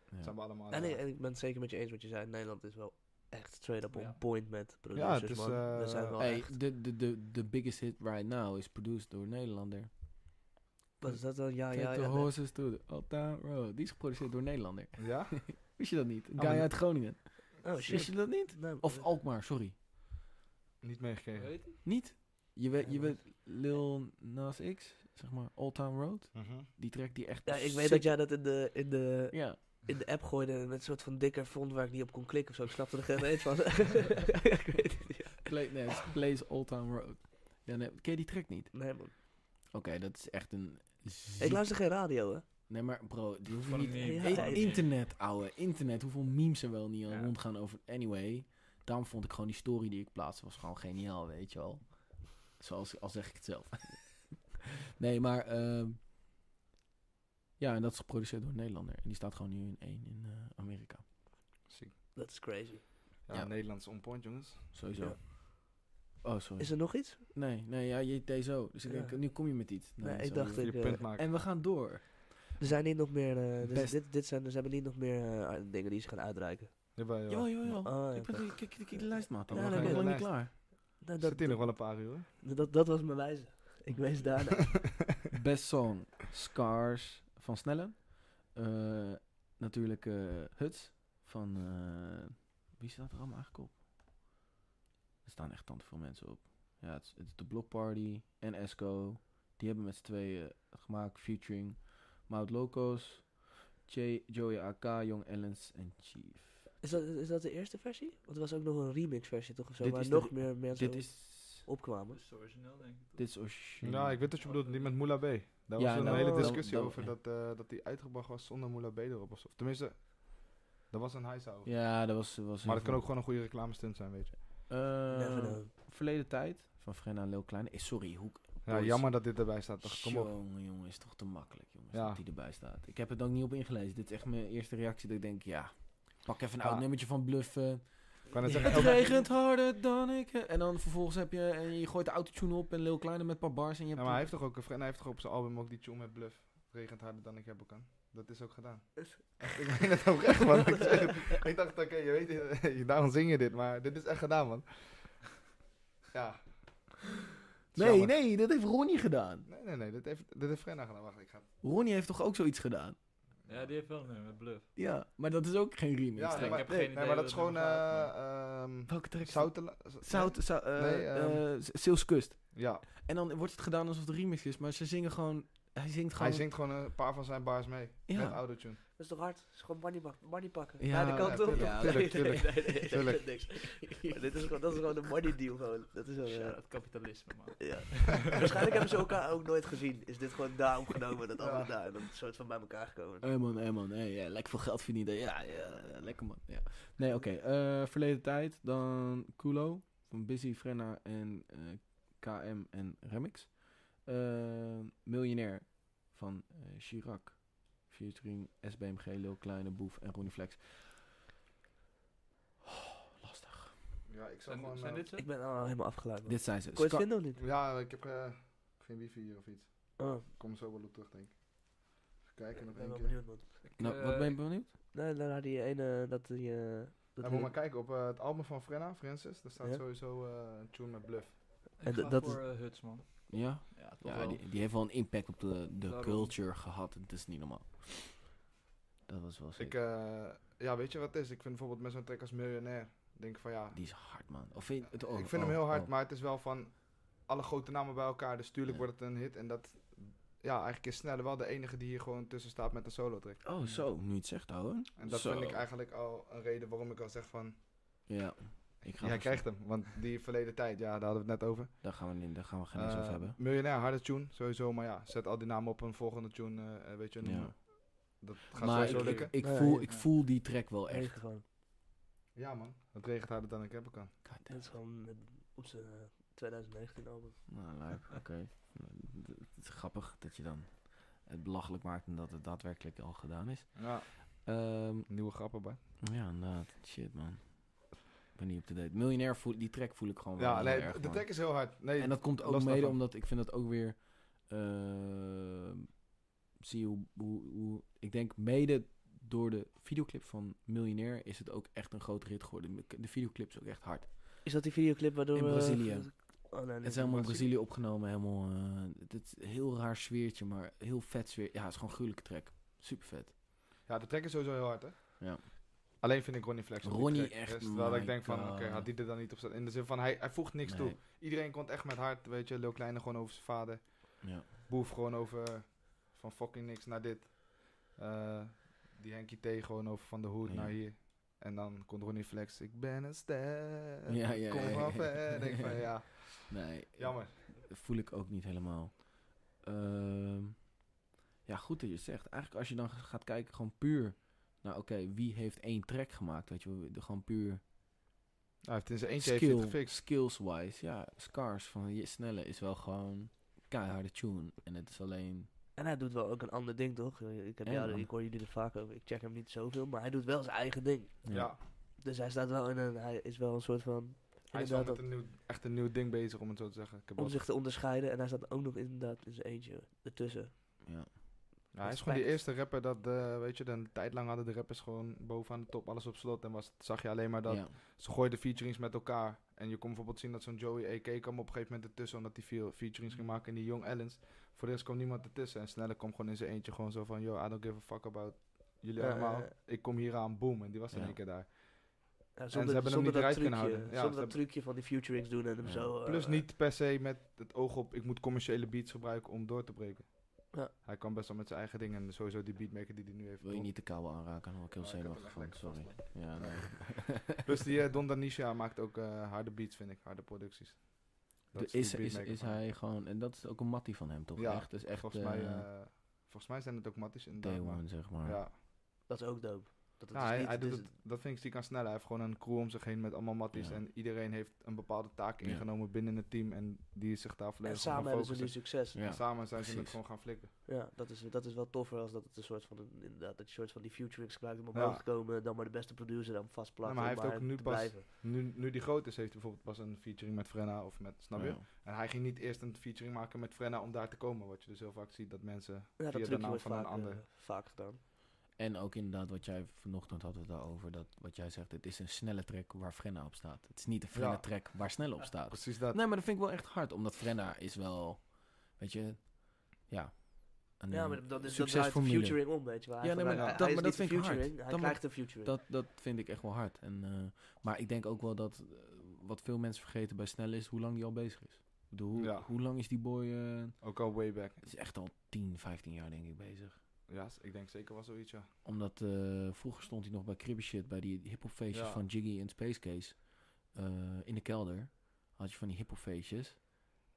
[SPEAKER 1] het
[SPEAKER 3] ja.
[SPEAKER 1] zijn we allemaal...
[SPEAKER 2] En, ik,
[SPEAKER 1] eh,
[SPEAKER 2] en ik ben het zeker met je eens wat je zei. Nederland is wel echt straight up on
[SPEAKER 4] Ja.
[SPEAKER 2] point met producers,
[SPEAKER 1] het is,
[SPEAKER 2] man. We
[SPEAKER 1] eh,
[SPEAKER 2] zijn wel
[SPEAKER 3] Hey,
[SPEAKER 2] echt...
[SPEAKER 3] de, de, de, de biggest hit right now is produced door een Nederlander.
[SPEAKER 2] Wat is dat dan? Ah, Ja,
[SPEAKER 3] Take
[SPEAKER 2] ja,
[SPEAKER 3] the
[SPEAKER 2] ja. nee.
[SPEAKER 3] horses to the old town road. Die is geproduceerd door een Nederlander.
[SPEAKER 1] Ja? [LAUGHS]
[SPEAKER 3] Wist je dat niet? Een
[SPEAKER 1] Ah,
[SPEAKER 3] guy
[SPEAKER 1] maar-
[SPEAKER 3] uit Groningen.
[SPEAKER 2] Oh,
[SPEAKER 3] Wist
[SPEAKER 2] shit.
[SPEAKER 3] je dat niet?
[SPEAKER 2] Nee,
[SPEAKER 3] Of
[SPEAKER 2] eh,
[SPEAKER 3] Alkmaar, sorry.
[SPEAKER 1] Niet
[SPEAKER 4] Hoe
[SPEAKER 1] meegekregen.
[SPEAKER 4] heet die?
[SPEAKER 3] Niet? Je weet,
[SPEAKER 2] Nee,
[SPEAKER 3] je
[SPEAKER 2] maar-
[SPEAKER 3] weet Lil Nas X, zeg maar, Old Town Road.
[SPEAKER 1] Mhm.
[SPEAKER 3] Die track die echt...
[SPEAKER 2] Ja, ik weet
[SPEAKER 3] sick-
[SPEAKER 2] dat jij dat in de, in de,
[SPEAKER 3] Ja.
[SPEAKER 2] in de app gooide met een soort van dikker font waar ik niet op kon klikken of zo. Ik snapte er geen eens van. [LAUGHS] ik weet het niet.
[SPEAKER 3] Play, nee, het is Plays Old Town Road. Ja, nee, ken je die track niet?
[SPEAKER 2] Nee, man.
[SPEAKER 3] Oké, dat is echt een...
[SPEAKER 2] Ik
[SPEAKER 3] ziek-
[SPEAKER 2] luister geen radio, hè.
[SPEAKER 3] Nee, maar bro, die hoef je
[SPEAKER 4] Van
[SPEAKER 3] niet...
[SPEAKER 4] die-
[SPEAKER 2] Ja,
[SPEAKER 3] Hey,
[SPEAKER 2] ja, ja.
[SPEAKER 3] internet, ouwe. Internet. Hoeveel memes er wel niet aan
[SPEAKER 4] Ja.
[SPEAKER 3] rondgaan over... Anyway, daarom vond ik gewoon die story die ik plaatste was gewoon geniaal, weet je wel. Zoals, al zeg ik het zelf. nee, maar... ehm, ja, en dat is geproduceerd door een Nederlander. En die staat gewoon nu in één in eh, Amerika.
[SPEAKER 1] Ziek.
[SPEAKER 2] Dat is crazy.
[SPEAKER 1] Ja,
[SPEAKER 3] Ja.
[SPEAKER 1] Nederlands on point, jongens.
[SPEAKER 3] Sowieso.
[SPEAKER 2] Ja.
[SPEAKER 3] Oh, sorry.
[SPEAKER 2] Is er nog iets?
[SPEAKER 3] Nee, nee, ja, je deed zo. Dus ik
[SPEAKER 2] Ja.
[SPEAKER 3] denk, nu kom je met iets.
[SPEAKER 2] Nee, ik
[SPEAKER 3] sorry,
[SPEAKER 2] dacht
[SPEAKER 3] hoor.
[SPEAKER 1] Je
[SPEAKER 2] ik... eh,
[SPEAKER 1] punt maken.
[SPEAKER 3] En we gaan door.
[SPEAKER 2] er zijn niet nog meer... eh, dus
[SPEAKER 3] Best.
[SPEAKER 2] dit, dit zijn, ze hebben niet nog meer eh, dingen die ze gaan uitreiken.
[SPEAKER 1] Jawel, jawel.
[SPEAKER 3] Jo, jo, jo.
[SPEAKER 2] Ah, ja,
[SPEAKER 3] Ik ben-
[SPEAKER 2] oké.
[SPEAKER 3] Kijk, kijk, kijk, die lijst, maat.
[SPEAKER 2] Ja,
[SPEAKER 3] We zijn
[SPEAKER 2] dat
[SPEAKER 3] nog
[SPEAKER 2] is-
[SPEAKER 3] lang niet
[SPEAKER 1] lijst.
[SPEAKER 3] klaar.
[SPEAKER 2] Nou, dat,
[SPEAKER 1] Zit hier nog wel een paar uur. hoor.
[SPEAKER 2] dat, dat was mijn wijze. Ik wees daarna.
[SPEAKER 3] Best Song, Scars van Snellen. Eh, natuurlijk eh, Huts van... eh, wie staat er allemaal eigenlijk op? Er staan echt tant veel mensen op. Ja, het is, het is de Block Party en Esco. Die hebben met z'n tweeën het gemaakt. Featuring Mout Locos, Jay, Joey AK, Young Ellens en Chief.
[SPEAKER 2] Is dat, is dat de eerste versie? Want er was ook nog een remix versie toch of zo,
[SPEAKER 3] Dit
[SPEAKER 2] waar
[SPEAKER 3] is de
[SPEAKER 2] nog
[SPEAKER 3] re-
[SPEAKER 2] meer mensen
[SPEAKER 3] Dit is...
[SPEAKER 2] opkwamen.
[SPEAKER 4] Dat is origineel, denk ik. toch?
[SPEAKER 3] Dit is origineel.
[SPEAKER 1] Ja, ik weet wat je bedoelt. Die met Moula B. Daar
[SPEAKER 3] Hm. Ja,
[SPEAKER 1] was een
[SPEAKER 2] nou,
[SPEAKER 1] hele
[SPEAKER 2] dan-
[SPEAKER 1] discussie
[SPEAKER 3] dan-
[SPEAKER 1] over
[SPEAKER 3] ja.
[SPEAKER 1] dat, eh, dat die uitgebracht was zonder Moula B erop. Of zo. Tenminste, daar was een hijs over.
[SPEAKER 3] Ja, dat was... was
[SPEAKER 1] Maar dat kan ook gewoon een goede reclame stunt zijn, weet je.
[SPEAKER 3] Eh,
[SPEAKER 2] Never know.
[SPEAKER 3] verleden tijd van Frenna en Lil Kleine. Eh, sorry, hoe...
[SPEAKER 1] Ja,
[SPEAKER 3] boys.
[SPEAKER 1] jammer dat dit erbij staat. Toch? Kom op.
[SPEAKER 3] Jongen, jongen, is toch te makkelijk, jongens,
[SPEAKER 1] Ja.
[SPEAKER 3] dat die erbij staat. Ik heb het ook niet op ingelezen. Dit is echt mijn eerste reactie dat ik denk, ja, pak even een
[SPEAKER 1] Ja.
[SPEAKER 3] oud nummertje van bluffen.
[SPEAKER 1] Ik kan het
[SPEAKER 2] Ja.
[SPEAKER 1] zeggen.
[SPEAKER 3] [LAUGHS] Het regent harder dan ik. eh, En dan vervolgens heb je, en je gooit de autotune op en Lil Kleine met een paar bars en
[SPEAKER 1] Ja,
[SPEAKER 3] je hebt...
[SPEAKER 1] maar hij heeft toch ook, Frenna heeft toch op zijn album ook die tune met Bluff. Het regent harder dan ik hebben kan. Dat is ook gedaan. Echt, ik meen het ook echt, man. Ik zeg het. ik dacht, oké, [LAUGHS] je weet, het, daarom zing je dit, maar dit is echt gedaan, man. Ja,
[SPEAKER 5] Nee,
[SPEAKER 1] jammer.
[SPEAKER 5] nee, dat heeft Ronnie gedaan.
[SPEAKER 1] Nee, nee, nee. Dit heeft, dit heeft Frenna gedaan. Wacht, ik ga...
[SPEAKER 5] Ronnie heeft toch ook zoiets gedaan?
[SPEAKER 4] Ja, die heeft wel een nummer, met Bluff.
[SPEAKER 5] Ja, maar dat is ook geen remix.
[SPEAKER 1] Ja,
[SPEAKER 5] denk
[SPEAKER 1] nee,
[SPEAKER 4] ik
[SPEAKER 1] maar,
[SPEAKER 4] heb
[SPEAKER 1] nee,
[SPEAKER 4] geen
[SPEAKER 1] nee,
[SPEAKER 4] idee
[SPEAKER 1] maar
[SPEAKER 4] hoe
[SPEAKER 1] dat is
[SPEAKER 4] dat
[SPEAKER 1] gewoon...
[SPEAKER 4] gaat,
[SPEAKER 1] eh, ehm,
[SPEAKER 5] Welke track? is dat?
[SPEAKER 1] Zoutela- z-
[SPEAKER 5] Zout, zout, eh,
[SPEAKER 1] Nee, ehm,
[SPEAKER 5] eh, Sealskust.
[SPEAKER 1] Ja,
[SPEAKER 5] En dan wordt het gedaan alsof het een remix is, maar ze zingen gewoon... Hij zingt gewoon...
[SPEAKER 1] hij zingt gewoon een paar van zijn bars mee.
[SPEAKER 5] Ja.
[SPEAKER 1] Met autotune.
[SPEAKER 2] Dat is toch hard? Dat is gewoon money, bak- money pakken.
[SPEAKER 5] Ja,
[SPEAKER 2] Ja, de
[SPEAKER 5] ja,
[SPEAKER 2] kant op.
[SPEAKER 5] tuurlijk,
[SPEAKER 1] tuurlijk,
[SPEAKER 2] Nee, nee,
[SPEAKER 1] tuurlijk,
[SPEAKER 2] nee, nee,
[SPEAKER 1] tuurlijk.
[SPEAKER 2] niks. Maar dit is gewoon, dat is gewoon een money deal gewoon. Dat is wel, eh,
[SPEAKER 4] Ja, het kapitalisme, man.
[SPEAKER 2] ja. [LAUGHS] Waarschijnlijk hebben ze elkaar ook nooit gezien. Is dit gewoon daar opgenomen, dat
[SPEAKER 1] Ja.
[SPEAKER 2] andere daar. En dan een soort van bij elkaar gekomen.
[SPEAKER 5] Hé man, hé man, hé, ja, lekker veel geld verdienen. Ja, ja, lekker man. Ja. Nee, oké. eh, verleden tijd, dan Kulo van Busy, Frenna en eh, KM en Remix. Eh, Miljonair van eh, Chirac. Featuring SBMG, Lil Kleine, Boef en Ronnie Flex.
[SPEAKER 1] Ja, ik zag
[SPEAKER 4] Zijn,
[SPEAKER 1] gewoon...
[SPEAKER 4] zijn
[SPEAKER 1] eh,
[SPEAKER 4] dit ze?
[SPEAKER 2] Ik ben al helemaal afgeleid. man.
[SPEAKER 5] Dit zijn ze.
[SPEAKER 2] Kon je het
[SPEAKER 5] Scar-
[SPEAKER 2] vinden of niet?
[SPEAKER 1] Ja, ik heb eh, geen wifi hier of iets.
[SPEAKER 2] Oh,
[SPEAKER 1] Ik kom zo wel op terug, denk ik. Even kijken
[SPEAKER 2] ik
[SPEAKER 1] nog
[SPEAKER 2] ben
[SPEAKER 1] één
[SPEAKER 2] wel
[SPEAKER 1] keer.
[SPEAKER 2] benieuwd, man.
[SPEAKER 5] nou,
[SPEAKER 4] Eh,
[SPEAKER 5] wat ben je benieuwd?
[SPEAKER 2] Nee, dan had die ene, dat die... eh, dat
[SPEAKER 1] Ja,
[SPEAKER 2] die-
[SPEAKER 1] moet maar kijken op eh, het album van Frenna, Francis. Daar staat
[SPEAKER 2] Ja.
[SPEAKER 1] sowieso eh, een tune met Bluff.
[SPEAKER 4] Ik
[SPEAKER 2] En
[SPEAKER 4] ga
[SPEAKER 2] d- dat
[SPEAKER 4] voor eh, Huts, man.
[SPEAKER 5] Ja,
[SPEAKER 4] Ja, toch
[SPEAKER 3] Ja,
[SPEAKER 4] wel.
[SPEAKER 3] die, die heeft wel een impact op de, de
[SPEAKER 4] Daarom.
[SPEAKER 3] culture gehad. Het is niet normaal. Dat was wel sick.
[SPEAKER 1] Ik, eh, ja, weet je wat het is? Ik vind bijvoorbeeld met zo'n track als Miljonair, denk ik van ja,
[SPEAKER 3] die is hard, man. Of vind je het oh,
[SPEAKER 1] eh, ik vind
[SPEAKER 3] oh,
[SPEAKER 1] hem heel hard,
[SPEAKER 3] oh.
[SPEAKER 1] maar het is wel van alle grote namen bij elkaar, dus tuurlijk
[SPEAKER 3] Ja.
[SPEAKER 1] wordt het een hit. En dat, ja, eigenlijk is Sneller wel de enige die hier gewoon tussen staat met een solo track.
[SPEAKER 3] Oh, zo. Nu je het zegt, ouwe.
[SPEAKER 1] En dat
[SPEAKER 3] Zo.
[SPEAKER 1] vind ik eigenlijk al een reden waarom ik al zeg van,
[SPEAKER 3] Ja. Ik ga
[SPEAKER 1] jij
[SPEAKER 3] hem
[SPEAKER 1] krijgt hem. Want die verleden tijd, ja, daar hadden we het net over.
[SPEAKER 3] Daar gaan we, niet- daar gaan we geen eens
[SPEAKER 1] Eh,
[SPEAKER 3] over hebben.
[SPEAKER 1] Miljonair, harde tune, sowieso. Maar ja, zet al die namen op een volgende tune, eh, eh, weet je. en dan,
[SPEAKER 3] Ja.
[SPEAKER 1] eh, Dat gaat
[SPEAKER 3] Maar
[SPEAKER 1] sowieso
[SPEAKER 3] ik,
[SPEAKER 1] lukken.
[SPEAKER 3] ik, ik
[SPEAKER 2] Nee,
[SPEAKER 3] voel,
[SPEAKER 2] nee,
[SPEAKER 3] ik
[SPEAKER 4] nee.
[SPEAKER 3] voel die track wel
[SPEAKER 2] Echt
[SPEAKER 3] echt.
[SPEAKER 2] gewoon.
[SPEAKER 1] Ja man, het regent harder dan ik hebben kan.
[SPEAKER 3] God damn.
[SPEAKER 2] Dat is gewoon eh, op zijn eh, 2019 album.
[SPEAKER 3] Nou,
[SPEAKER 2] [LAUGHS]
[SPEAKER 3] leuk. Oké. Nou, D- Het is grappig dat je dan het belachelijk maakt en dat het daadwerkelijk al gedaan is.
[SPEAKER 1] Ja,
[SPEAKER 3] Ehm,
[SPEAKER 1] nieuwe grappen bij.
[SPEAKER 3] ja, inderdaad. Shit, man. Ik ben niet op de date. Miljonair, voel, die track voel ik gewoon wel
[SPEAKER 1] Ja,
[SPEAKER 3] heel
[SPEAKER 1] nee,
[SPEAKER 3] erg,
[SPEAKER 1] de
[SPEAKER 3] man.
[SPEAKER 1] track is heel hard. Nee,
[SPEAKER 3] En dat komt ook
[SPEAKER 1] los
[SPEAKER 3] mede
[SPEAKER 1] daarvan.
[SPEAKER 3] omdat ik vind dat ook weer... eh, zie hoe, hoe, hoe... Ik denk mede door de videoclip van Miljonair is het ook echt een grote hit geworden. De videoclip is ook echt hard.
[SPEAKER 2] Is dat die videoclip waardoor...
[SPEAKER 3] In
[SPEAKER 2] eh,
[SPEAKER 3] Brazilië.
[SPEAKER 2] oh, nee, nee,
[SPEAKER 3] Het is helemaal
[SPEAKER 2] Brazilië.
[SPEAKER 3] in Brazilië opgenomen. Helemaal, eh, het is een heel raar sfeertje, maar heel vet sfeer. Ja, het is gewoon een gruwelijke track. Super vet.
[SPEAKER 1] Ja, de track is sowieso heel hard, hè?
[SPEAKER 3] Ja.
[SPEAKER 1] Alleen vind ik Ronnie Flex op die
[SPEAKER 3] Ronnie
[SPEAKER 1] track.
[SPEAKER 3] echt,
[SPEAKER 1] Dus terwijl ik
[SPEAKER 3] my
[SPEAKER 1] denk van,
[SPEAKER 3] God.
[SPEAKER 1] oké, had die er dan niet op staan. In de zin van, hij, hij voegt niks
[SPEAKER 3] Nee,
[SPEAKER 1] toe. Iedereen komt echt met hart, weet je. Lil Kleine gewoon over zijn vader.
[SPEAKER 3] Ja.
[SPEAKER 1] Boef gewoon over van fucking niks naar dit. Eh, die Henkie T gewoon over van de hoed
[SPEAKER 3] Ja.
[SPEAKER 1] naar hier. En dan komt Ronnie Flex, ik ben een ster.
[SPEAKER 3] Ja, ja,
[SPEAKER 1] Kom
[SPEAKER 3] ja,
[SPEAKER 1] maar
[SPEAKER 3] ja.
[SPEAKER 1] verder. Ik denk
[SPEAKER 3] [LAUGHS]
[SPEAKER 1] van, ja,
[SPEAKER 3] Nee,
[SPEAKER 1] jammer.
[SPEAKER 3] Dat voel ik ook niet helemaal. Ehm, ja, goed dat je het zegt. Eigenlijk als je dan gaat kijken, gewoon puur... Nou oké, wie heeft één track gemaakt? Weet je, de- gewoon puur
[SPEAKER 1] Hij heeft in zijn eentje heeft hij het
[SPEAKER 3] skill,
[SPEAKER 1] gefixt.
[SPEAKER 3] skills-wise. Ja, Scars van je Snelle is wel gewoon keiharde tune. En het is alleen...
[SPEAKER 2] En hij doet wel ook een ander ding, toch? Eh, Ik, heb
[SPEAKER 3] Ja,
[SPEAKER 2] jou-
[SPEAKER 3] man.
[SPEAKER 2] ik hoor jullie er vaak over. Ik check hem niet zoveel, maar hij doet wel zijn eigen ding.
[SPEAKER 1] Ja,
[SPEAKER 2] Dus hij staat wel in een... Hij is wel een soort van...
[SPEAKER 1] hij is wel
[SPEAKER 2] Inderdaad,
[SPEAKER 1] met een nieuw, echt een nieuw ding bezig, om het zo te zeggen. Ik heb
[SPEAKER 2] om
[SPEAKER 1] wel-
[SPEAKER 2] zich te onderscheiden. En hij staat ook nog inderdaad in zijn eentje ertussen.
[SPEAKER 3] ja.
[SPEAKER 1] Ja, hij is
[SPEAKER 2] Respect.
[SPEAKER 1] gewoon die eerste rapper dat, eh, weet je, een tijd lang hadden de rappers gewoon bovenaan de top alles op slot. En was, zag je alleen maar dat
[SPEAKER 3] ja.
[SPEAKER 1] ze gooiden featurings met elkaar. En je kon bijvoorbeeld zien dat zo'n Joey AK kwam op een gegeven moment ertussen, omdat hij veel featurings ging maken. En die Young Allens, voor de rest kwam niemand ertussen. En Sneller kwam gewoon in zijn eentje gewoon zo van, yo, I don't give a fuck about jullie
[SPEAKER 2] Ja, ja,
[SPEAKER 1] allemaal.
[SPEAKER 2] ja.
[SPEAKER 1] Ik kom hier aan, boom. En die was in
[SPEAKER 3] Ja.
[SPEAKER 1] één keer daar.
[SPEAKER 2] Ja,
[SPEAKER 1] ze hebben hem niet
[SPEAKER 2] dat
[SPEAKER 1] eruit kunnen
[SPEAKER 2] trucje,
[SPEAKER 1] houden. Ja,
[SPEAKER 2] zonder
[SPEAKER 1] ze
[SPEAKER 2] dat
[SPEAKER 1] hebben-
[SPEAKER 2] trucje van die futurings doen en hem
[SPEAKER 3] Ja.
[SPEAKER 2] zo... eh,
[SPEAKER 1] Plus niet per se met het oog op, ik moet commerciële beats gebruiken om door te breken.
[SPEAKER 2] Ja.
[SPEAKER 1] Hij kwam best wel met zijn eigen dingen. En sowieso die beatmaker die hij nu heeft.
[SPEAKER 3] Wil je niet de kabel aanraken, dan word ik heel
[SPEAKER 2] Oh,
[SPEAKER 1] Ah, ik heb
[SPEAKER 3] zenuwachtig
[SPEAKER 1] hem
[SPEAKER 3] van,
[SPEAKER 1] echt lekker
[SPEAKER 3] sorry. Ja,
[SPEAKER 1] [LAUGHS]
[SPEAKER 3] nee. [LAUGHS]
[SPEAKER 1] Plus die eh, Don Danisha maakt ook eh, harde beats, vind ik. Harde producties. Dat
[SPEAKER 3] De-
[SPEAKER 1] die
[SPEAKER 3] is, is,
[SPEAKER 1] beatmaker
[SPEAKER 3] is
[SPEAKER 1] van hem.
[SPEAKER 3] hij gewoon, en dat is ook een mattie van hem toch?
[SPEAKER 1] Ja,
[SPEAKER 3] echt, is echt
[SPEAKER 1] volgens,
[SPEAKER 3] eh,
[SPEAKER 1] mij, eh, volgens mij zijn het ook matties in
[SPEAKER 3] day one, zeg maar.
[SPEAKER 1] Ja.
[SPEAKER 2] Dat is ook dope. Dat het is
[SPEAKER 1] Nou, hij,
[SPEAKER 2] niet,
[SPEAKER 1] hij
[SPEAKER 2] het
[SPEAKER 1] doet
[SPEAKER 2] is-
[SPEAKER 1] het, dat vind ik ziek aan snel. Hij heeft gewoon een crew om zich heen met allemaal matties.
[SPEAKER 3] Ja.
[SPEAKER 1] En iedereen heeft een bepaalde taak
[SPEAKER 3] Ja.
[SPEAKER 1] ingenomen binnen het team. En die is zich daar
[SPEAKER 2] En
[SPEAKER 1] volledig op
[SPEAKER 2] samen
[SPEAKER 1] gaan
[SPEAKER 2] hebben ze
[SPEAKER 1] focussen.
[SPEAKER 2] nu succes. Ja,
[SPEAKER 3] Ja.
[SPEAKER 1] En samen zijn ze het
[SPEAKER 3] precies.
[SPEAKER 1] gewoon gaan flikken.
[SPEAKER 2] dat, is, dat is wel toffer als dat het een soort van... Een, inderdaad, dat je soort van die futurings gebruikt om
[SPEAKER 1] Ja.
[SPEAKER 2] omhoog te komen. Dan maar de beste producer dan vastplakken.
[SPEAKER 1] Ja, maar hij heeft
[SPEAKER 2] om
[SPEAKER 1] ook
[SPEAKER 2] maar
[SPEAKER 1] nu
[SPEAKER 2] te
[SPEAKER 1] pas-
[SPEAKER 2] blijven.
[SPEAKER 1] Nu, nu die groot is, heeft hij bijvoorbeeld pas een featuring met Frenna of met, snap je?
[SPEAKER 3] Ja.
[SPEAKER 1] En hij ging niet eerst een featuring maken met Frenna om daar te komen. Wat je dus heel vaak ziet, dat mensen
[SPEAKER 2] Ja,
[SPEAKER 1] via
[SPEAKER 2] dat
[SPEAKER 1] de
[SPEAKER 2] trucje
[SPEAKER 1] naam
[SPEAKER 2] wordt
[SPEAKER 1] van een
[SPEAKER 2] vaak, eh,
[SPEAKER 1] ander...
[SPEAKER 2] vaak gedaan.
[SPEAKER 3] En ook inderdaad, wat jij vanochtend hadden we het daarover, dat wat jij zegt, het is een snelle track waar Frenna op staat. Het is niet een Frenna
[SPEAKER 1] Ja.
[SPEAKER 3] track waar snelle op staat.
[SPEAKER 1] Precies dat.
[SPEAKER 3] Nee, maar dat vind ik wel echt hard, omdat Frenna is wel, weet je, ja. eh, Een,
[SPEAKER 1] Hmm.
[SPEAKER 2] Ja, maar dat is dat draait de
[SPEAKER 3] succesformule.
[SPEAKER 2] futuring om, weet je wel. Hij
[SPEAKER 3] Ja, nee, maar
[SPEAKER 2] verlaat-
[SPEAKER 3] dat-
[SPEAKER 2] hij is
[SPEAKER 3] maar
[SPEAKER 2] niet
[SPEAKER 3] dat vind
[SPEAKER 2] de
[SPEAKER 3] ik hard.
[SPEAKER 2] futuring, Hij
[SPEAKER 3] Dan
[SPEAKER 2] krijgt de futuring.
[SPEAKER 3] Dat, dat vind ik echt wel hard. En, eh, maar ik denk ook wel dat eh, wat veel mensen vergeten bij Snelle is hoe lang die al bezig is. Ik bedoel, hoe,
[SPEAKER 1] Ja.
[SPEAKER 3] hoe lang is die boy? eh,
[SPEAKER 1] Ook al way back.
[SPEAKER 3] het is echt al 10, 15 jaar denk ik bezig.
[SPEAKER 1] Ja, s- ik denk zeker wel zoiets, ja.
[SPEAKER 3] Omdat eh, vroeger stond hij nog bij Cribby Shit, bij die hiphopfeestjes
[SPEAKER 1] Ja.
[SPEAKER 3] van Jiggy en Space Case. eh, in de kelder had je van die hiphopfeestjes.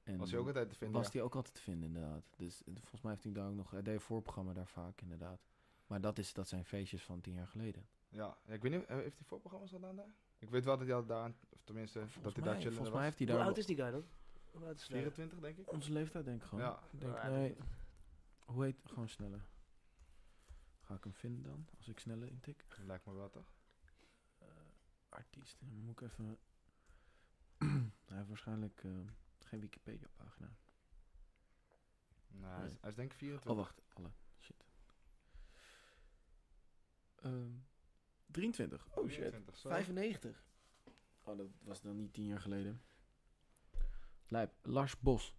[SPEAKER 3] En
[SPEAKER 1] Was je ook altijd te vinden?
[SPEAKER 3] was
[SPEAKER 1] ja.
[SPEAKER 3] die ook altijd te vinden, inderdaad. Dus eh, volgens mij heeft hij daar ook nog... Hij deed een voorprogramma daar vaak, inderdaad. Maar dat, is, dat zijn feestjes van tien jaar geleden.
[SPEAKER 1] Ja. ja, ik weet niet, eh, heeft hij voorprogramma's gedaan daar? Ik weet wel dat hij al daar, of tenminste, dat
[SPEAKER 3] Volgens
[SPEAKER 1] hij
[SPEAKER 3] mij,
[SPEAKER 1] daar chillen
[SPEAKER 3] volgens mij
[SPEAKER 1] was.
[SPEAKER 3] heeft hij
[SPEAKER 2] Nou, Hoe
[SPEAKER 3] daar...
[SPEAKER 2] oud is die
[SPEAKER 3] wel-
[SPEAKER 2] guy dan? Hoe oud is hij?
[SPEAKER 1] 24, denk ik.
[SPEAKER 3] Onze leeftijd denk ik gewoon.
[SPEAKER 1] Ja,
[SPEAKER 3] Ik denk,
[SPEAKER 2] Ah,
[SPEAKER 3] nee, hoe heet... Gewoon sneller. Ga ik hem vinden dan, als ik sneller intik?
[SPEAKER 1] lijkt me wel toch?
[SPEAKER 3] eh artiest. Dan moet ik even. [CLEARS THROAT] hij heeft waarschijnlijk eh, geen Wikipedia-pagina.
[SPEAKER 1] Nee, hij, is,
[SPEAKER 3] Nee.
[SPEAKER 1] hij is denk ik
[SPEAKER 3] Oh,
[SPEAKER 1] 24.
[SPEAKER 3] wacht. Alle. Shit. Ehm, 23. Oh shit.
[SPEAKER 1] 24, sorry.
[SPEAKER 3] 95. Oh, dat was dan niet 10 jaar geleden. Lijp. Lars Bos.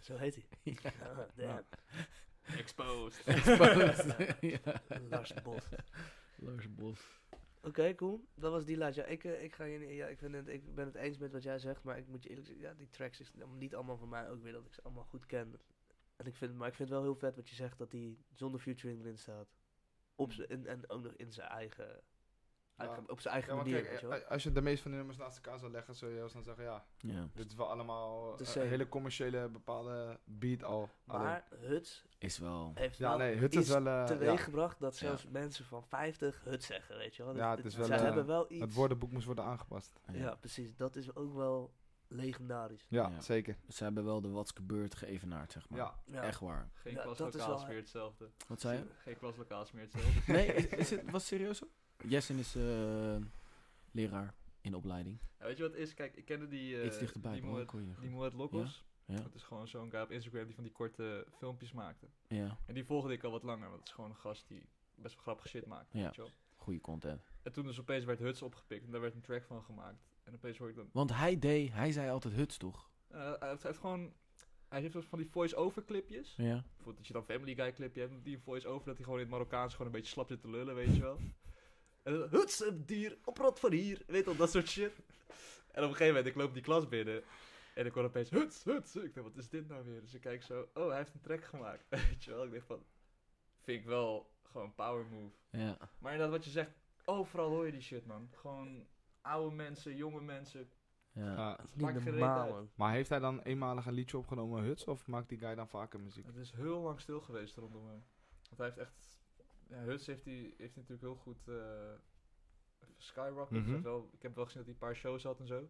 [SPEAKER 2] Zo heet hij.
[SPEAKER 1] [LAUGHS]
[SPEAKER 2] Ah, damn.
[SPEAKER 4] Exposed.
[SPEAKER 2] [LAUGHS]
[SPEAKER 3] ja.
[SPEAKER 2] Lars Bos. Oké,
[SPEAKER 3] Lars Bos.
[SPEAKER 2] cool. Dat was die laat. Ja, ik, eh, ik, ga hier, niet- ja, ik, vind het, ik ben het eens met wat jij zegt, maar ik moet je eerlijk zeggen, ja, die tracks is nou niet allemaal van mij. Ook weer dat ik ze allemaal goed ken. En ik vind, maar ik vind het wel heel vet wat je zegt, dat die zonder featuring erin staat. Op z'n- en, en ook nog in zijn eigen, eigen- op zijn eigen
[SPEAKER 1] Hmm. Ja, want
[SPEAKER 2] manier,
[SPEAKER 1] kijk,
[SPEAKER 2] weet je wel.
[SPEAKER 1] eh, als je de meeste van de nummers naast elkaar zou leggen, zou je heel snel zeggen, ja,
[SPEAKER 3] Ja.
[SPEAKER 1] dit is wel allemaal
[SPEAKER 2] The
[SPEAKER 1] eh,
[SPEAKER 2] same.
[SPEAKER 1] een hele commerciële bepaalde beat al. eh, Alleen-
[SPEAKER 2] Maar Huts
[SPEAKER 3] Is wel.
[SPEAKER 2] heeft
[SPEAKER 1] ja,
[SPEAKER 2] wel
[SPEAKER 1] nee, het is
[SPEAKER 2] iets
[SPEAKER 1] wel... eh, ja,
[SPEAKER 2] teweeggebracht dat zelfs mensen van 50 hut zeggen, weet je wel.
[SPEAKER 1] Ja,
[SPEAKER 2] Dat-
[SPEAKER 1] het is
[SPEAKER 2] dat- zij
[SPEAKER 1] wel, eh,
[SPEAKER 2] hebben wel iets...
[SPEAKER 1] het woordenboek moest worden aangepast.
[SPEAKER 3] ja.
[SPEAKER 2] Ja, precies. Dat is ook wel legendarisch.
[SPEAKER 1] Ja,
[SPEAKER 3] Ja.
[SPEAKER 1] zeker.
[SPEAKER 3] Ze hebben wel de Wat's gebeurd geëvenaard, zeg maar.
[SPEAKER 1] Ja,
[SPEAKER 2] Ja.
[SPEAKER 3] Echt waar.
[SPEAKER 4] Geen
[SPEAKER 2] Ja, dat is
[SPEAKER 4] klaslokaal is
[SPEAKER 2] wel-
[SPEAKER 4] meer hetzelfde.
[SPEAKER 3] Wat zei je?
[SPEAKER 4] Geen klaslokaal is meer hetzelfde.
[SPEAKER 3] Nee, is, is het, was het serieus zo? Jessen is eh, leraar in opleiding.
[SPEAKER 4] Ja, weet je wat het is? Kijk, ik kende die... eh
[SPEAKER 3] Iets dichterbij,
[SPEAKER 4] Die
[SPEAKER 3] maar ik
[SPEAKER 4] Moed,
[SPEAKER 3] hoor je nog
[SPEAKER 4] die
[SPEAKER 3] goed.
[SPEAKER 4] Moed Lokkos.
[SPEAKER 3] Ja?
[SPEAKER 4] Dat is gewoon zo'n guy op Instagram die van die korte filmpjes maakte.
[SPEAKER 3] Ja,
[SPEAKER 4] En die volgde ik al wat langer, want het is gewoon een gast die best wel grappig shit maakt.
[SPEAKER 3] Ja.
[SPEAKER 4] weet je wel.
[SPEAKER 3] goede content.
[SPEAKER 4] En toen dus opeens werd Huts opgepikt en daar werd een track van gemaakt. En opeens hoor ik dan...
[SPEAKER 3] Want hij deed, hij zei altijd huts, toch?
[SPEAKER 4] eh, hij, heeft, hij heeft gewoon... Hij heeft dus van die voice-over clipjes.
[SPEAKER 3] Ja.
[SPEAKER 4] Bijvoorbeeld dat je dan Family Guy clipje hebt, die een voice-over dat hij gewoon in het Marokkaans gewoon een beetje slap zit te lullen, weet je wel. En dan, huts, een dier, oprot van hier, weet al dat soort shit. En op een gegeven moment, ik loop die klas binnen en ik hoor opeens, huts, huts. Ik dacht, wat is dit nou weer? Dus ik kijk zo, oh, hij heeft een track gemaakt, [LAUGHS] weet je wel. Ik dacht van, vind ik wel gewoon een power move.
[SPEAKER 3] Ja.
[SPEAKER 4] Maar inderdaad, wat je zegt, overal hoor je die shit, man. Gewoon oude mensen, jonge mensen.
[SPEAKER 3] ja.
[SPEAKER 1] Ja.
[SPEAKER 2] Dat is
[SPEAKER 4] Maakt
[SPEAKER 2] niet
[SPEAKER 4] geen reet
[SPEAKER 2] normaal,
[SPEAKER 4] uit.
[SPEAKER 2] man.
[SPEAKER 1] maar heeft hij dan eenmalig een liedje opgenomen, Huts, of maakt die guy dan vaker muziek?
[SPEAKER 4] Het is heel lang stil geweest rondom hem. Want hij heeft echt... Ja, Huts heeft, die, heeft die natuurlijk heel goed eh skyrocket. Dus
[SPEAKER 1] Mhm.
[SPEAKER 4] hij heeft wel, ik heb wel gezien dat hij een paar shows had en zo.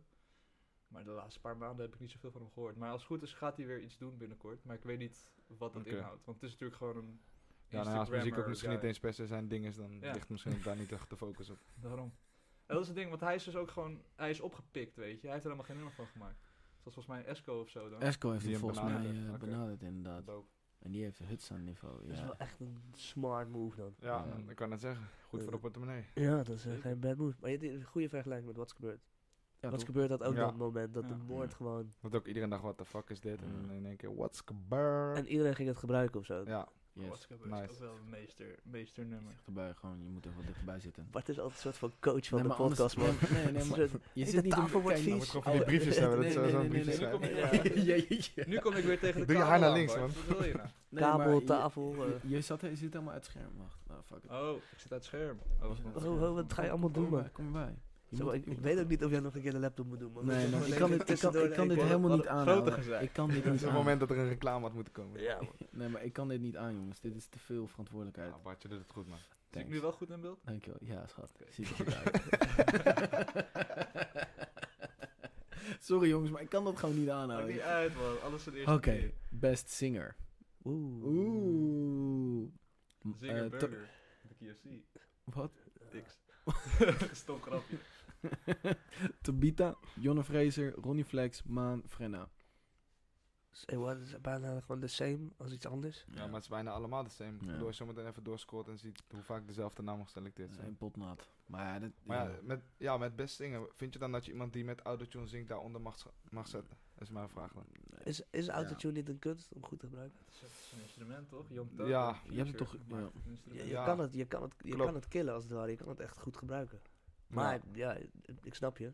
[SPEAKER 4] Maar de laatste paar maanden heb ik niet zoveel van hem gehoord. Maar als het goed is gaat hij weer iets doen binnenkort. Maar ik weet niet wat dat
[SPEAKER 1] Oké.
[SPEAKER 4] inhoudt. Want het is natuurlijk gewoon een
[SPEAKER 1] Ja, nou, ja, als muziek ook
[SPEAKER 4] Instagrammer
[SPEAKER 1] misschien
[SPEAKER 4] guy.
[SPEAKER 1] niet eens per se zijn ding is, dan
[SPEAKER 4] Ja.
[SPEAKER 1] ligt misschien ook daar niet echt de focus op.
[SPEAKER 4] Daarom. En dat is het ding, want hij is dus ook gewoon... Hij is opgepikt, weet je. Hij heeft er helemaal geen nummer van gemaakt. Zoals volgens mij een Esco of zo dan.
[SPEAKER 3] Esco heeft
[SPEAKER 1] Die
[SPEAKER 3] hem
[SPEAKER 1] hem
[SPEAKER 3] volgens mij
[SPEAKER 1] benaderd.
[SPEAKER 3] eh,
[SPEAKER 1] Oké.
[SPEAKER 3] benaderd, inderdaad.
[SPEAKER 1] Dope.
[SPEAKER 3] En die heeft huts aan niveau.
[SPEAKER 2] Dat is wel
[SPEAKER 3] Ja.
[SPEAKER 2] echt een smart move dan.
[SPEAKER 1] Ja,
[SPEAKER 3] Ja.
[SPEAKER 1] ik kan het zeggen. Goed voor de portemonnee.
[SPEAKER 2] Ja, dat is eh,
[SPEAKER 4] Zeker.
[SPEAKER 2] geen bad move. Maar je hebt een goede vergelijking met What's gebeurd.
[SPEAKER 3] Ja,
[SPEAKER 2] What's
[SPEAKER 3] toch?
[SPEAKER 2] gebeurd had ook
[SPEAKER 1] Ja.
[SPEAKER 2] dat moment dat de
[SPEAKER 4] Ja.
[SPEAKER 2] moord
[SPEAKER 3] Ja.
[SPEAKER 2] gewoon...
[SPEAKER 1] Want ook iedereen dacht, what the fuck is dit? En
[SPEAKER 3] Ja.
[SPEAKER 1] dan in één keer, what's gebeurd?
[SPEAKER 2] En iedereen ging het gebruiken of zo. [LAUGHS]
[SPEAKER 1] Ja,
[SPEAKER 3] Yes.
[SPEAKER 4] What's Up is
[SPEAKER 1] nice.
[SPEAKER 4] ook wel een meester, meesternummer.
[SPEAKER 3] Dichterbij, gewoon, je moet er wat dichterbij zitten.
[SPEAKER 2] Bart is altijd een soort van coach van
[SPEAKER 3] Nee,
[SPEAKER 2] de
[SPEAKER 3] maar anders-
[SPEAKER 2] podcast, [LAUGHS] man.
[SPEAKER 3] Nee, nee,
[SPEAKER 2] Een
[SPEAKER 3] maar
[SPEAKER 2] soort-
[SPEAKER 3] je
[SPEAKER 2] de
[SPEAKER 3] zit niet aan-
[SPEAKER 2] tafel wordt
[SPEAKER 3] kijk, nou,
[SPEAKER 2] vies.
[SPEAKER 1] dan moet gewoon van die
[SPEAKER 2] Oh, [LAUGHS]
[SPEAKER 1] briefjes hebben. Dat
[SPEAKER 3] [LAUGHS] nee,
[SPEAKER 1] zo-
[SPEAKER 3] nee,
[SPEAKER 1] zo'n
[SPEAKER 3] nee,
[SPEAKER 1] briefjes
[SPEAKER 3] nee, [LAUGHS]
[SPEAKER 4] Nu kom,
[SPEAKER 1] schrijven.
[SPEAKER 2] Ja.
[SPEAKER 4] ik,
[SPEAKER 3] Jeetje.
[SPEAKER 4] [LAUGHS] nu kom ik weer tegen de
[SPEAKER 1] Doe je haar
[SPEAKER 4] camera
[SPEAKER 1] naar links,
[SPEAKER 4] aan, Bart.
[SPEAKER 1] man.
[SPEAKER 4] Wat wil je nou?
[SPEAKER 3] Nee, maar
[SPEAKER 2] kabel,
[SPEAKER 3] je-
[SPEAKER 2] tafel... eh.
[SPEAKER 3] Je, je zat, je zit helemaal uit het scherm. Wacht, nou, fuck it.
[SPEAKER 4] Oh, ik zit uit het scherm. Oh,
[SPEAKER 3] Je zit uit het
[SPEAKER 2] ho,
[SPEAKER 3] scherm.
[SPEAKER 2] ho, wat ga je allemaal
[SPEAKER 3] Kom
[SPEAKER 2] doen, man?
[SPEAKER 3] erbij, Kom erbij. Je
[SPEAKER 2] Zo,
[SPEAKER 3] moet-
[SPEAKER 2] ik,
[SPEAKER 3] je
[SPEAKER 2] ik
[SPEAKER 3] moet-
[SPEAKER 2] weet ook niet of jij nog een keer de laptop moet doen, man.
[SPEAKER 3] Nee,
[SPEAKER 2] Dat
[SPEAKER 3] man,
[SPEAKER 2] is
[SPEAKER 3] ik
[SPEAKER 2] wel
[SPEAKER 3] kan
[SPEAKER 2] even
[SPEAKER 3] dit, ik kan,
[SPEAKER 2] tussendoor
[SPEAKER 3] ik kan dit
[SPEAKER 2] even-
[SPEAKER 3] helemaal niet
[SPEAKER 4] Wat een
[SPEAKER 3] aan.
[SPEAKER 4] grote
[SPEAKER 3] man.
[SPEAKER 4] gezeik.
[SPEAKER 3] Ik kan
[SPEAKER 1] [LAUGHS]
[SPEAKER 3] dit
[SPEAKER 1] Dat is
[SPEAKER 3] niet
[SPEAKER 1] het
[SPEAKER 3] aan.
[SPEAKER 1] moment dat er een reclame had moeten komen.
[SPEAKER 2] Ja, man.
[SPEAKER 3] Nee, maar ik kan dit niet aan, jongens. Dit is te veel verantwoordelijkheid.
[SPEAKER 1] Ja, Bart, je doet het goed, man.
[SPEAKER 4] Zit ik
[SPEAKER 3] Thanks.
[SPEAKER 4] nu wel goed in beeld?
[SPEAKER 3] Dankjewel. Ja, schat.
[SPEAKER 4] Oké.
[SPEAKER 3] Ziet er goed uit. Sorry, jongens, maar ik kan dat gewoon niet
[SPEAKER 4] Maakt
[SPEAKER 3] aanhouden.
[SPEAKER 4] niet
[SPEAKER 3] Oké,
[SPEAKER 4] uit, man. Alles is de eerste keer.
[SPEAKER 3] best singer.
[SPEAKER 2] Oeh.
[SPEAKER 3] Oeh. M-
[SPEAKER 4] Zinger
[SPEAKER 3] eh, to-
[SPEAKER 4] Burger. De KFC.
[SPEAKER 3] Wat? [LAUGHS]
[SPEAKER 4] Niks. [LAUGHS] Stom grapje.
[SPEAKER 3] Tabita, Jonne Fraser, Ronnie Flex, Maan, Frenna.
[SPEAKER 2] Say what is bijna gewoon the same als iets anders.
[SPEAKER 1] Ja, maar het is bijna allemaal de same.
[SPEAKER 3] Ja.
[SPEAKER 1] Door je zometeen even doorscrollt en ziet hoe vaak dezelfde namen geselecteerd zijn.
[SPEAKER 3] Eh, Een potnat. Maar ja, dat...
[SPEAKER 1] Maar
[SPEAKER 3] ja.
[SPEAKER 1] ja, met, ja, met best zingen. Vind je dan dat je iemand die met autotune zingt daaronder mag, sch- mag zetten? Dat is mijn vraag dan.
[SPEAKER 2] Is, is autotune niet een kunst om goed te gebruiken?
[SPEAKER 4] Het is, het is een instrument, toch? Young Thug,
[SPEAKER 1] Ja.
[SPEAKER 4] Future,
[SPEAKER 3] Je hebt het toch-
[SPEAKER 4] maar
[SPEAKER 3] ja.
[SPEAKER 4] een instrument.
[SPEAKER 2] Je, je
[SPEAKER 1] Ja.
[SPEAKER 2] kan, het, je, kan, het, je
[SPEAKER 1] Klopt.
[SPEAKER 2] kan het killen als het ware, je kan het echt goed gebruiken. Maar ja, ik snap je.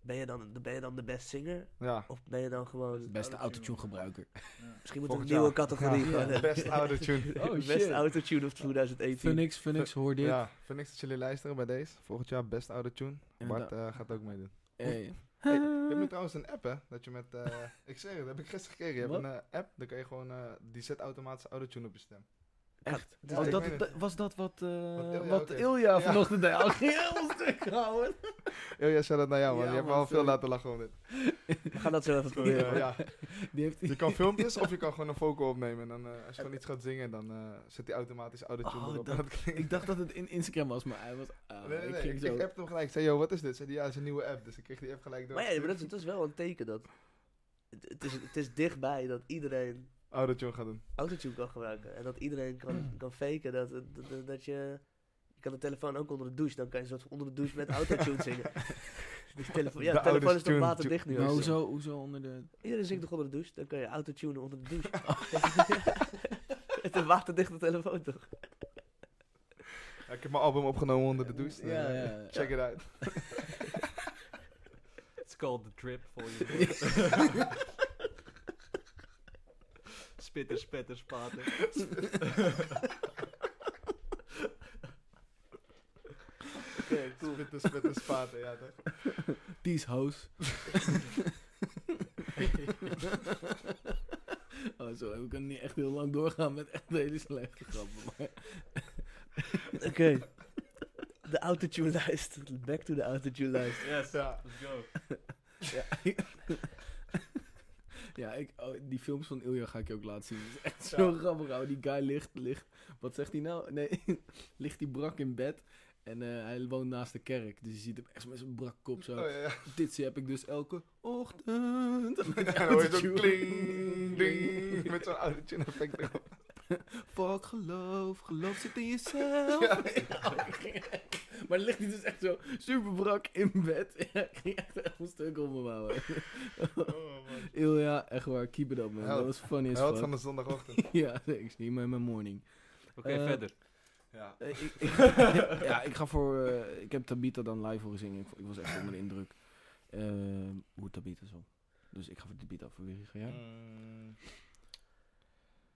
[SPEAKER 2] Ben je, dan, ben je dan de best singer?
[SPEAKER 1] Ja.
[SPEAKER 2] Of ben je dan gewoon...
[SPEAKER 3] Beste autotune gebruiker.
[SPEAKER 4] Ja.
[SPEAKER 2] Misschien moet er een
[SPEAKER 1] Volgend
[SPEAKER 2] nieuwe
[SPEAKER 1] jaar.
[SPEAKER 2] categorie
[SPEAKER 1] Ja.
[SPEAKER 2] gewoon [LAUGHS] hebben.
[SPEAKER 1] Best autotune.
[SPEAKER 3] [LAUGHS] Oh,
[SPEAKER 2] Best
[SPEAKER 3] shit.
[SPEAKER 2] autotune of 2018.
[SPEAKER 3] Phoenix, Phoenix, hoor dit.
[SPEAKER 1] ja, vind niks dat jullie luisteren bij deze. Volgend jaar best autotune. Bart
[SPEAKER 3] Inderdaad.
[SPEAKER 1] eh, gaat ook
[SPEAKER 3] [LAUGHS]
[SPEAKER 1] meedoen.
[SPEAKER 3] Hey.
[SPEAKER 1] Hey, je hebt nu trouwens een app, hè? Dat je met... eh, ik zeg het, dat heb ik gisteren gekregen. Je hebt
[SPEAKER 3] Wat?
[SPEAKER 1] een eh, app, dan kan je gewoon... eh, die zet automatisch autotune op je stem. [LAUGHS]
[SPEAKER 3] Echt?
[SPEAKER 2] Ja,
[SPEAKER 3] was,
[SPEAKER 2] ik
[SPEAKER 3] Oh, dat,
[SPEAKER 1] weet
[SPEAKER 3] dat- was dat wat, eh,
[SPEAKER 1] Wat Ilja ook
[SPEAKER 3] wat
[SPEAKER 1] heeft.
[SPEAKER 3] Ilja
[SPEAKER 1] Ja.
[SPEAKER 3] vanochtend deed? Al heel stuk
[SPEAKER 1] [LAUGHS]
[SPEAKER 3] houden.
[SPEAKER 1] Oh, jij zei dat naar jou, man.
[SPEAKER 3] Ja,
[SPEAKER 1] je hebt me
[SPEAKER 3] man,
[SPEAKER 1] al veel
[SPEAKER 3] sorry.
[SPEAKER 1] laten lachen om dit.
[SPEAKER 2] We gaan dat zo even proberen.
[SPEAKER 1] Eh,
[SPEAKER 2] hoor.
[SPEAKER 1] ja.
[SPEAKER 3] Die heeft [LAUGHS]
[SPEAKER 1] Je kan filmpjes of je kan gewoon een vocal opnemen. En dan, eh, als je gewoon iets gaat zingen, dan eh, zet die automatisch autotune
[SPEAKER 3] Oh,
[SPEAKER 1] erop. [LAUGHS]
[SPEAKER 3] dat-
[SPEAKER 1] En klinkt-
[SPEAKER 3] Ik dacht dat het in Instagram was, maar hij was... ah,
[SPEAKER 1] Nee, nee, nee. Ik,
[SPEAKER 3] ging
[SPEAKER 1] ik,
[SPEAKER 3] zo-
[SPEAKER 1] appte hem gelijk. Ik zei, yo, wat is dit? Zei die, ja, het is een nieuwe app. Dus ik kreeg die app gelijk door.
[SPEAKER 2] Maar ja, maar dat, is- dat is wel een teken dat... Het, het is, het is dichtbij dat iedereen
[SPEAKER 1] Autotune gaat doen.
[SPEAKER 2] autotune kan gebruiken. En dat iedereen kan, kan faken dat, dat, dat- dat je... Je kan de telefoon ook onder de douche. Dan kan je soort onder de douche met autotune [LAUGHS] zingen. Dus telefoon, ja,
[SPEAKER 1] De
[SPEAKER 2] de Nou, telefoon is toch
[SPEAKER 1] autotune-
[SPEAKER 2] waterdicht nu.
[SPEAKER 3] Maar
[SPEAKER 2] hoor.
[SPEAKER 3] hoezo, hoezo onder de...
[SPEAKER 2] Iedereen zingt toch onder de douche? Dan kan je autotunen onder de [LAUGHS] douche. Het is een waterdichte telefoon toch?
[SPEAKER 1] Ja, ik heb mijn album opgenomen onder de douche.
[SPEAKER 3] Ja,
[SPEAKER 1] Eh,
[SPEAKER 3] ja, ja.
[SPEAKER 1] Check it out.
[SPEAKER 4] It's called the drip for you. Spitter, spetter, spater.
[SPEAKER 1] Spitten, spitten, [LAUGHS] spaten. Ja, toch?
[SPEAKER 3] These
[SPEAKER 1] [LAUGHS]
[SPEAKER 3] hoes. oh, sorry, we kunnen niet echt heel lang doorgaan met echt hele slechte grappen. Maar
[SPEAKER 2] Oké. [LAUGHS] De autotune lijst. Back to de autotune lijst.
[SPEAKER 4] Yes,
[SPEAKER 1] Ja.
[SPEAKER 4] let's go.
[SPEAKER 3] ja, ja ik, oh, die films van Ilja ga ik je ook laten zien. Het is echt zo grappig, ouwe. Die guy ligt, ligt... Wat zegt hij nou? Nee, [LAUGHS] ligt hij brak in bed. En eh, hij woont naast de kerk. Dus je ziet hem echt met zijn brak kop zo.
[SPEAKER 1] Oh, ja, ja.
[SPEAKER 3] [LAUGHS] Dit heb ik dus elke
[SPEAKER 1] [LAUGHS]
[SPEAKER 3] ochtend.
[SPEAKER 1] En dan hoor je zo kling, ding. Met zo'n autotune effect erop.
[SPEAKER 3] Fuck geloof, geloof zit
[SPEAKER 1] [LAUGHS]
[SPEAKER 3] in jezelf.
[SPEAKER 1] Ja.
[SPEAKER 3] [LAUGHS] maar ligt hij dus echt zo super brak in bed. [LAUGHS] Ja, ging echt echt een stuk om hem houden.
[SPEAKER 1] Oh, man.
[SPEAKER 3] Ilja, echt waar, keep it up man.
[SPEAKER 1] Help.
[SPEAKER 3] Dat was funny as
[SPEAKER 1] Held
[SPEAKER 3] fuck.
[SPEAKER 1] van de
[SPEAKER 3] [LAUGHS]
[SPEAKER 1] zondagochtend.
[SPEAKER 3] Ja, ik zie hem in mijn morning.
[SPEAKER 4] Oké,
[SPEAKER 3] Eh,
[SPEAKER 4] verder.
[SPEAKER 1] Ja.
[SPEAKER 3] Eh, ik,
[SPEAKER 1] [LAUGHS]
[SPEAKER 3] ik- ja, ik ga voor. eh, ik heb Tabita dan live horen zingen. Ik, vo- ik was echt onder de indruk. Ehm, hoe Tabita zo. Dus ik ga voor Tabita. Voor wie ga jij?
[SPEAKER 1] Mm,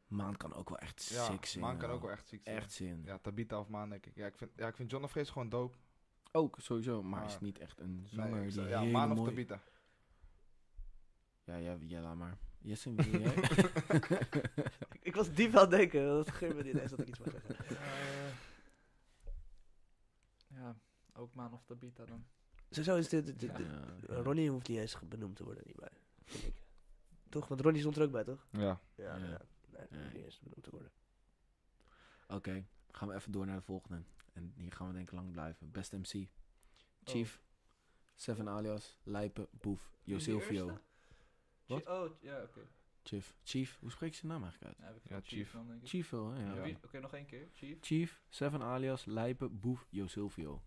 [SPEAKER 3] Maan kan ook wel echt
[SPEAKER 1] Ja,
[SPEAKER 3] sick zingen.
[SPEAKER 1] Maan kan ook
[SPEAKER 3] hoor.
[SPEAKER 1] wel echt ziek zijn.
[SPEAKER 3] Echt zin.
[SPEAKER 1] Ja, Tabitha of Maan, denk ik. Ja, ik vind, ja, ik vind John of Vrees gewoon dope.
[SPEAKER 3] Ook sowieso, maar hij is
[SPEAKER 1] Maar-
[SPEAKER 3] niet echt een
[SPEAKER 1] Nee,
[SPEAKER 3] zanger
[SPEAKER 1] ik
[SPEAKER 3] die
[SPEAKER 1] zou-
[SPEAKER 3] ja,
[SPEAKER 1] ja,
[SPEAKER 3] hele
[SPEAKER 1] Maan of
[SPEAKER 3] mooie-
[SPEAKER 1] Tabitha.
[SPEAKER 3] Ja, ja, ja, laat maar.
[SPEAKER 1] [LAUGHS]
[SPEAKER 3] Jesse, wie wil jij?
[SPEAKER 2] Ik was diep aan het denken. Dat geeft me niet eens dat ik iets mag zeggen.
[SPEAKER 4] Eh, ja, ook Maan of Tabita dan.
[SPEAKER 2] Sowieso is dit... dit- dit-
[SPEAKER 3] Ja,
[SPEAKER 2] Ronnie hoeft niet eens ge- benoemd te worden hierbij. Vind ik. Toch? Want Ronnie stond er ook bij, toch?
[SPEAKER 1] Ja.
[SPEAKER 2] Ja,
[SPEAKER 3] Ja.
[SPEAKER 2] ja. Nee, hoeft
[SPEAKER 3] Ja.
[SPEAKER 2] niet eens benoemd te worden.
[SPEAKER 3] Oké, gaan we even door naar de volgende. En hier gaan we denk ik lang blijven. Best MC. Chief.
[SPEAKER 1] Oh.
[SPEAKER 3] Seven alias. Lijpen. Boef.
[SPEAKER 4] die
[SPEAKER 3] Josilvio.
[SPEAKER 4] eerste?
[SPEAKER 3] Wat?
[SPEAKER 4] Chi- Oh, ja, oké.
[SPEAKER 3] Chief. Chief. Hoe spreek je zijn naam eigenlijk uit?
[SPEAKER 4] Ja, heb ik
[SPEAKER 1] Ja,
[SPEAKER 4] wel
[SPEAKER 1] Chief.
[SPEAKER 4] dan, denk ik.
[SPEAKER 3] Chief wel, hè?
[SPEAKER 4] Ja,
[SPEAKER 3] Ja.
[SPEAKER 4] wie- Oké, nog één keer. Chief.
[SPEAKER 3] Chief. Seven alias. Lijpen. Boef. Josilvio.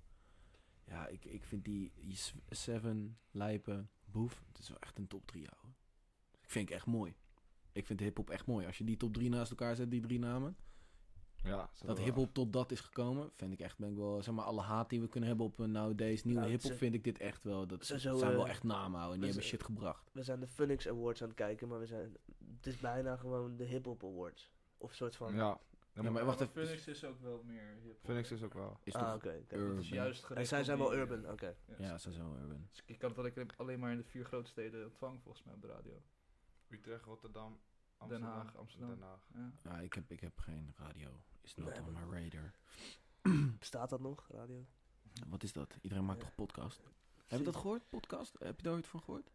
[SPEAKER 3] Ja, ik, ik vind die die s- Seven, Lijpen, Boef. Het is wel echt een top 3, ouwe. Ik vind het echt mooi. Ik vind hip-hop echt mooi. Als je die top 3 naast elkaar zet, die drie namen.
[SPEAKER 1] ja
[SPEAKER 3] Dat hip-hop tot dat is gekomen, vind ik echt, ben ik wel, zeg maar, alle haat die we kunnen hebben op nou nowadays nieuwe
[SPEAKER 2] Nou, het
[SPEAKER 3] hip-hop,
[SPEAKER 2] is-
[SPEAKER 3] vind ik dit echt wel. Dat
[SPEAKER 2] Zo- zo,
[SPEAKER 3] zijn
[SPEAKER 2] eh,
[SPEAKER 3] wel echt namen houden en die
[SPEAKER 2] dus,
[SPEAKER 3] hebben shit gebracht.
[SPEAKER 2] We zijn de Phoenix Awards aan het kijken, maar we zijn... Het is bijna gewoon de Hip Hop Awards. Of soort van...
[SPEAKER 1] Ja.
[SPEAKER 3] Ja, maar wacht even.
[SPEAKER 4] Phoenix is ook wel meer hip
[SPEAKER 1] Phoenix is ook wel.
[SPEAKER 3] Is
[SPEAKER 2] Ah,
[SPEAKER 3] toch
[SPEAKER 2] oké. oké.
[SPEAKER 3] urban.
[SPEAKER 4] Het is juist gericht
[SPEAKER 2] En zij
[SPEAKER 4] op
[SPEAKER 2] zijn wel
[SPEAKER 4] die,
[SPEAKER 2] urban,
[SPEAKER 4] eh,
[SPEAKER 2] oké.
[SPEAKER 4] ja,
[SPEAKER 3] Ja, ze zijn wel urban.
[SPEAKER 4] Dus ik kan het alleen- alleen maar in de vier grote steden ontvangen, volgens mij, op de radio.
[SPEAKER 1] Utrecht, Rotterdam,
[SPEAKER 4] Amsterdam. Haag, Amsterdam. Den
[SPEAKER 1] Den Haag.
[SPEAKER 4] Ja.
[SPEAKER 3] Ja, ik heb, ik heb geen radio. Is not
[SPEAKER 2] Nee,
[SPEAKER 3] on
[SPEAKER 2] maar-
[SPEAKER 3] my radar.
[SPEAKER 2] Bestaat dat nog, radio?
[SPEAKER 3] Wat is dat? Iedereen maakt
[SPEAKER 2] Ja.
[SPEAKER 3] toch podcast? Heb je dat gehoord, podcast? Heb je daar ooit van gehoord?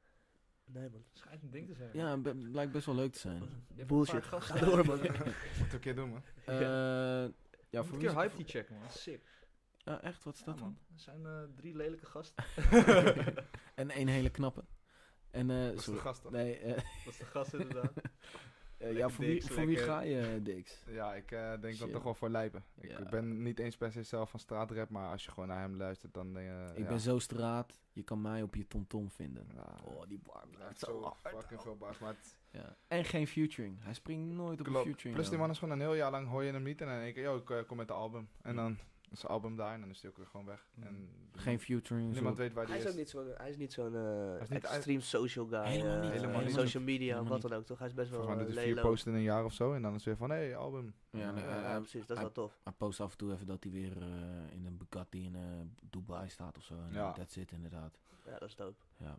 [SPEAKER 2] Nee, man.
[SPEAKER 4] Schijnt een ding te zijn.
[SPEAKER 3] Ja, be- blijkt best wel leuk te
[SPEAKER 1] [LAUGHS]
[SPEAKER 3] zijn.
[SPEAKER 4] Je hebt een
[SPEAKER 2] Bullshit.
[SPEAKER 4] paar gasten
[SPEAKER 2] Ga door,
[SPEAKER 4] [LAUGHS]
[SPEAKER 2] man.
[SPEAKER 4] eigenlijk.
[SPEAKER 1] Moet ik een keer doen, man.
[SPEAKER 3] Eh, ja,
[SPEAKER 4] Ja,
[SPEAKER 3] voor
[SPEAKER 4] voor een
[SPEAKER 3] wie
[SPEAKER 4] keer
[SPEAKER 3] is-
[SPEAKER 4] hype die checken, man. Sick.
[SPEAKER 3] Ja, echt? Wat is dat
[SPEAKER 4] Ja,
[SPEAKER 3] dan? [LAUGHS]
[SPEAKER 4] man. Er zijn eh, drie lelijke gasten.
[SPEAKER 3] En één hele knappe. En, eh,
[SPEAKER 1] Dat is de
[SPEAKER 3] sorry.
[SPEAKER 1] gast dan.
[SPEAKER 3] Nee, eh,
[SPEAKER 4] [LAUGHS]
[SPEAKER 3] [LAUGHS]
[SPEAKER 4] Dat is de gast inderdaad.
[SPEAKER 3] eh, ja, voor, wie,
[SPEAKER 4] Dix,
[SPEAKER 3] voor wie
[SPEAKER 4] lekker.
[SPEAKER 3] ga je, eh, Dix?
[SPEAKER 1] Ja, ik eh, denk dat
[SPEAKER 3] Shit.
[SPEAKER 1] toch wel voor Lijpen. Ik
[SPEAKER 3] Ja.
[SPEAKER 1] ben niet eens per se zelf van straatrap, maar als je gewoon naar hem luistert, dan... eh,
[SPEAKER 3] Ik
[SPEAKER 1] ja.
[SPEAKER 3] ben zo straat, je kan mij op je tomtom vinden.
[SPEAKER 1] Ja.
[SPEAKER 3] Oh, die bar
[SPEAKER 1] Hij heeft
[SPEAKER 3] blijft zo
[SPEAKER 1] zo
[SPEAKER 3] hard.
[SPEAKER 1] fucking veel bars, maar het
[SPEAKER 3] Ja. En geen featuring. Hij springt nooit op een
[SPEAKER 1] klopt.
[SPEAKER 3] featuring.
[SPEAKER 1] Plus die
[SPEAKER 3] man.
[SPEAKER 1] man is gewoon een heel jaar lang, hoor je hem niet en dan denk ik, yo, ik eh, kom met de album. En
[SPEAKER 3] Mm.
[SPEAKER 1] dan is zijn album daar en dan is hij ook weer gewoon weg.
[SPEAKER 4] Mm.
[SPEAKER 1] En
[SPEAKER 3] Geen featuring.
[SPEAKER 1] niemand
[SPEAKER 3] zo.
[SPEAKER 1] weet waar
[SPEAKER 2] Hij
[SPEAKER 1] die
[SPEAKER 2] is ook
[SPEAKER 1] is.
[SPEAKER 2] niet zo'n, hij is niet zo'n eh,
[SPEAKER 1] is niet-
[SPEAKER 2] extreem social guy.
[SPEAKER 3] Helemaal
[SPEAKER 2] eh,
[SPEAKER 3] niet.
[SPEAKER 1] Helemaal
[SPEAKER 2] in
[SPEAKER 1] niet.
[SPEAKER 2] Social media en
[SPEAKER 3] Helemaal
[SPEAKER 2] wat
[SPEAKER 3] niet.
[SPEAKER 2] dan ook, toch? Hij is best wel
[SPEAKER 1] Volgens mij
[SPEAKER 2] uh,
[SPEAKER 1] doet hij vier eh,
[SPEAKER 2] lelo.
[SPEAKER 1] posts in een jaar of zo en dan is het weer van, hé, hey, album.
[SPEAKER 3] Ja, nee, eh,
[SPEAKER 2] Ja,
[SPEAKER 3] hij-
[SPEAKER 2] ja,
[SPEAKER 3] hij-
[SPEAKER 2] precies, dat is wel tof.
[SPEAKER 3] Hij post af en toe even dat hij weer eh, in een Bugatti in eh, Dubai staat of zo. En
[SPEAKER 1] Ja.
[SPEAKER 3] that's it inderdaad.
[SPEAKER 2] Ja, dat is dope.
[SPEAKER 3] Ja.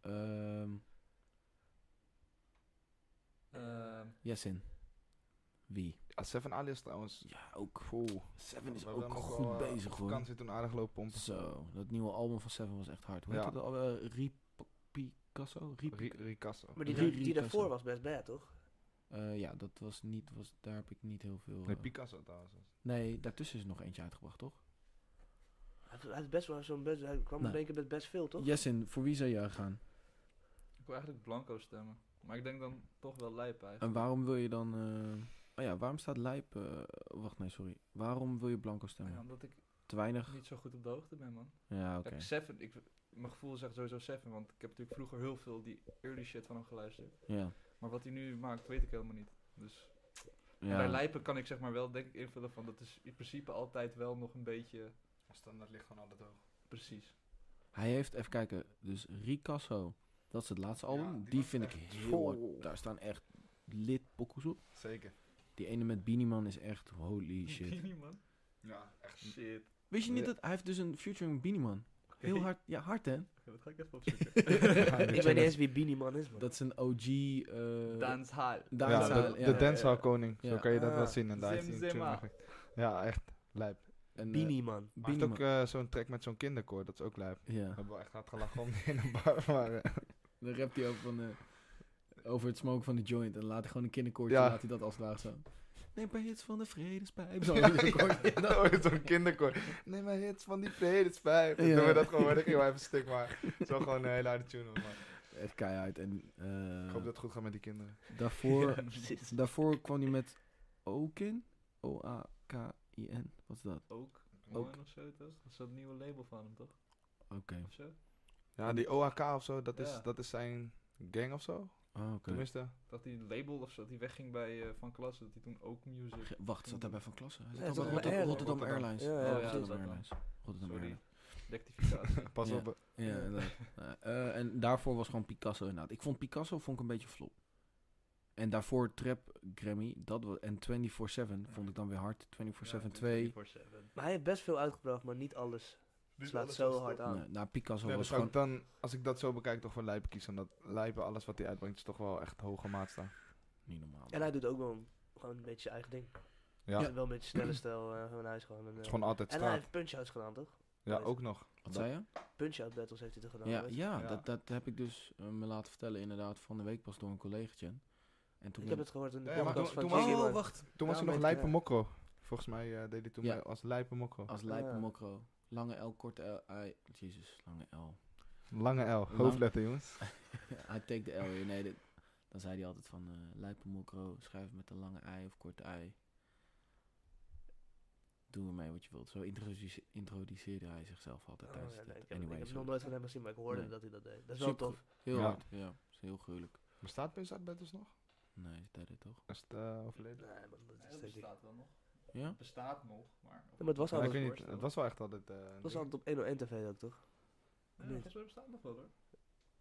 [SPEAKER 3] Ehm
[SPEAKER 4] Ehm,
[SPEAKER 3] Jessin. Wie?
[SPEAKER 1] Ja, Seven Alias trouwens.
[SPEAKER 3] Ja, ook.
[SPEAKER 1] Oeh.
[SPEAKER 3] Seven is
[SPEAKER 1] We hebben
[SPEAKER 3] ook
[SPEAKER 1] hem
[SPEAKER 3] goed
[SPEAKER 1] wel, eh,
[SPEAKER 3] bezig
[SPEAKER 1] op
[SPEAKER 3] hoor.
[SPEAKER 1] vakantie toen aardig lopen pompen.
[SPEAKER 3] Zo, dat nieuwe album van Seven was echt hard. Hoe
[SPEAKER 1] Ja.
[SPEAKER 3] heet dat album? Ri Picasso? Ri
[SPEAKER 1] Ri- Ricasso.
[SPEAKER 2] Maar die,
[SPEAKER 3] Ri-
[SPEAKER 2] die
[SPEAKER 3] Ri-
[SPEAKER 2] daarvoor
[SPEAKER 3] Ri-
[SPEAKER 2] was best bad, toch?
[SPEAKER 3] Eh, ja, dat was niet, was, daar heb ik niet heel veel...
[SPEAKER 1] Nee,
[SPEAKER 3] eh,
[SPEAKER 1] Picasso trouwens.
[SPEAKER 3] nee, daartussen is nog eentje uitgebracht, toch?
[SPEAKER 2] Hij, hij, had best wel zo'n best, hij kwam
[SPEAKER 3] Nee.
[SPEAKER 2] in één keer met best veel, toch?
[SPEAKER 3] Jessin, voor wie zou jij gaan?
[SPEAKER 4] ik wil eigenlijk blanco stemmen. Maar ik denk dan toch wel lijp eigenlijk.
[SPEAKER 3] En waarom wil je dan... eh, oh ja, waarom staat Lijp... eh, wacht, nee, sorry. Waarom wil je Blanco stemmen?
[SPEAKER 4] Ja, omdat ik
[SPEAKER 3] Te weinig?
[SPEAKER 4] niet zo goed op de hoogte ben, man.
[SPEAKER 3] Ja, oké.
[SPEAKER 4] Ik Seven, ik, mijn gevoel zegt sowieso Seven, want ik heb natuurlijk vroeger heel veel die early shit van hem geluisterd.
[SPEAKER 3] Ja.
[SPEAKER 4] Maar wat hij nu maakt, weet ik helemaal niet. Dus en bij
[SPEAKER 3] Ja.
[SPEAKER 4] Lijpen kan ik zeg maar wel denk ik invullen van dat is in principe altijd wel nog een beetje
[SPEAKER 1] Standaard ligt gewoon altijd hoog.
[SPEAKER 3] [LAUGHS]
[SPEAKER 4] precies.
[SPEAKER 3] Hij heeft, even kijken, dus Ricasso. Dat is het laatste album.
[SPEAKER 1] Ja, die
[SPEAKER 3] die
[SPEAKER 1] was
[SPEAKER 3] vind ik
[SPEAKER 1] echt
[SPEAKER 3] heel hard.
[SPEAKER 1] vol.
[SPEAKER 3] [LAUGHS] Daar staan echt lit pokoes op.
[SPEAKER 1] Zeker.
[SPEAKER 3] Die ene met Beanieman is echt
[SPEAKER 1] [LAUGHS]
[SPEAKER 3] holy shit.
[SPEAKER 4] Bikini, man.
[SPEAKER 1] Ja, echt.
[SPEAKER 4] Shit.
[SPEAKER 3] Wist je niet
[SPEAKER 1] Ja.
[SPEAKER 3] dat hij heeft dus een featuring met Beanieman? Heel hard, ja hard
[SPEAKER 1] [LAUGHS]
[SPEAKER 3] hè?
[SPEAKER 4] Oké, dat ga ik even opzoeken.
[SPEAKER 2] Ik weet niet eens wie Beanie Man is, man.
[SPEAKER 3] Dat is een OG... eh
[SPEAKER 4] Dancehall.
[SPEAKER 1] Ja,
[SPEAKER 3] dancehall,
[SPEAKER 1] de,
[SPEAKER 3] ja.
[SPEAKER 1] de dancehall koning.
[SPEAKER 3] Ja.
[SPEAKER 1] Zo kan je dat
[SPEAKER 2] Ah,
[SPEAKER 1] wel zien. En daar heeft hij een
[SPEAKER 4] Zim
[SPEAKER 1] tune
[SPEAKER 4] Zima.
[SPEAKER 1] eigenlijk. Ja, echt. Lijp. Maar
[SPEAKER 3] En, eh,
[SPEAKER 2] Beanie Man.
[SPEAKER 1] Hij heeft
[SPEAKER 3] Beanieman.
[SPEAKER 1] ook eh, zo'n track met zo'n kinderkoor. Dat is ook lijp. We
[SPEAKER 3] Ja.
[SPEAKER 1] hebben wel echt hard gelachen om die in een bar. Maar, [LAUGHS] eh,
[SPEAKER 3] Dan rapt hij over, van, eh, over het smoken van de joint. En dan laat hij gewoon een kinderkoortje,
[SPEAKER 1] Ja.
[SPEAKER 3] laat hij dat als het ware zo. Neem bij hits van de vredespijp.
[SPEAKER 1] [LAUGHS]
[SPEAKER 3] Zo,
[SPEAKER 1] ja, ja,
[SPEAKER 3] kinderkoortje.
[SPEAKER 1] ja, ooit Oh, zo'n kinderkoor. Nee, maar hits van die vredespijp. Dan
[SPEAKER 3] Ja.
[SPEAKER 1] Doen we dat gewoon. Ik ging wel even stuk, maar zo gewoon een hele harde tune. hoor, man.
[SPEAKER 3] Echt keihard. En eh,
[SPEAKER 1] Ik hoop dat het goed gaat met die kinderen.
[SPEAKER 3] [LAUGHS] daarvoor,
[SPEAKER 2] Precies.
[SPEAKER 3] daarvoor kwam hij met Okin. O-A-K-I-N. Wat is dat?
[SPEAKER 4] Ook.
[SPEAKER 3] Ook.
[SPEAKER 4] Ook. Of zo, toch? Dat is dat nieuwe label van hem, toch?
[SPEAKER 3] Oké.
[SPEAKER 4] Of zo?
[SPEAKER 1] Ja, die OAK of zo, dat is,
[SPEAKER 4] Ja.
[SPEAKER 1] dat is zijn gang of zo.
[SPEAKER 3] Ah, oké.
[SPEAKER 1] Tenminste.
[SPEAKER 4] Dat hij een label of zo, dat hij wegging bij eh, Van Klassen, dat hij toen ook music.
[SPEAKER 3] Ge- oh, Wacht, zat hij bij Van Klassen? Hij
[SPEAKER 2] Ja,
[SPEAKER 3] zat
[SPEAKER 2] hij
[SPEAKER 3] bij
[SPEAKER 2] zat bij
[SPEAKER 3] Rotterdam,
[SPEAKER 2] Airlines.
[SPEAKER 3] Rotterdam
[SPEAKER 1] Rotterdam.
[SPEAKER 3] Airlines.
[SPEAKER 2] Ja, ja,
[SPEAKER 3] Oh,
[SPEAKER 2] precies.
[SPEAKER 3] Rotterdam Airlines. Rotterdam
[SPEAKER 4] dat Sorry.
[SPEAKER 3] Airlines. [LAUGHS]
[SPEAKER 4] Rectificatie.
[SPEAKER 1] Pas
[SPEAKER 3] Ja.
[SPEAKER 1] op. eh,
[SPEAKER 3] Ja, inderdaad. Nou, eh, en daarvoor was gewoon Picasso inderdaad. Ik vond Picasso vond ik een beetje flop. En daarvoor Trap Grammy. Dat wa- en 24-7 vond ik dan weer hard. 24-7-2. Nee,
[SPEAKER 4] 24/7.
[SPEAKER 2] Maar hij heeft best veel uitgebracht, maar niet alles slaat zo hard aan.
[SPEAKER 3] nou, Picasso
[SPEAKER 1] Nee,
[SPEAKER 3] was
[SPEAKER 1] dus ook
[SPEAKER 3] gewoon...
[SPEAKER 1] dan, als ik dat zo bekijk, toch voor Lijpen kiezen. Omdat Lijpen, alles wat hij uitbrengt, is toch wel echt hoge maat staan.
[SPEAKER 3] Niet normaal.
[SPEAKER 2] En hij doet ook wel een- gewoon een beetje zijn eigen ding.
[SPEAKER 1] Ja.
[SPEAKER 2] Wel een beetje snelle stijl, eh, gewoon hij is gewoon een...
[SPEAKER 1] Het is
[SPEAKER 2] eh,
[SPEAKER 1] gewoon altijd
[SPEAKER 2] en hij
[SPEAKER 1] straat.
[SPEAKER 2] heeft punch-outs gedaan, toch?
[SPEAKER 1] Ja, ook nog.
[SPEAKER 3] Wat zei je?
[SPEAKER 2] Punch-out battles heeft hij toch gedaan?
[SPEAKER 3] Ja,
[SPEAKER 2] weet je?
[SPEAKER 3] ja,
[SPEAKER 1] Ja.
[SPEAKER 3] Dat, dat heb ik dus eh, me laten vertellen inderdaad van de week pas door een collegaatje. En toen
[SPEAKER 2] Ik heb het gehoord in de
[SPEAKER 1] Ja, maar
[SPEAKER 2] podcast
[SPEAKER 1] toen-
[SPEAKER 2] van
[SPEAKER 1] toen-
[SPEAKER 2] Jiggy,
[SPEAKER 3] Oh,
[SPEAKER 2] man.
[SPEAKER 3] wacht.
[SPEAKER 1] Toen was hij
[SPEAKER 3] Ja,
[SPEAKER 1] nog
[SPEAKER 3] weet ik,
[SPEAKER 1] Lijpen
[SPEAKER 2] ja.
[SPEAKER 1] Mokro. Volgens mij eh, deed hij toen
[SPEAKER 3] Ja.
[SPEAKER 1] mee als Lijpen Mokro.
[SPEAKER 3] Als
[SPEAKER 2] Ja.
[SPEAKER 3] lijpe mokro. Lange L, korte L. I, Jezus, lange
[SPEAKER 2] [LAUGHS]
[SPEAKER 3] L.
[SPEAKER 1] Lange L, hoofdletter jongens.
[SPEAKER 3] I take the L weer. Nee, dit- dan zei hij altijd van eh lijpe mokro, schrijf met een lange ei of korte ei. Doe ermee wat je wilt. Zo introduce- introduceerde hij zichzelf altijd
[SPEAKER 2] Oh,
[SPEAKER 3] tijdens
[SPEAKER 2] ja,
[SPEAKER 3] het
[SPEAKER 2] nee, ik heb,
[SPEAKER 3] anyway,
[SPEAKER 2] ik heb
[SPEAKER 3] zo.
[SPEAKER 2] nog nooit van hem gezien, maar ik hoorde
[SPEAKER 3] Nee.
[SPEAKER 2] dat hij dat deed. Dat is wel
[SPEAKER 3] Super.
[SPEAKER 2] tof.
[SPEAKER 3] Heel
[SPEAKER 1] Ja.
[SPEAKER 3] hard, ja. is heel gruwelijk.
[SPEAKER 1] Bestaat Punch Battles dus nog?
[SPEAKER 3] Nee, is dat het toch?
[SPEAKER 1] Is het eh, overleden?
[SPEAKER 2] Nee, maar dus dat is
[SPEAKER 4] Het
[SPEAKER 2] denk ik-
[SPEAKER 4] bestaat wel nog.
[SPEAKER 3] Ja?
[SPEAKER 4] Het bestaat nog, maar.
[SPEAKER 2] Ja, maar het was
[SPEAKER 1] Ja, ik
[SPEAKER 2] altijd,
[SPEAKER 1] weet niet,
[SPEAKER 4] voorstellen.
[SPEAKER 1] het was wel echt altijd... eh, een
[SPEAKER 2] het was
[SPEAKER 1] ding.
[SPEAKER 2] altijd op 101 TV ook, toch?
[SPEAKER 4] Ja, volgens mij bestaat het nog wel hoor.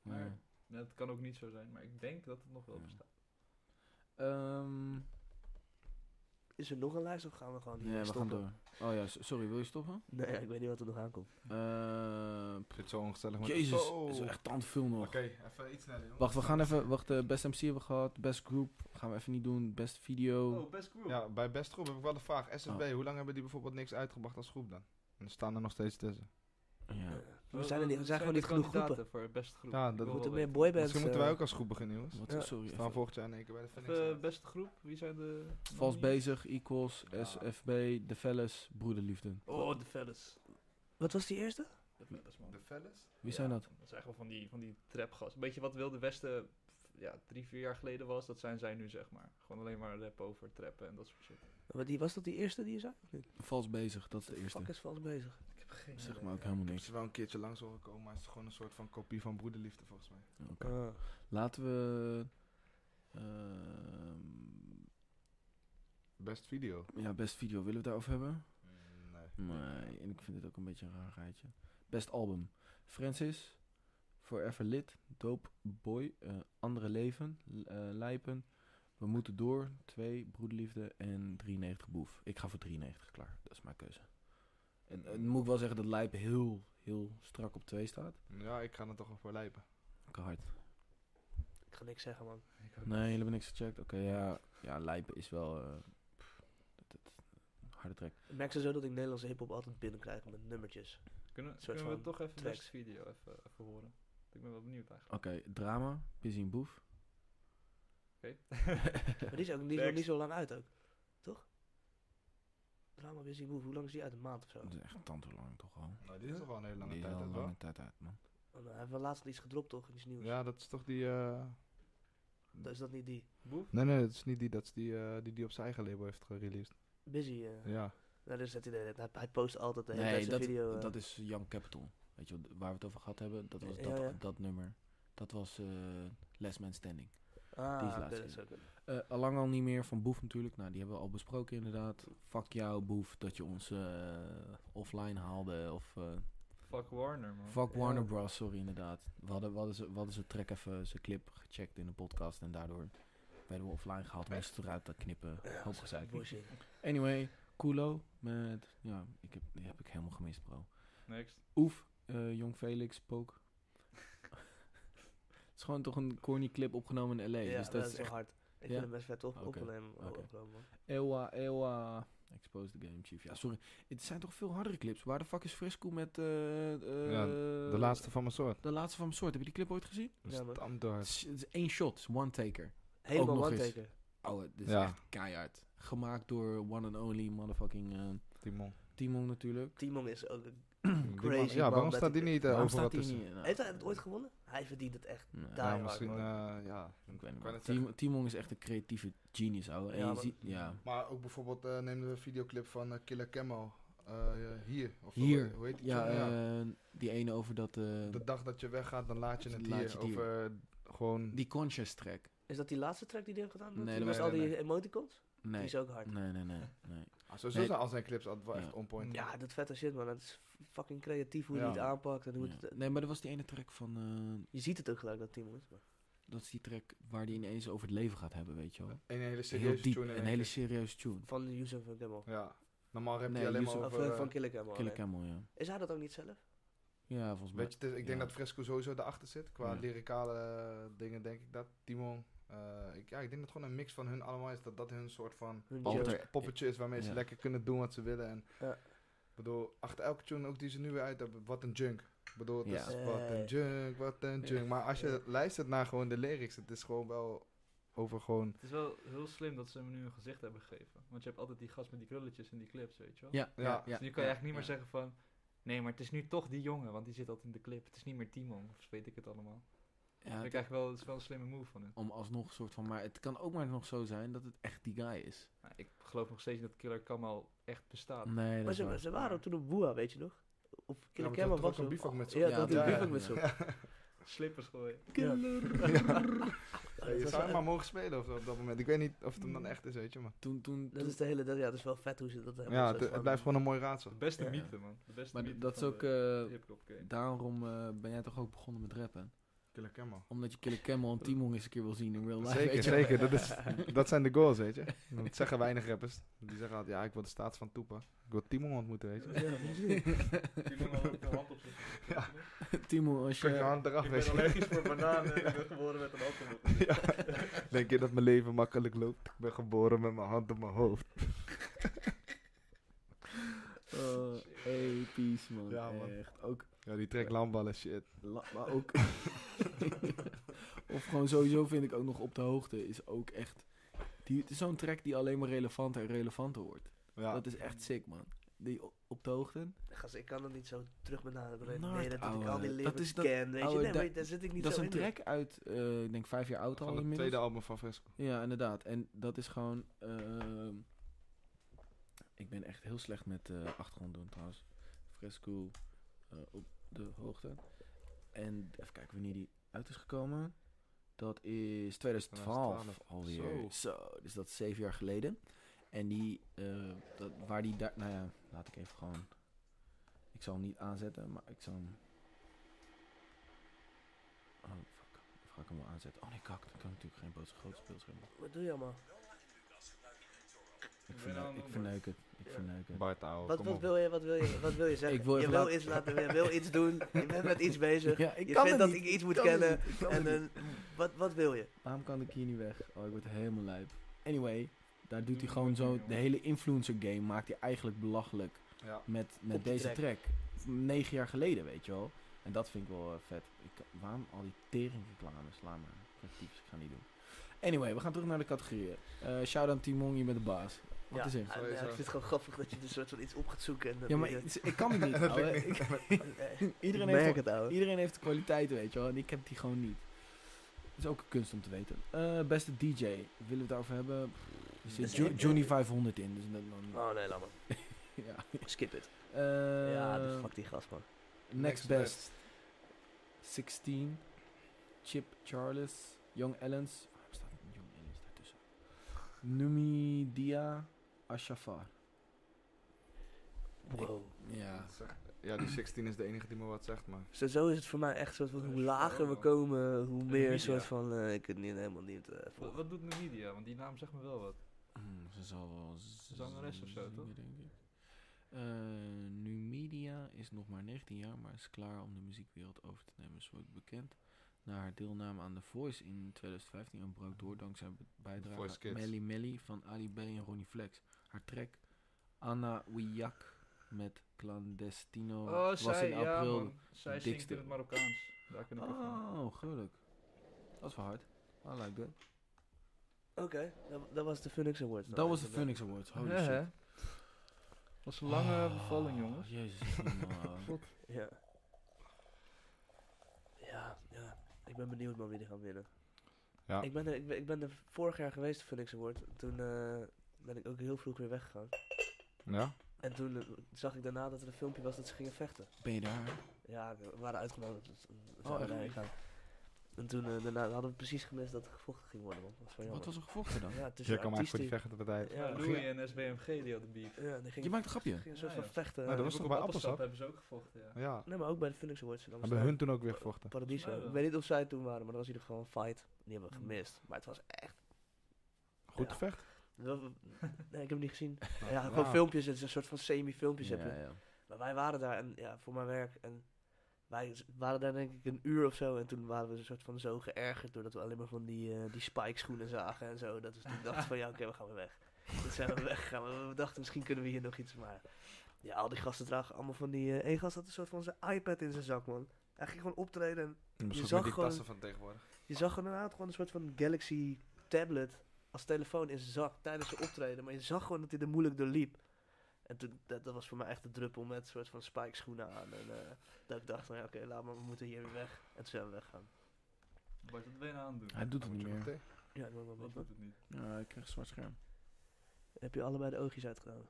[SPEAKER 4] Maar-
[SPEAKER 3] Ja.
[SPEAKER 4] Ja, het kan ook niet zo zijn, maar ik denk dat het nog wel
[SPEAKER 3] Ja.
[SPEAKER 4] bestaat.
[SPEAKER 3] Ehm,
[SPEAKER 2] Is er nog een lijst of gaan we gewoon
[SPEAKER 3] nee,
[SPEAKER 2] hiermee
[SPEAKER 3] we gaan
[SPEAKER 2] stoppen?
[SPEAKER 3] door. Oh ja, s- sorry, wil je stoppen?
[SPEAKER 2] Nee, ik weet niet wat er nog aankomt.
[SPEAKER 3] Eh,
[SPEAKER 1] Ik vind het zo ongezellig. met-
[SPEAKER 3] Jezus,
[SPEAKER 1] Oh.
[SPEAKER 3] is
[SPEAKER 1] Oké,
[SPEAKER 3] echt tandveel nog.
[SPEAKER 1] even iets sneller jongens.
[SPEAKER 3] Wacht, we gaan even. Wacht, eh, best MC hebben we gehad. Best group gaan we even niet doen. Best video.
[SPEAKER 4] Oh, best cool.
[SPEAKER 1] Ja, bij Best Groep heb ik wel de vraag. SSB,
[SPEAKER 3] Oh.
[SPEAKER 1] hoe lang hebben die bijvoorbeeld niks uitgebracht als groep dan? En er staan er nog steeds tussen.
[SPEAKER 3] Ja.
[SPEAKER 2] Eh, We zijn er niet, we zijn gewoon niet genoeg groepen.
[SPEAKER 4] voor best groep.
[SPEAKER 1] Ja,
[SPEAKER 4] Ik
[SPEAKER 1] dat
[SPEAKER 4] wil
[SPEAKER 2] moeten
[SPEAKER 4] wel
[SPEAKER 2] meer
[SPEAKER 4] weten.
[SPEAKER 2] boybands.
[SPEAKER 1] Misschien moeten wij
[SPEAKER 2] eh,
[SPEAKER 1] ook als groep beginnen jongens.
[SPEAKER 3] Wat,
[SPEAKER 2] Ja.
[SPEAKER 3] Sorry.
[SPEAKER 1] We
[SPEAKER 3] even.
[SPEAKER 1] staan vorig jaar in één keer bij de finish.
[SPEAKER 4] Even
[SPEAKER 1] uit.
[SPEAKER 4] beste groep, wie zijn de.
[SPEAKER 3] Vals
[SPEAKER 4] nominees?
[SPEAKER 3] bezig, Equals,
[SPEAKER 1] Ja.
[SPEAKER 3] SFB, De Felles, Broederliefden.
[SPEAKER 4] Oh, de fellas.
[SPEAKER 2] Wat was die eerste?
[SPEAKER 4] De fellas, man.
[SPEAKER 1] De fellas?
[SPEAKER 3] Wie zijn
[SPEAKER 4] Ja,
[SPEAKER 3] dat?
[SPEAKER 4] Dat zijn gewoon van die, van die trapgas. Een beetje wat Wilde Westen ja, drie, vier jaar geleden was, dat zijn zij nu, zeg maar. Gewoon alleen maar rap over trappen en dat soort shit.
[SPEAKER 2] Maar die, was dat die eerste die je zei? Of niet?
[SPEAKER 3] Vals bezig, dat is de
[SPEAKER 2] De
[SPEAKER 3] eerste.
[SPEAKER 2] fuck is vals bezig.
[SPEAKER 4] Ik heb geen
[SPEAKER 3] Zeg maar ook helemaal
[SPEAKER 1] Ik heb
[SPEAKER 3] niks.
[SPEAKER 1] ze wel een keertje langs horen komen, maar het is gewoon een soort van kopie van Broederliefde volgens mij.
[SPEAKER 3] Oké. Laten we... ehm,
[SPEAKER 1] Best video.
[SPEAKER 3] ja, best video. Willen we het daarover hebben?
[SPEAKER 1] Mm, Nee.
[SPEAKER 3] Nee, en ik vind het ook een beetje een raarheidje. Best album. Francis, Forever Lit, Dope Boy, eh, Andere Leven, L- eh, Lijpen, We Moeten Door, 2, Broederliefde en 93 Boef. Ik ga voor 93, klaar. Dat is mijn keuze. En, en moet ik wel zeggen dat Lijpen heel, heel strak op 2 staat.
[SPEAKER 1] Ja, ik ga er toch wel voor lijpen.
[SPEAKER 3] Ik hard.
[SPEAKER 2] Ik ga niks zeggen, man.
[SPEAKER 3] Nee, jullie hebben niks gecheckt. Oké, ja, ja, Lijpen is wel... eh, pff, dat- dat- een harde track.
[SPEAKER 2] Ik merk zo dat ik Nederlandse hiphop altijd binnenkrijg met nummertjes.
[SPEAKER 4] Kunnen,
[SPEAKER 2] Een soort
[SPEAKER 4] kunnen we
[SPEAKER 2] van
[SPEAKER 4] toch even
[SPEAKER 2] tracks.
[SPEAKER 4] best video even, even horen? Want Ik ben wel benieuwd eigenlijk.
[SPEAKER 3] Oké, drama, Busy en Boef.
[SPEAKER 2] [LAUGHS]
[SPEAKER 3] Oh.
[SPEAKER 4] Oké.
[SPEAKER 2] Maar die is ook niet, nog
[SPEAKER 4] Next.
[SPEAKER 2] niet zo lang uit ook. Toch? Drama Busy Move, hoe lang is die uit? Een maand of zo?
[SPEAKER 3] Dat is echt tante lang toch al.
[SPEAKER 1] Nou, dit is toch wel een hele lange
[SPEAKER 3] Die is
[SPEAKER 1] tijd,
[SPEAKER 3] al
[SPEAKER 1] hè,
[SPEAKER 3] een
[SPEAKER 1] wel?
[SPEAKER 3] lange tijd uit, man.
[SPEAKER 2] Oh, nou, hij heeft wel laatst iets gedropt toch? Iets nieuws.
[SPEAKER 1] Ja, dat is toch die... eh,
[SPEAKER 2] Dat is dat niet die?
[SPEAKER 4] Boef?
[SPEAKER 1] Nee, nee, dat is niet die. Dat is die eh, die, die op zijn eigen label heeft gereleased.
[SPEAKER 2] Busy. eh.
[SPEAKER 1] Ja.
[SPEAKER 2] Nou, dat is het idee. dat Hij, hij post altijd de hele tijd
[SPEAKER 3] Nee,
[SPEAKER 2] zijn
[SPEAKER 3] dat,
[SPEAKER 2] video. eh,
[SPEAKER 3] dat is Young Capital. Weet je, wat- waar we het over gehad hebben, dat was
[SPEAKER 2] Ja,
[SPEAKER 3] dat,
[SPEAKER 2] ja.
[SPEAKER 3] dat nummer. Dat was eh Last Man Standing.
[SPEAKER 2] ah,
[SPEAKER 3] die is
[SPEAKER 2] oké,
[SPEAKER 3] laatst
[SPEAKER 2] dat is ook een-
[SPEAKER 3] Eh allang al niet meer van Boef natuurlijk. Nou, die hebben we al besproken inderdaad. Fuck jou, Boef, dat je ons eh, offline haalde. Of eh,
[SPEAKER 4] Fuck Warner, man.
[SPEAKER 3] fuck
[SPEAKER 2] Ja.
[SPEAKER 3] Warner Bros, sorry inderdaad. We hadden, we hadden, ze- we hadden zijn track even, zijn clip gecheckt in de podcast. En daardoor werden we offline gehaald. Moesten we eruit dat knippen.
[SPEAKER 2] [LAUGHS]
[SPEAKER 3] Hoop gezeik.
[SPEAKER 2] bullshit.
[SPEAKER 3] Anyway, Kulo met... Ja, ik heb, die heb ik helemaal gemist, bro.
[SPEAKER 4] Next.
[SPEAKER 3] Oef, eh, Jong Felix,
[SPEAKER 2] [LAUGHS]
[SPEAKER 3] Pook. Het is gewoon toch een corny clip opgenomen in L.A.
[SPEAKER 2] ja,
[SPEAKER 3] dus
[SPEAKER 2] dat
[SPEAKER 3] dat is
[SPEAKER 2] wel
[SPEAKER 3] echt...
[SPEAKER 2] hard. Ik
[SPEAKER 3] Ja?
[SPEAKER 2] vind hem best vet op,
[SPEAKER 3] Oké,
[SPEAKER 2] opnemen.
[SPEAKER 3] oké.
[SPEAKER 2] opnemen, man.
[SPEAKER 3] Ewa, Ewa. Expose the game, Chief. Ja, sorry. Het zijn toch veel hardere clips. Waar de fuck is Frisco met... eh, eh,
[SPEAKER 1] Ja, De laatste van mijn soort.
[SPEAKER 3] De laatste van mijn soort. Heb je die clip ooit gezien?
[SPEAKER 2] Ja, maar-
[SPEAKER 3] Het
[SPEAKER 1] Standaard.
[SPEAKER 3] is, het is één shot. Het is one taker.
[SPEAKER 2] Helemaal
[SPEAKER 3] nog
[SPEAKER 2] one
[SPEAKER 3] eens.
[SPEAKER 2] taker.
[SPEAKER 3] Oh, dit is
[SPEAKER 1] Ja.
[SPEAKER 3] echt keihard. Gemaakt door one and only motherfucking eh
[SPEAKER 1] Timon.
[SPEAKER 3] Timon natuurlijk.
[SPEAKER 2] Timon is ook... een-
[SPEAKER 1] Die man-
[SPEAKER 2] Crazy
[SPEAKER 1] Ja,
[SPEAKER 2] man
[SPEAKER 1] waarom
[SPEAKER 2] dat
[SPEAKER 1] staat die
[SPEAKER 2] hij-
[SPEAKER 1] niet eh,
[SPEAKER 3] Waarom
[SPEAKER 1] overal
[SPEAKER 3] staat hij
[SPEAKER 1] tussen?
[SPEAKER 3] niet? Nou,
[SPEAKER 2] Heeft hij het ooit gewonnen? Hij verdient het echt.
[SPEAKER 3] nou,
[SPEAKER 2] daar?
[SPEAKER 1] Ja,
[SPEAKER 2] Ja,
[SPEAKER 1] misschien,
[SPEAKER 2] man.
[SPEAKER 1] eh, ja.
[SPEAKER 3] Ik weet niet,
[SPEAKER 1] Kan
[SPEAKER 3] man.
[SPEAKER 1] het
[SPEAKER 3] Timon, Timon is echt een creatieve genius, ouwe. En
[SPEAKER 2] Ja,
[SPEAKER 3] je
[SPEAKER 2] maar-
[SPEAKER 3] ziet... Ja.
[SPEAKER 1] Maar ook bijvoorbeeld eh neem de videoclip van eh, Killer Camo. eh, eh, hier. Of
[SPEAKER 3] Hier.
[SPEAKER 1] Hoe heet die?
[SPEAKER 3] Ja,
[SPEAKER 1] film?
[SPEAKER 3] eh, die ene over dat... eh,
[SPEAKER 1] De dag dat je weggaat, dan laat je
[SPEAKER 3] Dan
[SPEAKER 1] het
[SPEAKER 3] laat
[SPEAKER 1] hier.
[SPEAKER 3] je het
[SPEAKER 1] of
[SPEAKER 3] hier.
[SPEAKER 1] eh, gewoon...
[SPEAKER 3] die conscious track.
[SPEAKER 2] Is dat die laatste track die hij heeft gedaan?
[SPEAKER 3] Nee,
[SPEAKER 2] Nee,
[SPEAKER 3] nee,
[SPEAKER 2] was al
[SPEAKER 1] nee,
[SPEAKER 2] die
[SPEAKER 1] nee.
[SPEAKER 2] emoticons?
[SPEAKER 3] Nee.
[SPEAKER 2] Die is ook hard.
[SPEAKER 3] Nee, nee, nee. nee.
[SPEAKER 1] Ah, sowieso
[SPEAKER 3] Nee.
[SPEAKER 1] zijn al zijn clips altijd wel
[SPEAKER 3] Ja.
[SPEAKER 1] echt on point.
[SPEAKER 2] Ja, hij doet vette shit, man. Het is fucking creatief hoe
[SPEAKER 1] Ja.
[SPEAKER 2] hij het aanpakt. En hoe
[SPEAKER 3] Ja.
[SPEAKER 2] het, eh,
[SPEAKER 3] nee, maar er was die ene track van... eh,
[SPEAKER 2] je ziet het ook gelijk dat Timon is. maar-
[SPEAKER 3] dat is die track waar die ineens over het leven gaat hebben, weet je wel.
[SPEAKER 1] Een hele
[SPEAKER 3] Heel
[SPEAKER 1] serieuze
[SPEAKER 3] diep,
[SPEAKER 1] tune in
[SPEAKER 3] een
[SPEAKER 1] één
[SPEAKER 3] hele
[SPEAKER 1] keer.
[SPEAKER 3] serieuze tune.
[SPEAKER 2] Van Yusuf van Gemmel.
[SPEAKER 1] Ja. Normaal rapt hij
[SPEAKER 3] Nee,
[SPEAKER 1] alleen maar
[SPEAKER 3] Yusuf-
[SPEAKER 2] Of
[SPEAKER 1] over...
[SPEAKER 2] eh,
[SPEAKER 1] eh,
[SPEAKER 2] van Killer Camel.
[SPEAKER 3] Killer
[SPEAKER 2] alleen.
[SPEAKER 3] Camel, ja.
[SPEAKER 2] Is hij dat ook niet zelf?
[SPEAKER 3] Ja, volgens mij.
[SPEAKER 1] Weet je, het is- ik denk
[SPEAKER 3] ja.
[SPEAKER 1] dat Fresco sowieso erachter zit. Qua
[SPEAKER 3] Ja.
[SPEAKER 1] lyricale eh, dingen denk ik dat. Timon. eh, ik, ja, ik denk dat gewoon een mix van hun allemaal is. Dat dat hun soort van
[SPEAKER 2] Hun
[SPEAKER 3] Walter.
[SPEAKER 2] jokes.
[SPEAKER 3] Ja.
[SPEAKER 1] poppetje is waarmee ze
[SPEAKER 3] Ja.
[SPEAKER 1] lekker kunnen doen wat ze willen. En,
[SPEAKER 2] Ja.
[SPEAKER 1] ik bedoel, achter elke tune ook die ze nu weer uit hebben, wat een junk. Ik bedoel, het
[SPEAKER 3] Ja.
[SPEAKER 1] is
[SPEAKER 2] Eh.
[SPEAKER 1] wat een junk, wat een
[SPEAKER 3] Ja.
[SPEAKER 1] junk. Maar als je luistert naar gewoon de lyrics, het is gewoon wel over gewoon...
[SPEAKER 4] Het is wel heel slim dat ze hem nu een gezicht hebben gegeven. Want je hebt altijd die gast met die krulletjes in die clips, weet je wel.
[SPEAKER 3] eh, Ja, ja,
[SPEAKER 1] Ja.
[SPEAKER 3] ja.
[SPEAKER 4] dus nu
[SPEAKER 3] ja,
[SPEAKER 4] kan je eigenlijk niet meer
[SPEAKER 3] ja.
[SPEAKER 4] zeggen van... Nee, maar het is nu toch die jongen, want die zit altijd in de clip. Het is niet meer Timon, of weet ik het allemaal.
[SPEAKER 3] Ja,
[SPEAKER 4] Dat vind ik eigenlijk wel, het is wel een slimme move van hun.
[SPEAKER 3] om alsnog een soort van... Maar het kan ook maar nog zo zijn dat het echt die guy is.
[SPEAKER 4] Maar ik geloof nog steeds niet dat Killer Kamal echt bestaat.
[SPEAKER 3] Nee, dat
[SPEAKER 2] Maar
[SPEAKER 3] is
[SPEAKER 2] ze,
[SPEAKER 3] waar.
[SPEAKER 2] ze waren toen op Boa, weet je nog? Op Killer
[SPEAKER 1] Ja, maar
[SPEAKER 2] Camel
[SPEAKER 1] toen
[SPEAKER 2] was
[SPEAKER 1] had toch ook
[SPEAKER 2] er-
[SPEAKER 1] een bivak met
[SPEAKER 2] Ja, dat
[SPEAKER 3] Ja,
[SPEAKER 2] had
[SPEAKER 1] ja,
[SPEAKER 2] een
[SPEAKER 1] ja,
[SPEAKER 2] bivak met
[SPEAKER 3] ja.
[SPEAKER 2] z'n
[SPEAKER 4] Slippers gooien.
[SPEAKER 1] Ja.
[SPEAKER 2] Ja,
[SPEAKER 1] Ja,
[SPEAKER 2] dat
[SPEAKER 1] je
[SPEAKER 2] was
[SPEAKER 1] zou
[SPEAKER 2] wel-
[SPEAKER 1] hem maar mogen spelen of, op dat moment. Ik weet niet of het hem dan echt is, weet je. Maar,
[SPEAKER 3] Toen, toen,
[SPEAKER 2] Dat
[SPEAKER 3] toen-
[SPEAKER 2] is de hele... Dat, ja, dat is wel vet hoe ze dat hebben.
[SPEAKER 1] ja,
[SPEAKER 2] Een
[SPEAKER 1] het,
[SPEAKER 2] soort
[SPEAKER 1] het
[SPEAKER 2] van-
[SPEAKER 1] blijft gewoon een mooi raadsel.
[SPEAKER 4] De beste
[SPEAKER 2] Ja.
[SPEAKER 4] mythe, man. De beste
[SPEAKER 3] maar d-
[SPEAKER 4] mythe
[SPEAKER 3] dat is
[SPEAKER 4] van
[SPEAKER 3] ook...
[SPEAKER 4] de
[SPEAKER 3] eh,
[SPEAKER 4] hip-hop game.
[SPEAKER 3] daarom eh, ben jij toch ook begonnen met rappen?
[SPEAKER 1] Killer Camel.
[SPEAKER 3] Omdat je Killer Camel en Timon eens een keer wil zien in real life.
[SPEAKER 1] Zeker,
[SPEAKER 3] weet je [LAUGHS]
[SPEAKER 1] zeker. Dat, is, dat zijn de goals, weet je. Dat zeggen weinig rappers. Die zeggen altijd, ja, ik wil de status van Toepa. Ik wil Timon ontmoeten, weet je.
[SPEAKER 2] [LAUGHS]
[SPEAKER 3] [LAUGHS]
[SPEAKER 4] Timon had ook de hand op zijn
[SPEAKER 1] Ja.
[SPEAKER 3] wel. Timon, als
[SPEAKER 1] Schud je
[SPEAKER 3] je...
[SPEAKER 1] hand eraf,
[SPEAKER 4] Ik
[SPEAKER 1] weet
[SPEAKER 4] ben
[SPEAKER 1] je.
[SPEAKER 4] allergisch voor bananen en ik ben geboren met een hand op.
[SPEAKER 1] [LAUGHS] Ja. Denk je dat mijn leven makkelijk loopt? Ik ben geboren met mijn hand op mijn hoofd.
[SPEAKER 3] eh hey, peace, man.
[SPEAKER 1] Ja, man.
[SPEAKER 3] Echt. Ook,
[SPEAKER 1] Ja, die trekt landballen, shit.
[SPEAKER 3] La- maar ook. [LAUGHS] of gewoon sowieso vind ik ook nog op de hoogte is ook echt. Die, het is zo'n track die alleen maar relevanter en relevanter wordt.
[SPEAKER 1] Ja,
[SPEAKER 3] Dat is echt sick, man. die o- op de hoogte.
[SPEAKER 2] Gast, ik kan dat niet zo terug benaderen.
[SPEAKER 3] Nerd,
[SPEAKER 2] Nee, dat ik
[SPEAKER 3] ouwe.
[SPEAKER 2] al die
[SPEAKER 3] Dat
[SPEAKER 2] lyrics
[SPEAKER 3] is dat-
[SPEAKER 2] ken, weet je.
[SPEAKER 3] ouwe,
[SPEAKER 2] Nee,
[SPEAKER 3] da-
[SPEAKER 2] maar daar zit ik niet
[SPEAKER 3] Dat is
[SPEAKER 2] zo
[SPEAKER 3] een
[SPEAKER 2] in, dus-
[SPEAKER 3] track uit, eh, ik denk vijf jaar oud al
[SPEAKER 1] Van het
[SPEAKER 3] inmiddels.
[SPEAKER 1] tweede album van Fresco.
[SPEAKER 3] Ja, inderdaad. En dat is gewoon. ehm, ik ben echt heel slecht met eh achtergrond doen trouwens. Fresco eh, op de hoogte. En even kijken wanneer die uit is gekomen. Dat is 2012,
[SPEAKER 1] 2012. Zo.
[SPEAKER 3] alweer. Zo. Dus dat is zeven jaar geleden. En die, eh, dat, waar die daar, nou ja, laat ik even gewoon. Ik zal hem niet aanzetten, maar ik zal hem. Oh, fuck. Of ga ik hem wel aanzetten? Oh nee, kak. Dan kan ik natuurlijk geen boodschap groot speelscherm.
[SPEAKER 2] Wat doe je allemaal?
[SPEAKER 3] Ik,
[SPEAKER 4] ben
[SPEAKER 3] verneuk-
[SPEAKER 4] aan het
[SPEAKER 3] ik verneuk het. Ik
[SPEAKER 2] Ja.
[SPEAKER 3] verneuk het.
[SPEAKER 1] Bart, ouwe,
[SPEAKER 2] Wat,
[SPEAKER 1] kom
[SPEAKER 2] wat,
[SPEAKER 1] op.
[SPEAKER 2] wil je, wat, wil je, wat wil
[SPEAKER 3] [LAUGHS]
[SPEAKER 2] je zeggen?
[SPEAKER 3] Oh, Ik wil
[SPEAKER 2] je
[SPEAKER 3] even
[SPEAKER 2] wil
[SPEAKER 3] laten-
[SPEAKER 2] iets laten je wil iets
[SPEAKER 3] [LAUGHS]
[SPEAKER 2] doen, je bent met iets bezig.
[SPEAKER 3] Ja, ik
[SPEAKER 2] je
[SPEAKER 3] kan
[SPEAKER 2] vindt
[SPEAKER 3] het
[SPEAKER 2] dat
[SPEAKER 3] niet.
[SPEAKER 2] ik iets moet
[SPEAKER 3] kan het
[SPEAKER 2] kennen.
[SPEAKER 3] niet. Ik kan
[SPEAKER 2] En
[SPEAKER 3] het niet.
[SPEAKER 2] dan, wat, wat wil je?
[SPEAKER 3] Waarom kan ik hier niet weg? Oh, ik word helemaal lijp. Anyway, daar doet
[SPEAKER 4] Doe
[SPEAKER 3] hij
[SPEAKER 4] het
[SPEAKER 3] gewoon
[SPEAKER 4] niet,
[SPEAKER 3] zo...
[SPEAKER 4] jongen.
[SPEAKER 3] De hele influencer game maakt hij eigenlijk belachelijk.
[SPEAKER 1] Ja.
[SPEAKER 3] Met, met
[SPEAKER 2] Op die
[SPEAKER 3] deze
[SPEAKER 2] track.
[SPEAKER 3] track. Negen jaar geleden, weet je wel. En dat vind ik wel eh, vet. Ik, waarom al die teringreclames? Laat maar. Creatiefs, ik ga niet doen. Anyway, we gaan terug naar de categorieën. Eh shout out Timon, je bent de baas. Wat
[SPEAKER 2] ja,
[SPEAKER 3] is er?
[SPEAKER 2] ah,
[SPEAKER 1] Sowieso.
[SPEAKER 2] ja, ik vind het gewoon grappig dat je een soort van iets op gaat zoeken. En dat
[SPEAKER 3] Ja, maar
[SPEAKER 2] je- [LAUGHS]
[SPEAKER 3] ik, ik kan het niet. ouwe. Ik- [LAUGHS] iedereen,
[SPEAKER 2] ik merk
[SPEAKER 3] heeft,
[SPEAKER 2] het ouwe.
[SPEAKER 3] iedereen heeft de kwaliteiten, weet je wel. En ik heb die gewoon niet. Het is ook een kunst om te weten. Eh, beste DJ, willen we het daarover hebben? Pff, Er
[SPEAKER 2] Dus
[SPEAKER 3] zit Jo-
[SPEAKER 2] ik-
[SPEAKER 3] Johnny 500 in. Dus dan, dan-
[SPEAKER 2] Oh nee, laat maar.
[SPEAKER 3] [LAUGHS] ja.
[SPEAKER 2] Skip het.
[SPEAKER 3] Eh,
[SPEAKER 2] ja, dus fuck die gast man.
[SPEAKER 3] Next
[SPEAKER 1] Next
[SPEAKER 3] Best. 16. Chip Charles. Young Ellens. Waarom staat Young Ellens daartussen? Numidia Ashafar.
[SPEAKER 2] Wow.
[SPEAKER 3] Ja.
[SPEAKER 1] Ja, die 16 is de enige die me wat zegt, maar...
[SPEAKER 2] Zo, zo is het voor mij echt soort van,
[SPEAKER 4] Dat
[SPEAKER 2] hoe
[SPEAKER 4] is
[SPEAKER 2] lager
[SPEAKER 4] wel,
[SPEAKER 2] we
[SPEAKER 4] man.
[SPEAKER 2] komen, hoe meer een
[SPEAKER 4] media.
[SPEAKER 2] soort van, eh, ik het niet, helemaal niet eh,
[SPEAKER 4] Wat,
[SPEAKER 2] volgen.
[SPEAKER 4] wat doet Numidia? Want die naam zegt me wel wat.
[SPEAKER 3] Hmm, ze zal wel z-
[SPEAKER 4] Zangeres of zo,
[SPEAKER 3] zingen,
[SPEAKER 4] toch?
[SPEAKER 3] denk ik. Eh, Numidia is nog maar 19 jaar, maar is klaar om de muziekwereld over te nemen, zo wordt bekend. Na haar deelname aan The Voice in 2015 en brak door dankzij be-
[SPEAKER 1] Voice
[SPEAKER 3] bijdrage
[SPEAKER 1] Kids.
[SPEAKER 3] Melly Melly van Ali B en Ronnie Flex. Haar track Anna Wiak met Clandestino
[SPEAKER 4] Oh,
[SPEAKER 3] was
[SPEAKER 4] zij,
[SPEAKER 3] in
[SPEAKER 4] ja
[SPEAKER 3] april.
[SPEAKER 4] man. Zij zingt
[SPEAKER 3] dikste.
[SPEAKER 4] in het Marokkaans. Daar ken ik wel van.
[SPEAKER 3] oh, gelukkig. Dat is wel hard. I like that.
[SPEAKER 2] Oké, dat- dat was de Phoenix Awards.
[SPEAKER 3] Dat was de Phoenix Awards. Holy
[SPEAKER 4] Ja, hè?
[SPEAKER 3] shit. Ah.
[SPEAKER 4] was een lange bevalling, jongens.
[SPEAKER 3] Jezus, man.
[SPEAKER 4] [LAUGHS]
[SPEAKER 2] Ja. Ja, ja. Ik ben benieuwd man wie die gaan winnen.
[SPEAKER 1] Ja.
[SPEAKER 2] Ik, ben er, ik, ben, ik ben er vorig jaar geweest, de Phoenix Award. Toen eh, ben ik ook heel vroeg weer weggegaan.
[SPEAKER 1] Ja?
[SPEAKER 2] En toen eh, zag ik daarna dat er een filmpje was dat ze gingen vechten.
[SPEAKER 3] Ben je daar?
[SPEAKER 2] Ja, we waren uitgenodigd. Dus we
[SPEAKER 3] Oh, echt?
[SPEAKER 2] zijn daarheen gegaan. En toen eh, daarna hadden we precies gemist dat er gevochten ging worden. Man. Dat was wel
[SPEAKER 3] Wat
[SPEAKER 2] jammer.
[SPEAKER 3] was er gevochten dan?
[SPEAKER 2] Ja, tussen
[SPEAKER 1] Je kwam eigenlijk voor die
[SPEAKER 2] artiesten.
[SPEAKER 1] vechtpartij.
[SPEAKER 2] Ja, Nou,
[SPEAKER 4] Ja, Louis en SBMG die hadden Eh, beef.
[SPEAKER 2] Ja, die
[SPEAKER 3] Je
[SPEAKER 2] gingen
[SPEAKER 3] maakt een grapje.
[SPEAKER 2] gingen een soort
[SPEAKER 4] Ja,
[SPEAKER 2] van
[SPEAKER 4] ja.
[SPEAKER 2] vechten.
[SPEAKER 1] Nou, dat
[SPEAKER 2] eh,
[SPEAKER 1] was toch bij Appelsap?
[SPEAKER 4] hebben ze ook gevochten, ja.
[SPEAKER 1] Ja.
[SPEAKER 2] Nee, maar ook bij de Phoenix Awards. in
[SPEAKER 1] Hebben
[SPEAKER 2] Amsterdam.
[SPEAKER 1] hun toen ook weer gevochten?
[SPEAKER 2] Paradiso.
[SPEAKER 4] Ja.
[SPEAKER 2] Ik weet niet of zij het toen waren, maar dat was in ieder geval een fight. Die hebben we
[SPEAKER 4] Hmm.
[SPEAKER 2] gemist. Maar het was e- echt...
[SPEAKER 1] Goed
[SPEAKER 2] Ja.
[SPEAKER 1] gevecht?
[SPEAKER 2] wel- Nee, ik heb het niet
[SPEAKER 1] [LAUGHS]
[SPEAKER 2] gezien.
[SPEAKER 1] Nou,
[SPEAKER 2] Ja, gewoon
[SPEAKER 1] nou,
[SPEAKER 2] filmpjes. Het is een soort van semi-filmpjes heb
[SPEAKER 3] Ja,
[SPEAKER 2] je.
[SPEAKER 3] ja.
[SPEAKER 2] Maar wij waren daar en, ja, voor mijn werk. En wij z- waren daar denk ik een uur of zo. En toen waren we een soort van zo geërgerd. Doordat we alleen maar van die, eh die spikeschoenen zagen en zo. Dat we toen dachten van ja, oké, we gaan weer weg. Toen zijn we weggegaan. We- We dachten misschien kunnen we hier nog iets. Maar ja, al die gasten dragen allemaal van die... eh één gast had een soort van zijn iPad in zijn zak, man. Hij ging gewoon optreden en
[SPEAKER 1] Misschien
[SPEAKER 2] zag
[SPEAKER 1] met die
[SPEAKER 2] gewoon-
[SPEAKER 1] tassen van tegenwoordig.
[SPEAKER 2] je zag gewoon inderdaad gewoon een soort van Galaxy tablet als telefoon in zijn zak tijdens zijn optreden. Maar je zag gewoon dat hij er moeilijk door liep. En toen, dat, dat was voor mij echt de druppel met een soort van spikeschoenen aan. En eh, dat ik dacht, nou ja, oké, laat maar, we moeten hier weer weg. En toen zijn we weggaan.
[SPEAKER 4] Bart, wat ben je nou aan het doen?
[SPEAKER 3] Hij doet het
[SPEAKER 1] Moet
[SPEAKER 3] niet
[SPEAKER 1] je
[SPEAKER 3] meer.
[SPEAKER 1] meteen.
[SPEAKER 2] Ja, ik ben wel
[SPEAKER 4] Wat
[SPEAKER 2] benieuwd.
[SPEAKER 4] doet het
[SPEAKER 3] [LAUGHS]
[SPEAKER 4] niet?
[SPEAKER 3] Ja, ik kreeg zwart scherm.
[SPEAKER 2] Heb je allebei de oogjes uitgedaan?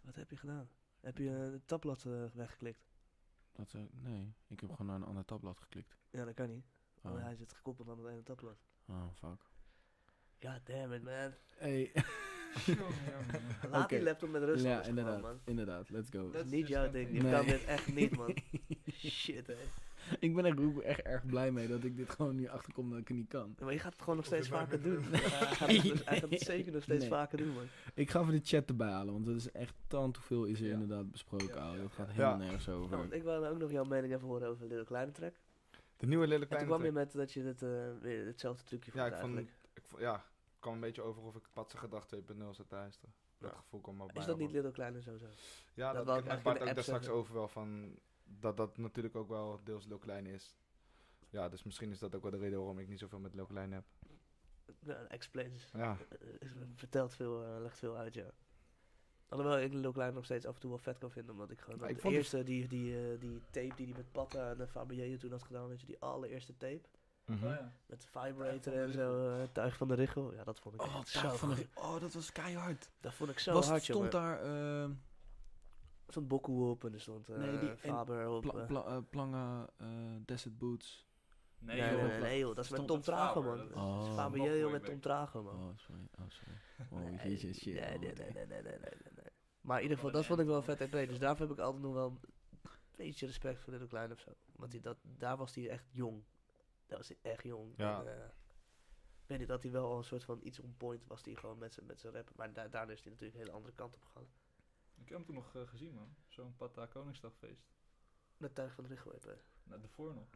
[SPEAKER 2] Wat heb je gedaan? Heb je eh, het tabblad eh, weggeklikt?
[SPEAKER 3] Dat, eh, nee, ik heb gewoon naar een ander tabblad geklikt.
[SPEAKER 2] Ja, dat kan niet. Want
[SPEAKER 3] Oh,
[SPEAKER 2] hij zit gekoppeld aan het ene tabblad.
[SPEAKER 3] oh fuck.
[SPEAKER 2] God damn it, man.
[SPEAKER 3] [LAUGHS] Hey.
[SPEAKER 4] [LAUGHS] Oh,
[SPEAKER 2] Laat die
[SPEAKER 3] Oké.
[SPEAKER 2] laptop met rust.
[SPEAKER 3] ja,
[SPEAKER 2] anders gewoon, man.
[SPEAKER 3] inderdaad. Inderdaad, let's go.
[SPEAKER 2] Dat
[SPEAKER 4] Dat
[SPEAKER 2] is
[SPEAKER 4] is
[SPEAKER 2] niet
[SPEAKER 4] dus
[SPEAKER 2] jouw
[SPEAKER 4] geen
[SPEAKER 2] ding.
[SPEAKER 4] ding.
[SPEAKER 2] Je
[SPEAKER 3] Nee.
[SPEAKER 2] kan dit echt niet, man. Shit, hè.
[SPEAKER 3] [LAUGHS] ik ben echt, ook echt erg blij mee dat ik dit gewoon nu achterkom dat ik het niet kan.
[SPEAKER 2] Maar je gaat het gewoon nog steeds
[SPEAKER 1] Of je
[SPEAKER 2] vaker
[SPEAKER 1] maakt het [LAUGHS]
[SPEAKER 2] doen. Ja, hij gaat het dus- hij gaat
[SPEAKER 3] Nee.
[SPEAKER 2] het zeker nog steeds
[SPEAKER 3] Nee.
[SPEAKER 2] vaker doen, man.
[SPEAKER 3] Ik ga even de chat erbij halen, want dat is echt tant hoeveel is er
[SPEAKER 4] Ja.
[SPEAKER 3] inderdaad besproken,
[SPEAKER 4] Ja,
[SPEAKER 3] ouwe.
[SPEAKER 4] ja,
[SPEAKER 3] Dat gaat
[SPEAKER 1] ja.
[SPEAKER 3] helemaal
[SPEAKER 1] Ja.
[SPEAKER 3] nergens
[SPEAKER 2] Ja, Oh, want
[SPEAKER 3] over.
[SPEAKER 2] ik wilde ook nog jouw mening even horen over Little Kleine Track.
[SPEAKER 1] De nieuwe Lille
[SPEAKER 2] En toen
[SPEAKER 1] Kleine
[SPEAKER 2] kwam je
[SPEAKER 1] Track.
[SPEAKER 2] met dat je het, eh, weer hetzelfde trucje vond
[SPEAKER 1] Ja, ik vond,
[SPEAKER 2] eigenlijk.
[SPEAKER 1] ik vond- ja, het kwam een beetje over of ik Patse Gedag 2.0 zat te luisteren. Dat
[SPEAKER 2] Ja.
[SPEAKER 1] gevoel kwam maar bij.
[SPEAKER 2] Is dat niet Little Kleine sowieso?
[SPEAKER 1] Ja,
[SPEAKER 2] Dat
[SPEAKER 1] dat,
[SPEAKER 2] wou
[SPEAKER 1] ik
[SPEAKER 2] ik
[SPEAKER 1] met
[SPEAKER 2] eigenlijk in de
[SPEAKER 1] Bart ook
[SPEAKER 2] app
[SPEAKER 1] daar straks
[SPEAKER 2] zeggen.
[SPEAKER 1] over wel van... Dat dat natuurlijk ook wel deels Lil Klein is. Ja, dus misschien is dat ook wel de reden waarom ik niet zoveel met Lil Klein heb.
[SPEAKER 2] Nou, explains.
[SPEAKER 1] Ja,
[SPEAKER 2] eh, vertelt veel, eh, legt veel uit, ja. Alhoewel ik Lil Klein nog steeds af en toe wel vet kan vinden, omdat ik gewoon...
[SPEAKER 1] Maar
[SPEAKER 2] dat
[SPEAKER 1] ik
[SPEAKER 2] de
[SPEAKER 1] vond het-
[SPEAKER 2] eerste, die, die, eh, die tape die hij met Patta en eh, Fabienne toen had gedaan, weet je, die allereerste tape.
[SPEAKER 1] mhm.
[SPEAKER 4] Oh, ja.
[SPEAKER 2] Met
[SPEAKER 4] Tuig van
[SPEAKER 2] Vibrator
[SPEAKER 4] de
[SPEAKER 2] en zo, eh, Tuig van de Richel. Ja, dat vond ik
[SPEAKER 3] Oh,
[SPEAKER 2] echt
[SPEAKER 3] daar
[SPEAKER 2] zo
[SPEAKER 3] van de-
[SPEAKER 2] goed.
[SPEAKER 3] oh, dat was keihard.
[SPEAKER 2] Dat vond ik zo
[SPEAKER 3] was,
[SPEAKER 2] hard, jongen.
[SPEAKER 3] stond daar eh,
[SPEAKER 2] Er stond Bokkoe op en er stond eh,
[SPEAKER 3] Nee, die- en
[SPEAKER 2] Faber op.
[SPEAKER 3] pla-
[SPEAKER 2] eh.
[SPEAKER 3] pla- eh, Planga, eh, Desert Boots.
[SPEAKER 4] Nee,
[SPEAKER 2] nee, nee,
[SPEAKER 3] joh.
[SPEAKER 2] nee, nee, joh, dat is met
[SPEAKER 3] Stond
[SPEAKER 2] Tom
[SPEAKER 4] met Faber,
[SPEAKER 2] Trago,
[SPEAKER 4] dat
[SPEAKER 2] man.
[SPEAKER 4] is-
[SPEAKER 3] Oh.
[SPEAKER 2] Oh,
[SPEAKER 4] Nog mooier
[SPEAKER 2] met
[SPEAKER 4] back.
[SPEAKER 2] Tom Trago, man.
[SPEAKER 3] Oh, sorry. Oh, [LAUGHS] sorry. Oh,
[SPEAKER 2] Nee,
[SPEAKER 3] jezus, Oh, shit.
[SPEAKER 2] Nee,
[SPEAKER 3] man,
[SPEAKER 2] nee,
[SPEAKER 3] wat
[SPEAKER 2] nee,
[SPEAKER 3] een-
[SPEAKER 2] nee, nee, nee, nee, nee. Maar in ieder geval, dat vond ik wel een vet EP. Dus daarvoor heb ik altijd nog wel een beetje respect voor Little Klein of zo. Want die, dat, daar was hij echt jong. Daar was hij echt jong.
[SPEAKER 1] Ja.
[SPEAKER 2] En, eh, ik weet niet, dat hij wel al een soort van iets on point was die gewoon met zijn met zijn rap. Maar da daarna is hij natuurlijk een hele andere kant op gegaan.
[SPEAKER 4] Ik heb hem toen nog eh, gezien, man. Zo'n Pata Koningsdagfeest.
[SPEAKER 2] Met Tuig van de Richel EP.
[SPEAKER 4] Nou, daarvoor nog.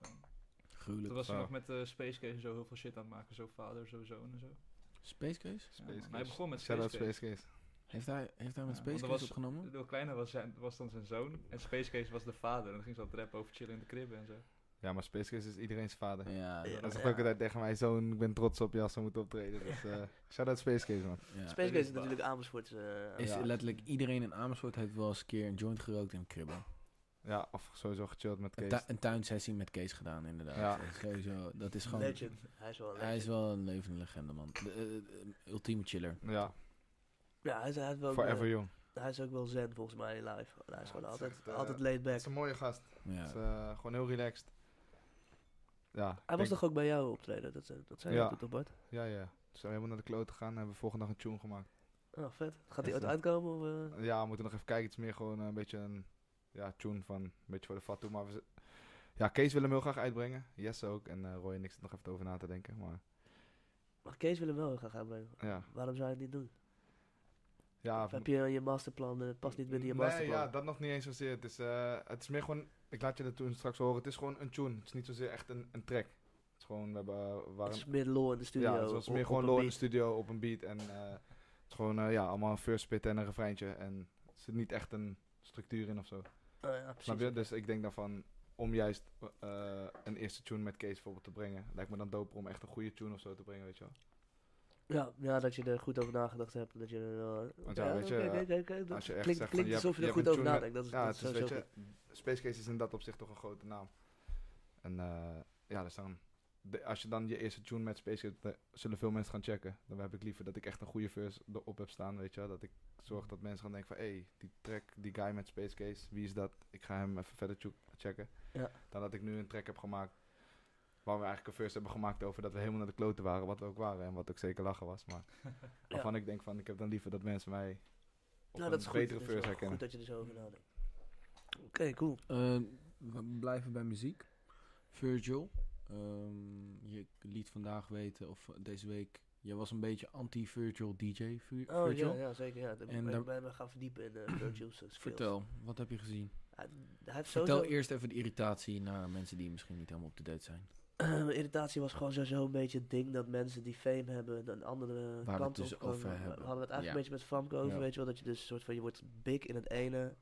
[SPEAKER 4] Gewoon. Toen
[SPEAKER 3] Gruwelijk.
[SPEAKER 4] was hij
[SPEAKER 1] Ja.
[SPEAKER 4] nog met eh Space Case en zo heel veel shit aan het maken. Zo vader, zo zoon en zo.
[SPEAKER 3] Space Case?
[SPEAKER 4] Ja,
[SPEAKER 1] Space
[SPEAKER 4] man. hij
[SPEAKER 1] Case.
[SPEAKER 4] begon met
[SPEAKER 1] Shout
[SPEAKER 4] Space
[SPEAKER 1] out
[SPEAKER 4] Case.
[SPEAKER 1] Space Case.
[SPEAKER 3] Heeft hij, heeft hij met
[SPEAKER 4] Ja, want
[SPEAKER 3] Space
[SPEAKER 4] er
[SPEAKER 3] Case
[SPEAKER 4] was-
[SPEAKER 3] opgenomen?
[SPEAKER 4] De kleine was, zijn, was dan zijn zoon. En Space Case was de vader. En dan ging ze al rappen over chillen in de crib en zo.
[SPEAKER 1] Ja, maar Space Case is iedereen's vader.
[SPEAKER 3] Ja,
[SPEAKER 2] Ja.
[SPEAKER 1] Hij zegt ook altijd tegen mij, zoon, ik ben trots op je als we moeten optreden. Dus eh shout out Space Case, man.
[SPEAKER 3] ja.
[SPEAKER 2] Space Case
[SPEAKER 4] dat is
[SPEAKER 2] is
[SPEAKER 4] waar.
[SPEAKER 2] natuurlijk Amersfoort. eh,
[SPEAKER 3] Is
[SPEAKER 1] Ja.
[SPEAKER 3] letterlijk iedereen in Amersfoort heeft wel eens een keer een joint gerookt in kribben.
[SPEAKER 1] Ja, of sowieso gechilled met
[SPEAKER 3] Een,
[SPEAKER 1] Kees.
[SPEAKER 3] tu- een tuinsessie met Kees gedaan, inderdaad.
[SPEAKER 1] Ja.
[SPEAKER 3] Dat is sowieso, dat is gewoon...
[SPEAKER 2] legend. Hij is wel een legend.
[SPEAKER 3] Hij is wel een levende legende, man. De, eh, eh, ultieme chiller.
[SPEAKER 1] Ja,
[SPEAKER 2] Ja, hij is, hij, is wel,
[SPEAKER 1] forever young.
[SPEAKER 2] eh, hij is ook wel zen volgens mij in live. Hij is
[SPEAKER 1] Ja,
[SPEAKER 2] gewoon
[SPEAKER 1] het is
[SPEAKER 2] altijd,
[SPEAKER 1] echt, eh,
[SPEAKER 2] altijd laid back.
[SPEAKER 1] Het is een mooie gast. Het
[SPEAKER 3] Ja.
[SPEAKER 1] is, eh, gewoon heel relaxed. Ja, ik
[SPEAKER 2] Hij was
[SPEAKER 1] denk-
[SPEAKER 2] toch ook bij jou optreden? Dat, eh, dat zei je
[SPEAKER 1] Ja.
[SPEAKER 2] toen toch, Bart?
[SPEAKER 1] Ja, ja. Toen zijn we helemaal naar de klote gegaan en hebben we volgende dag een tune gemaakt.
[SPEAKER 2] Oh, vet. Gaat
[SPEAKER 1] Is
[SPEAKER 2] die ooit
[SPEAKER 1] dat-
[SPEAKER 2] uitkomen? Of, eh?
[SPEAKER 1] Ja, we moeten nog even kijken. Het is meer gewoon eh, een beetje een ja, tune van een beetje voor de fat toe. Maar we z- ja, Kees wil hem heel graag uitbrengen. Jesse ook. En eh, Roy en ik zitten nog even over na te denken. Maar
[SPEAKER 2] Maar Kees wil hem wel heel graag uitbrengen.
[SPEAKER 1] ja.
[SPEAKER 2] Waarom zou je het niet doen?
[SPEAKER 1] ja
[SPEAKER 2] Of heb je je masterplan en het past niet binnen je
[SPEAKER 1] Nee,
[SPEAKER 2] masterplan?
[SPEAKER 1] ja, dat nog niet eens zozeer. Het is, eh, het is meer gewoon... Ik laat je dat toen straks horen. Het is gewoon een tune. Het is niet zozeer echt een, een track. Het is gewoon... We hebben, eh,
[SPEAKER 2] het
[SPEAKER 1] waren,
[SPEAKER 2] is meer lol in de studio.
[SPEAKER 1] Ja, het was
[SPEAKER 2] op-
[SPEAKER 1] meer
[SPEAKER 2] op
[SPEAKER 1] gewoon
[SPEAKER 2] een
[SPEAKER 1] lol in de
[SPEAKER 2] beat.
[SPEAKER 1] studio op een beat. En eh, het is gewoon eh, ja, allemaal een first spit en een refreintje. En er zit niet echt een structuur in of zo.
[SPEAKER 2] Oh, ja,
[SPEAKER 1] Snap
[SPEAKER 2] precies.
[SPEAKER 1] je? Dus ik denk daarvan om juist eh, een eerste tune met Kees bijvoorbeeld te brengen. Lijkt me dan doper om echt een goede tune of zo te brengen, weet je wel.
[SPEAKER 2] Ja, ja, dat je er goed over nagedacht hebt. Dat je er wel-
[SPEAKER 1] Want ja, weet je,
[SPEAKER 2] oké,
[SPEAKER 1] eh,
[SPEAKER 2] oké, oké, dat
[SPEAKER 1] als je echt
[SPEAKER 2] klinkt,
[SPEAKER 1] zegt van,
[SPEAKER 2] klinkt
[SPEAKER 1] je hebt-
[SPEAKER 2] alsof je
[SPEAKER 1] je
[SPEAKER 2] er
[SPEAKER 1] hebt
[SPEAKER 2] goed
[SPEAKER 1] een
[SPEAKER 2] over
[SPEAKER 1] tune met-
[SPEAKER 2] nadenkt. Dat is,
[SPEAKER 1] Ja,
[SPEAKER 2] dat
[SPEAKER 1] het
[SPEAKER 2] is
[SPEAKER 1] is, weet
[SPEAKER 2] sowieso
[SPEAKER 1] je,
[SPEAKER 2] goed.
[SPEAKER 1] Space Case is in dat opzicht toch een grote naam. En eh, ja, dus dan, de- als je dan je eerste tune met Space Case, dan zullen veel mensen gaan checken. Dan heb ik liever dat ik echt een goede verse erop heb staan, weet je wel. Dat ik zorg dat mensen gaan denken van, hé, hey, die track, die guy met Space Case, wie is dat? Ik ga hem even verder cho- checken.
[SPEAKER 2] Ja.
[SPEAKER 1] Dan dat ik nu een track heb gemaakt waar we eigenlijk een verse hebben gemaakt over dat we helemaal naar de kloten waren, wat we ook waren. En wat ook zeker lachen was,
[SPEAKER 2] [LAUGHS]
[SPEAKER 1] maar waarvan ik denk van, ik heb dan liever dat mensen mij... op
[SPEAKER 2] Nou,
[SPEAKER 1] een
[SPEAKER 2] dat is goed.
[SPEAKER 1] betere
[SPEAKER 2] dat is
[SPEAKER 1] verse
[SPEAKER 2] wel
[SPEAKER 1] herkennen.
[SPEAKER 2] goed dat je er zo over nadenkt. Oké, cool.
[SPEAKER 3] Eh, we blijven bij muziek. Virgil, ehm, je liet vandaag weten, of deze week, je was een beetje anti-Virgil DJ. Vir-
[SPEAKER 2] Oh
[SPEAKER 3] Virgil?
[SPEAKER 2] ja, ja, zeker. Ja. Dat
[SPEAKER 3] En
[SPEAKER 2] en ik
[SPEAKER 3] daar-
[SPEAKER 2] ben me gaan verdiepen in eh,
[SPEAKER 3] [CLEARS THROAT]
[SPEAKER 2] de produce skills.
[SPEAKER 3] Vertel, wat heb je gezien?
[SPEAKER 2] Hij, hij heeft
[SPEAKER 3] Vertel
[SPEAKER 2] sowieso...
[SPEAKER 3] eerst even de irritatie naar mensen die misschien niet helemaal op de date zijn.
[SPEAKER 2] Mijn Eh, irritatie was gewoon sowieso een beetje het ding dat mensen die fame hebben, dan andere
[SPEAKER 3] het
[SPEAKER 2] kant
[SPEAKER 3] dus
[SPEAKER 2] op. gewoon-
[SPEAKER 3] over
[SPEAKER 2] we-
[SPEAKER 3] hebben.
[SPEAKER 2] We hadden het eigenlijk
[SPEAKER 3] Ja.
[SPEAKER 2] een beetje met Famke over,
[SPEAKER 3] Ja.
[SPEAKER 2] weet je wel. Dat je dus soort van, je wordt big in het ene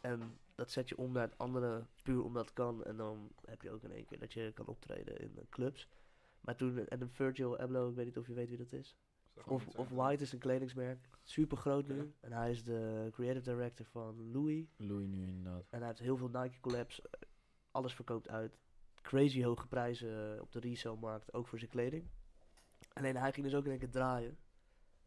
[SPEAKER 2] en dat zet je om naar het andere puur omdat het kan. En dan heb je ook in één keer dat je kan optreden in eh, clubs. Maar toen, en een Virgil Abloh, ik weet niet of je weet wie dat is. Of, of White is een kledingsmerk, super groot nu. En hij is de creative director van Louis.
[SPEAKER 3] Louis nu inderdaad.
[SPEAKER 2] En hij heeft heel veel Nike collabs. eh, Alles verkoopt uit. Crazy hoge prijzen eh, op de resale-markt, ook voor zijn kleding. Alleen hij ging dus ook in één keer draaien.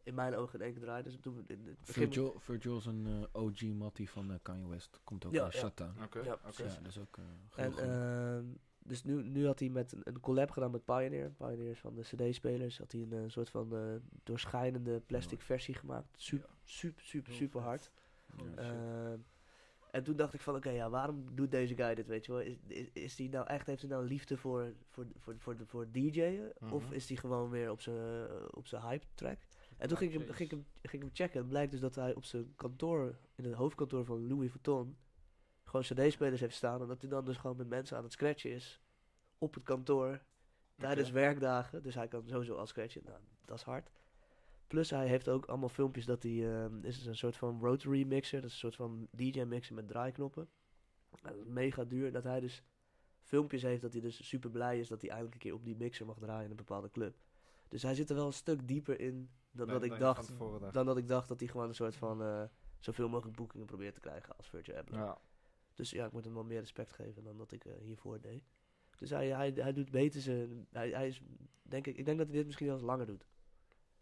[SPEAKER 2] In mijn ogen in één keer draaien. Dus toen we in het begin-
[SPEAKER 3] Virgil, Virgil is een eh, OG mattie van eh, Kanye West. Komt ook
[SPEAKER 2] Ja,
[SPEAKER 3] uit
[SPEAKER 2] ja.
[SPEAKER 3] Satan.
[SPEAKER 5] Ah,
[SPEAKER 1] Oké,
[SPEAKER 2] Ja,
[SPEAKER 1] oké.
[SPEAKER 2] precies.
[SPEAKER 3] Ja, dat is ook eh
[SPEAKER 2] En,
[SPEAKER 3] heel goed.
[SPEAKER 2] ehm, dus nu, nu had hij met een, een collab gedaan met Pioneer. Pioneer is van de CD-spelers. Had hij een eh, soort van eh, doorschijnende plastic versie gemaakt. Super, super, super,
[SPEAKER 4] Heel
[SPEAKER 2] super
[SPEAKER 4] vet.
[SPEAKER 2] hard.
[SPEAKER 3] Ja.
[SPEAKER 4] Holy shit.
[SPEAKER 2] Ehm, en toen dacht ik van, oké, ja, waarom doet deze guy dit, weet je wel? Is, is, is die nou echt, heeft hij nou liefde voor, voor, voor, voor, voor DJ'en? Of
[SPEAKER 1] Mhm.
[SPEAKER 2] is hij gewoon weer op zijn, eh, op zijn hype track? En toen ging ik, hem, ging, ik hem, ging ik hem checken. Het blijkt dus dat hij op zijn kantoor, in het hoofdkantoor van Louis Vuitton, gewoon cd-spelers heeft staan. En dat hij dan dus gewoon met mensen aan het scratchen is, op het kantoor, tijdens werkdagen. Dus hij kan sowieso al scratchen. Nou, dat is hard. Plus hij heeft ook allemaal filmpjes dat hij... ehm, is een soort van rotary mixer. Dat is een soort van DJ-mixer met draaiknoppen. Nou, dat is mega duur. En dat hij dus filmpjes heeft dat hij dus super blij is dat hij eindelijk een keer op die mixer mag draaien in een bepaalde club. Dus hij zit er wel een stuk dieper in dan dat
[SPEAKER 1] Nee, nee,
[SPEAKER 2] ik
[SPEAKER 1] van
[SPEAKER 2] dacht.
[SPEAKER 1] tevoren dacht.
[SPEAKER 2] Dan dat ik dacht dat hij gewoon een soort van eh, zoveel mogelijk boekingen probeert te krijgen als Virgil Abloh.
[SPEAKER 1] Ja.
[SPEAKER 2] Dus ja, ik moet hem wel meer respect geven dan dat ik eh, hiervoor deed. Dus hij, hij, hij doet beter zijn... Hij, hij is, denk ik, ik denk dat hij dit misschien wel eens langer doet.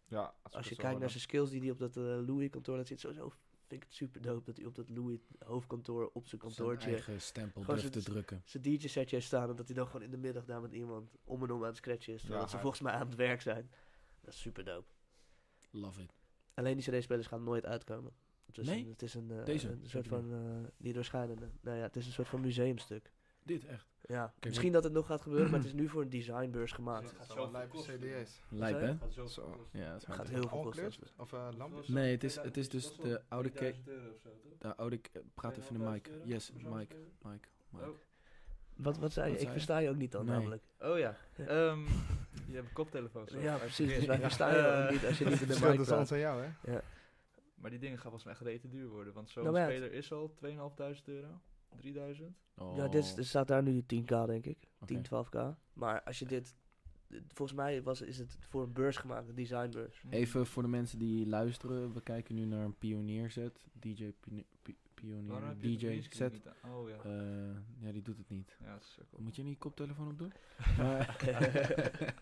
[SPEAKER 1] ja
[SPEAKER 2] Als je kijkt naar zijn skills die hij op dat eh, Louis-kantoor laat zien. Sowieso vind ik het super dope dat hij op dat Louis-hoofdkantoor op
[SPEAKER 5] Zijn
[SPEAKER 2] zijn kantoortje...
[SPEAKER 5] eigen stempel
[SPEAKER 2] Gewoon
[SPEAKER 5] durft te
[SPEAKER 2] zijn-
[SPEAKER 5] drukken.
[SPEAKER 2] Zijn DJ-setje heeft staan en dat hij dan gewoon in de middag daar met iemand om en om aan het scratchen is. Terwijl
[SPEAKER 1] Ja,
[SPEAKER 2] dat ze
[SPEAKER 1] hij-
[SPEAKER 2] volgens mij aan het werk zijn. Dat is super dope.
[SPEAKER 5] Love it.
[SPEAKER 2] Alleen die CD-spelers gaan nooit uitkomen. Het is
[SPEAKER 5] Nee?
[SPEAKER 2] een, het is een, eh,
[SPEAKER 5] Deze,
[SPEAKER 2] een
[SPEAKER 5] zeg
[SPEAKER 2] soort
[SPEAKER 5] je
[SPEAKER 2] van... eh, die doorschijnende. Nou ja, het is een soort van museumstuk.
[SPEAKER 5] Dit echt.
[SPEAKER 2] Ja, misschien dat het nog gaat gebeuren, maar het is nu voor een designbeurs gemaakt.
[SPEAKER 4] Het
[SPEAKER 1] Het
[SPEAKER 4] gaat
[SPEAKER 1] gaat
[SPEAKER 4] zoveel
[SPEAKER 1] wel lijpe
[SPEAKER 4] kosten,
[SPEAKER 1] CD's.
[SPEAKER 5] Lijp,
[SPEAKER 2] Zei
[SPEAKER 5] hè?
[SPEAKER 2] je?
[SPEAKER 4] Gaat zo
[SPEAKER 1] Zo.
[SPEAKER 4] kosten.
[SPEAKER 3] Ja, dat is
[SPEAKER 2] Het gaat
[SPEAKER 3] hard.
[SPEAKER 2] heel veel
[SPEAKER 1] All
[SPEAKER 2] kosten.
[SPEAKER 1] cleared? Of eh lampjes?
[SPEAKER 5] Nee, het is- het is dus
[SPEAKER 4] Dat
[SPEAKER 5] de
[SPEAKER 4] wel
[SPEAKER 5] oude
[SPEAKER 4] 3000 euro of zo, toch?
[SPEAKER 3] De oude k- praat even in de mic.
[SPEAKER 4] 2.500 euro?
[SPEAKER 3] Yes,
[SPEAKER 4] Persoons-
[SPEAKER 3] Mike. Mike. Mike.
[SPEAKER 4] Oh.
[SPEAKER 2] Wat, wat zei je?
[SPEAKER 3] Wat
[SPEAKER 2] Ik
[SPEAKER 3] zei je?
[SPEAKER 2] versta je ook niet dan
[SPEAKER 3] Nee.
[SPEAKER 2] namelijk.
[SPEAKER 4] Oh ja.
[SPEAKER 2] Ja.
[SPEAKER 4] [LAUGHS] Ehm, je hebt een koptelefoon. sorry.
[SPEAKER 2] Ja,
[SPEAKER 4] Maar
[SPEAKER 2] precies. Dus
[SPEAKER 4] verkeerd.
[SPEAKER 2] wij verstaan je ook
[SPEAKER 4] Eh,
[SPEAKER 2] niet als je niet in de
[SPEAKER 1] Verschil
[SPEAKER 2] mic
[SPEAKER 1] tussen ons
[SPEAKER 2] praat.
[SPEAKER 1] en jou, hè?
[SPEAKER 4] Maar die dingen gaan volgens mij echt rete duur worden. Want zo'n
[SPEAKER 2] Nou, maar ja,
[SPEAKER 4] speler is al 2.500 euro. 3000.
[SPEAKER 2] Ja, dit is- dus er staat daar nu 10k denk ik.
[SPEAKER 3] Oh. Oké.
[SPEAKER 2] 10, 12k. Maar als je dit... Volgens mij was, is het voor een beurs gemaakt, een designbeurs.
[SPEAKER 3] Even voor de mensen die luisteren, we kijken nu naar een pionierset. DJ Pione- Pi-
[SPEAKER 4] Waarom
[SPEAKER 3] Pionier,
[SPEAKER 4] heb je de
[SPEAKER 3] DJ set.
[SPEAKER 4] Greenscreen niet aan? Oh ja.
[SPEAKER 3] Eh, ja, die doet het niet.
[SPEAKER 4] Ja, dat is ook wel-
[SPEAKER 3] Moet je niet je koptelefoon op doen? Maar- [LAUGHS]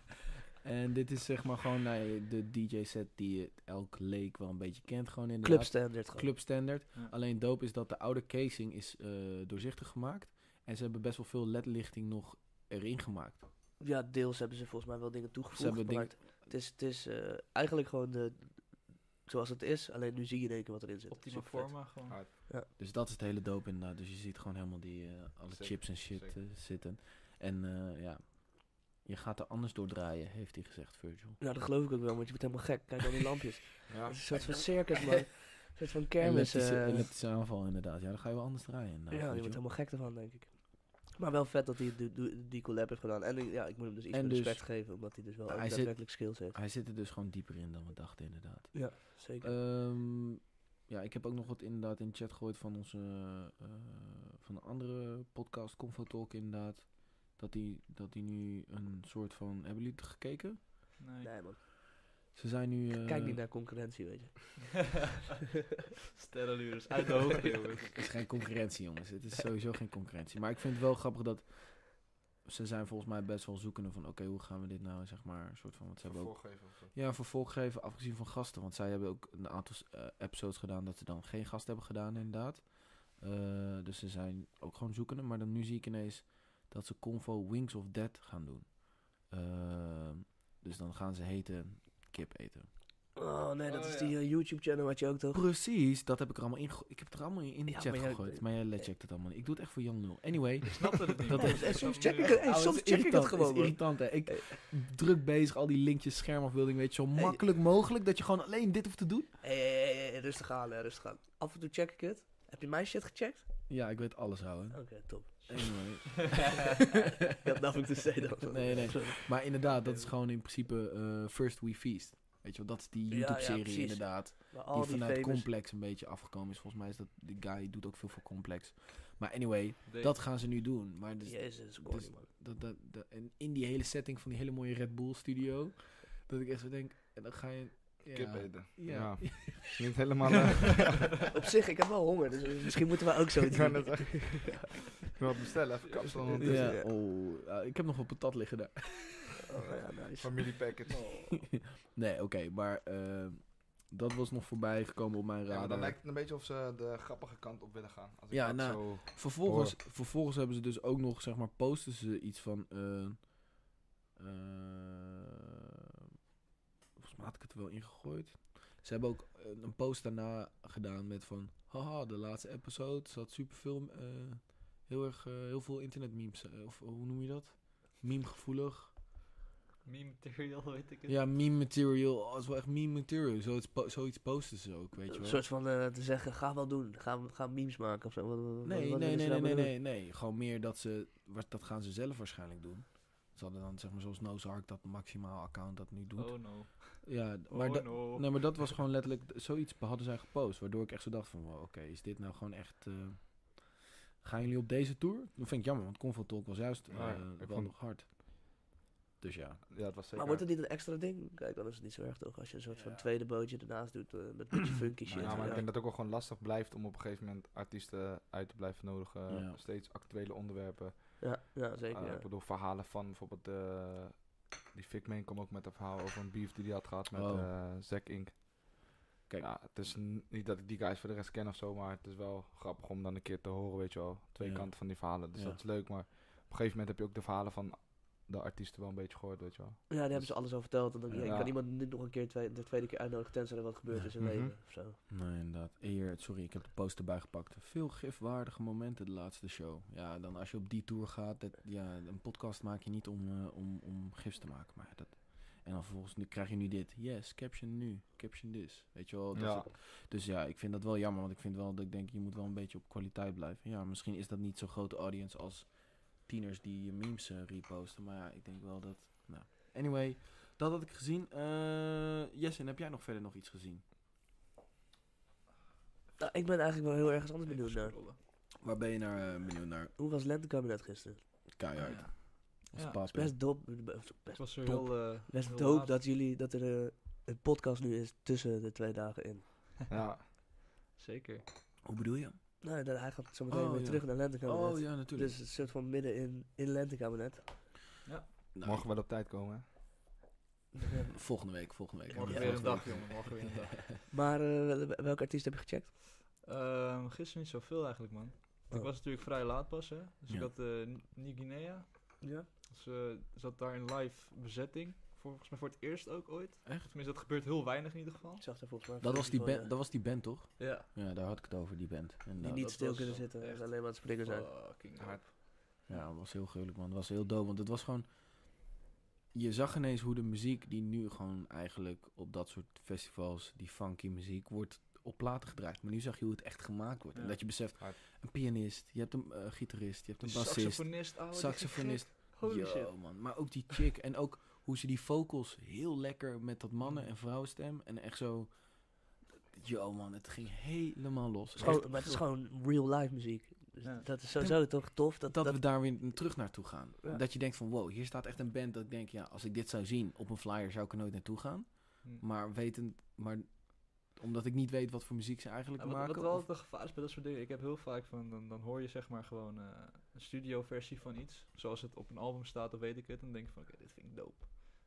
[SPEAKER 3] en dit is zeg maar gewoon nou, ja, de DJ set die je elk leek wel een beetje kent. Gewoon in
[SPEAKER 2] Club standard gewoon.
[SPEAKER 3] club standaard.
[SPEAKER 4] Ja.
[SPEAKER 3] Alleen dope is dat de oude casing is eh, doorzichtig gemaakt. En ze hebben best wel veel ledlichting nog erin gemaakt.
[SPEAKER 2] Ja, deels hebben ze volgens mij wel dingen toegevoegd.
[SPEAKER 3] hebben
[SPEAKER 2] maar
[SPEAKER 3] dingen-
[SPEAKER 2] het- Het is, het is eh, eigenlijk gewoon de, zoals het is. Alleen nu zie je in één keer wat erin zit.
[SPEAKER 4] Optima
[SPEAKER 2] Supervet.
[SPEAKER 4] forma gewoon.
[SPEAKER 1] Ah,
[SPEAKER 3] Dus dat is het hele dope inderdaad. Dus je ziet gewoon helemaal die eh, alle
[SPEAKER 1] Zeker,
[SPEAKER 3] chips en shit
[SPEAKER 1] zeker.
[SPEAKER 3] eh, zitten. En eh, ja, je gaat er anders door draaien, heeft hij gezegd, Virgil.
[SPEAKER 2] Ja, dat geloof ik ook wel, want je wordt helemaal gek. Kijk al die lampjes.
[SPEAKER 4] [LAUGHS]
[SPEAKER 1] Ja.
[SPEAKER 2] Het is een soort van circus, man. Een soort van kermis.
[SPEAKER 3] Elliptische,
[SPEAKER 2] eh.
[SPEAKER 3] elliptische aanval inderdaad. Ja, dan ga je wel anders draaien inderdaad,
[SPEAKER 2] Ja, je
[SPEAKER 3] weet
[SPEAKER 2] wordt
[SPEAKER 3] je wel.
[SPEAKER 2] helemaal gek ervan, denk ik. Maar wel vet dat hij het do- do- die collab heeft gedaan. En ik- ja, ik moet hem dus iets
[SPEAKER 3] En
[SPEAKER 2] meer
[SPEAKER 3] dus-
[SPEAKER 2] respect geven, omdat hij dus wel
[SPEAKER 3] Hij
[SPEAKER 2] ook
[SPEAKER 3] zit-
[SPEAKER 2] daadwerkelijk skills heeft.
[SPEAKER 3] Hij zit er dus gewoon dieper in dan we dachten inderdaad.
[SPEAKER 2] Zeker.
[SPEAKER 3] Ehm, ja, ik heb ook nog wat inderdaad in de chat gegooid van onze eh, van een andere podcast, Convo Talk inderdaad. Dat die, dat die nu een soort van... Hebben jullie het gekeken?
[SPEAKER 4] Nee.
[SPEAKER 2] nee, man.
[SPEAKER 3] Ze zijn nu... eh,
[SPEAKER 2] Kijk niet naar concurrentie, weet je.
[SPEAKER 4] [LAUGHS] Sterrenlures uit de hoogte,
[SPEAKER 3] [LAUGHS]
[SPEAKER 4] jongens.
[SPEAKER 3] Het is geen concurrentie, jongens. Het is sowieso geen concurrentie. Maar ik vind het wel grappig dat ze zijn volgens mij best wel zoekende van... oké, hoe gaan we dit nou, zeg maar, een soort van... Wat ze hebben ook
[SPEAKER 1] Vervolg geven of zo.
[SPEAKER 3] ja, een vervolg geven, afgezien van gasten. Want zij hebben ook een aantal eh, episodes gedaan dat ze dan geen gast hebben gedaan, inderdaad. Eh, dus ze zijn ook gewoon zoekende. Maar dan nu zie ik ineens dat ze Convo Wings of Dead gaan doen. Eh, dus dan gaan ze heten kip eten.
[SPEAKER 2] Oh nee, dat
[SPEAKER 4] Oh,
[SPEAKER 2] is
[SPEAKER 4] ja.
[SPEAKER 2] die eh, YouTube-channel had je ook toch?
[SPEAKER 3] Precies, dat heb ik er allemaal in. Ik heb het er allemaal in de
[SPEAKER 2] Ja,
[SPEAKER 3] chat
[SPEAKER 2] maar jij-
[SPEAKER 3] gegooid. Maar jij checkt het allemaal niet. Ik doe het echt voor Jan Nul. [LAUGHS] Anyway.
[SPEAKER 4] Ik snapte het niet.
[SPEAKER 3] Dat
[SPEAKER 4] man.
[SPEAKER 3] is- eh,
[SPEAKER 2] en soms
[SPEAKER 4] snap
[SPEAKER 2] check
[SPEAKER 4] nu-
[SPEAKER 2] ik het- hey,
[SPEAKER 3] Ouwe,
[SPEAKER 2] soms
[SPEAKER 3] Oh, is
[SPEAKER 2] check ik het
[SPEAKER 3] irritant,
[SPEAKER 2] gewoon,
[SPEAKER 3] is
[SPEAKER 2] hoor.
[SPEAKER 3] irritant, hè. Ik druk bezig al die linkjes, schermafbeelding, weet je, zo makkelijk mogelijk dat je gewoon alleen dit hoeft te doen.
[SPEAKER 2] Hé, hé, hé, hé, hé, rustig aan, hè, rustig aan. Af en toe check ik het. Heb je mijn shit gecheckt?
[SPEAKER 3] Ja, ik weet alles, houden.
[SPEAKER 2] Oké, top.
[SPEAKER 3] [LAUGHS] Anyway.
[SPEAKER 2] Oh, [LAUGHS] Dat dacht ik te zeggen. dan.
[SPEAKER 3] [LAUGHS] Nee, nee.
[SPEAKER 2] Sorry.
[SPEAKER 3] Maar inderdaad, dat is gewoon in principe eh, First We Feast. Weet je wel, dat is die
[SPEAKER 2] Ja, ja,
[SPEAKER 3] YouTube-serie
[SPEAKER 2] precies.
[SPEAKER 3] inderdaad.
[SPEAKER 2] Maar al
[SPEAKER 3] die
[SPEAKER 2] die,
[SPEAKER 3] vanuit
[SPEAKER 2] famous...
[SPEAKER 3] Complex een beetje afgekomen is. Volgens mij is dat, die guy doet ook veel voor Complex. Maar anyway,
[SPEAKER 4] Nee.
[SPEAKER 3] dat gaan ze nu doen. Maar dus,
[SPEAKER 2] Jezus, corny,
[SPEAKER 3] dus-
[SPEAKER 2] man.
[SPEAKER 3] dat, dat, dat- en in die hele setting van die hele mooie Red Bull studio, dat ik echt zo denk, en dan ga je... Ja,
[SPEAKER 1] Kip eten.
[SPEAKER 3] Ja.
[SPEAKER 1] Ja.
[SPEAKER 3] [LAUGHS]
[SPEAKER 1] [LAUGHS] Is Niet [LAUGHS]
[SPEAKER 2] [LAUGHS]
[SPEAKER 1] helemaal... eh,
[SPEAKER 2] Op zich, ik heb wel honger, dus misschien moeten we ook
[SPEAKER 3] [LAUGHS]
[SPEAKER 2] zo
[SPEAKER 1] Ik kan
[SPEAKER 2] doen.
[SPEAKER 1] het zeggen.
[SPEAKER 2] [LAUGHS]
[SPEAKER 1] Ik wil het bestellen, even kapsel ondertussen.
[SPEAKER 3] Ja,
[SPEAKER 2] ja.
[SPEAKER 3] oh, ja, ik heb nog wat patat liggen daar.
[SPEAKER 2] Oh, ja, nice.
[SPEAKER 1] Familie package.
[SPEAKER 3] nee, oké, maar eh, dat was nog voorbij gekomen op mijn
[SPEAKER 1] Ja, maar
[SPEAKER 3] radar.
[SPEAKER 1] dan lijkt het een beetje of ze de grappige kant op willen gaan. Als ik
[SPEAKER 3] Ja,
[SPEAKER 1] dat
[SPEAKER 3] nou,
[SPEAKER 1] zo...
[SPEAKER 3] Vervolgens, vervolgens hebben ze dus ook nog, zeg maar, posten ze iets van. eh, eh, volgens mij had ik het er wel ingegooid. Ze hebben ook eh, een post daarna gedaan met van. Haha, de laatste episode zat superveel. eh heel erg eh, heel veel internetmemes. eh, of hoe noem je dat? Meme-gevoelig.
[SPEAKER 4] Meme material, weet ik het.
[SPEAKER 3] Ja, meme material. Oh, het is wel echt meme material. Zoiets, po- zoiets posten ze ook, weet je
[SPEAKER 2] Een
[SPEAKER 3] wel.
[SPEAKER 2] soort van eh, te zeggen, ga wel doen. Ga, ga memes maken of zo. Wat- wat-
[SPEAKER 3] Nee,
[SPEAKER 2] wat
[SPEAKER 3] nee,
[SPEAKER 2] willen
[SPEAKER 3] nee,
[SPEAKER 2] ze
[SPEAKER 3] nee,
[SPEAKER 2] nou
[SPEAKER 3] nee,
[SPEAKER 2] doen?
[SPEAKER 3] nee, nee. Gewoon meer dat ze... wa- Dat gaan ze zelf waarschijnlijk doen. Ze hadden dan, zeg maar, zoals Nozark, dat maximaal account dat nu doet.
[SPEAKER 4] Oh no.
[SPEAKER 3] Ja, d-
[SPEAKER 4] Oh
[SPEAKER 3] maar, dat-
[SPEAKER 4] no.
[SPEAKER 3] nee, maar dat was gewoon letterlijk... d- Zoiets hadden zij gepost, waardoor ik echt zo dacht van... wow, Oké, is dit nou gewoon echt... eh, gaan jullie op deze tour? Dat vind ik jammer, want Convo Talk was juist
[SPEAKER 1] Ja,
[SPEAKER 3] eh,
[SPEAKER 1] ik
[SPEAKER 3] wel
[SPEAKER 1] vond-
[SPEAKER 3] nog hard. Dus ja.
[SPEAKER 1] Ja, het was zeker...
[SPEAKER 2] Maar wordt het niet een extra ding? Kijk, dan is het niet zo erg toch? Als je een soort van
[SPEAKER 1] Ja.
[SPEAKER 2] tweede bootje ernaast doet eh, met
[SPEAKER 3] [CLEARS THROAT]
[SPEAKER 2] een beetje funky shit.
[SPEAKER 1] Ja,
[SPEAKER 3] Ja,
[SPEAKER 1] maar ik
[SPEAKER 2] ja.
[SPEAKER 1] denk dat het ook wel gewoon lastig blijft om op een gegeven moment artiesten uit te blijven nodigen.
[SPEAKER 3] Ja.
[SPEAKER 1] Steeds actuele onderwerpen.
[SPEAKER 2] Ja, ja, zeker.
[SPEAKER 3] Ah,
[SPEAKER 1] Eh,
[SPEAKER 2] ja.
[SPEAKER 1] Ik bedoel, verhalen van bijvoorbeeld... eh, die Fick Man kwam ook met een verhaal over een beef die hij had gehad met
[SPEAKER 3] Oh.
[SPEAKER 1] eh Zack Inc.
[SPEAKER 3] Kijk.
[SPEAKER 1] Ja, het is n- niet dat ik die guys voor de rest ken of zo, maar het is wel grappig om dan een keer te horen, weet je wel. Twee
[SPEAKER 3] Ja.
[SPEAKER 1] kanten van die verhalen, dus
[SPEAKER 3] Ja.
[SPEAKER 1] dat is leuk. Maar op een gegeven moment heb je ook de verhalen van de artiesten wel een beetje gehoord, weet je wel.
[SPEAKER 2] Ja, daar hebben ze alles al verteld. En dan ja, je
[SPEAKER 1] Ja.
[SPEAKER 2] kan iemand niet nog een keer twee- de tweede keer uitnodigen, tenzij er wat gebeurd is in
[SPEAKER 1] Mhm.
[SPEAKER 2] leven of zo.
[SPEAKER 3] Nee, inderdaad. Eer, sorry, ik heb de poster bijgepakt. Veel gifwaardige momenten de laatste show. Ja, dan als je op die tour gaat, dat, ja, een podcast maak je niet om, eh, om, om gifs te maken. Maar dat, en dan vervolgens nu, krijg je nu dit. Yes, caption nu, caption this. Weet je wel? dat
[SPEAKER 1] Ja.
[SPEAKER 3] soort- dus ja, ik vind dat wel jammer, want ik vind wel dat ik denk, je moet wel een beetje op kwaliteit blijven. Ja, misschien is dat niet zo'n grote audience als tieners die je memes eh, reposten. Maar ja, ik denk wel dat... Nou. Anyway, dat had ik gezien. Eh yes, en heb jij nog verder nog iets gezien?
[SPEAKER 2] Nou, ik ben eigenlijk wel heel ergens anders benieuwd
[SPEAKER 4] Even
[SPEAKER 2] naar.
[SPEAKER 4] scrollen.
[SPEAKER 3] Waar ben je naar eh, benieuwd naar?
[SPEAKER 2] Hoe was lentekabinet gisteren?
[SPEAKER 3] Keihard.
[SPEAKER 4] Ah, Ja.
[SPEAKER 3] Als
[SPEAKER 4] Ja.
[SPEAKER 3] paas
[SPEAKER 2] Het is best doop,
[SPEAKER 4] Ik
[SPEAKER 2] best,
[SPEAKER 4] was er
[SPEAKER 3] Top.
[SPEAKER 4] heel... eh,
[SPEAKER 2] best
[SPEAKER 4] heel
[SPEAKER 2] doop
[SPEAKER 4] laat.
[SPEAKER 2] dat jullie, dat er eh, een podcast nu is tussen de twee dagen in.
[SPEAKER 1] [LAUGHS]
[SPEAKER 3] [LAUGHS] Nou,
[SPEAKER 1] ja.
[SPEAKER 4] Zeker.
[SPEAKER 3] Hoe bedoel je?
[SPEAKER 2] Nou, dan, hij gaat zo meteen
[SPEAKER 3] Oh,
[SPEAKER 2] weer
[SPEAKER 3] ja.
[SPEAKER 2] terug naar lentekabinet.
[SPEAKER 3] Oh ja, natuurlijk.
[SPEAKER 2] dus het soort van midden in, in lentekabinet.
[SPEAKER 3] Nou,
[SPEAKER 1] Morgen wel op tijd komen, hè.
[SPEAKER 3] Volgende week, volgende week.
[SPEAKER 4] Morgen
[SPEAKER 3] Ja.
[SPEAKER 4] weer een
[SPEAKER 3] Volgende
[SPEAKER 4] dag, jongen. Morgen weer een dag.
[SPEAKER 2] [LAUGHS]
[SPEAKER 3] [LAUGHS]
[SPEAKER 2] Maar eh, wel- welke artiest heb je gecheckt?
[SPEAKER 4] Ehm, gisteren niet zoveel eigenlijk, man. Want
[SPEAKER 2] Oh.
[SPEAKER 4] Ik was natuurlijk vrij laat pas, hè. Dus
[SPEAKER 3] Ja.
[SPEAKER 4] ik had eh Nieuw-Guinea.
[SPEAKER 2] Ja.
[SPEAKER 4] Dus eh, zat daar in live bezetting. Voor- Volgens mij voor het eerst ook ooit.
[SPEAKER 3] Echt?
[SPEAKER 4] Tenminste, dat gebeurt heel weinig in ieder geval.
[SPEAKER 2] Ik zag er volgens mij...
[SPEAKER 3] week. Dat was, die
[SPEAKER 2] filmpjes
[SPEAKER 3] band,
[SPEAKER 2] van,
[SPEAKER 3] dat was die band, toch?
[SPEAKER 4] Ja.
[SPEAKER 3] Ja, daar had ik het over, die band.
[SPEAKER 2] eh,
[SPEAKER 3] Inderdaad.
[SPEAKER 2] die niet
[SPEAKER 4] dat
[SPEAKER 2] stil
[SPEAKER 4] was
[SPEAKER 2] kunnen zitten en
[SPEAKER 4] echt
[SPEAKER 2] alleen maar aan het springen zijn.
[SPEAKER 4] Fucking
[SPEAKER 1] Hard.
[SPEAKER 4] hard.
[SPEAKER 3] Ja, dat was heel gruwelijk, man. Dat was heel dope, want het was gewoon... Je zag ineens hoe de muziek die nu gewoon eigenlijk op dat soort festivals, die funky muziek, wordt op platen gedraaid. Maar nu zag je hoe het echt gemaakt wordt. En
[SPEAKER 4] Ja.
[SPEAKER 3] dat je beseft,
[SPEAKER 1] Hard.
[SPEAKER 3] een pianist, je hebt een eh, gitarist, je hebt
[SPEAKER 4] De
[SPEAKER 3] een bassist,
[SPEAKER 4] saxofonist, ouwe. die
[SPEAKER 3] saxofonist,
[SPEAKER 4] gek. Holy
[SPEAKER 3] Yo,
[SPEAKER 4] shit.
[SPEAKER 3] man. Maar ook die chick. En ook hoe ze die vocals heel lekker met dat
[SPEAKER 4] Mm.
[SPEAKER 3] mannen- en vrouwenstem. En echt zo... Yo, man. Het ging helemaal los.
[SPEAKER 2] Het is gewoon-
[SPEAKER 3] Echt
[SPEAKER 2] maar het is
[SPEAKER 3] gro-
[SPEAKER 2] gewoon real life muziek. Dus
[SPEAKER 4] Ja.
[SPEAKER 2] Dat is sowieso toch tof. Dat,
[SPEAKER 3] Dat,
[SPEAKER 2] dat,
[SPEAKER 3] we daar weer n- terug naartoe gaan.
[SPEAKER 2] Ja.
[SPEAKER 3] Dat je denkt van, wow, hier staat echt een band dat ik denk, ja, als ik dit zou zien op een flyer zou ik er nooit naartoe gaan.
[SPEAKER 4] Hm.
[SPEAKER 3] Maar wetend, maar omdat ik niet weet wat voor muziek ze eigenlijk
[SPEAKER 4] Ja, wat,
[SPEAKER 3] maken.
[SPEAKER 4] wat wel
[SPEAKER 3] of-
[SPEAKER 4] het gevaar is bij dat soort dingen, ik heb heel vaak van, dan, dan hoor je zeg maar gewoon eh, een studioversie van iets, zoals het op een album staat of weet ik het, en dan denk je van oké, dit vind ik dope.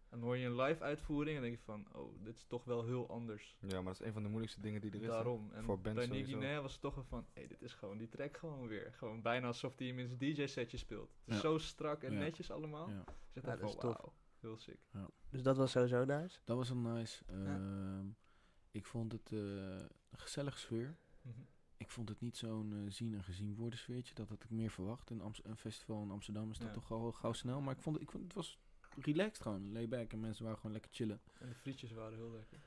[SPEAKER 4] En dan hoor je een live uitvoering en denk je van, oh, dit is toch wel heel anders.
[SPEAKER 1] Ja, maar dat is een van de moeilijkste dingen die er is. hè.
[SPEAKER 4] Daarom. En
[SPEAKER 1] Voor bands
[SPEAKER 4] bij New
[SPEAKER 1] sowieso.
[SPEAKER 4] Guinea was het toch wel van, hey, dit is gewoon die track gewoon weer. Gewoon bijna alsof die in een DJ-setje speelt. Het is
[SPEAKER 3] Ja.
[SPEAKER 4] zo strak en
[SPEAKER 3] Ja.
[SPEAKER 4] netjes allemaal.
[SPEAKER 3] Ja.
[SPEAKER 4] Ik zeg
[SPEAKER 2] Ja,
[SPEAKER 4] dan
[SPEAKER 2] dat is
[SPEAKER 4] van,
[SPEAKER 2] tof.
[SPEAKER 4] wauw, heel sick.
[SPEAKER 2] dus dat was sowieso nice.
[SPEAKER 3] Dat was wel nice. Ehm, Ik vond het eh, een gezellige sfeer.
[SPEAKER 4] Mhm.
[SPEAKER 3] Ik vond het niet zo'n eh, zien en gezien worden sfeertje. Dat had ik meer verwacht. Een, Amst- een festival in Amsterdam is dat
[SPEAKER 4] Ja.
[SPEAKER 3] toch al gauw snel. Maar ik vond, ik vond het was relaxed gewoon. Layback en mensen waren gewoon lekker chillen.
[SPEAKER 4] En de frietjes waren heel lekker.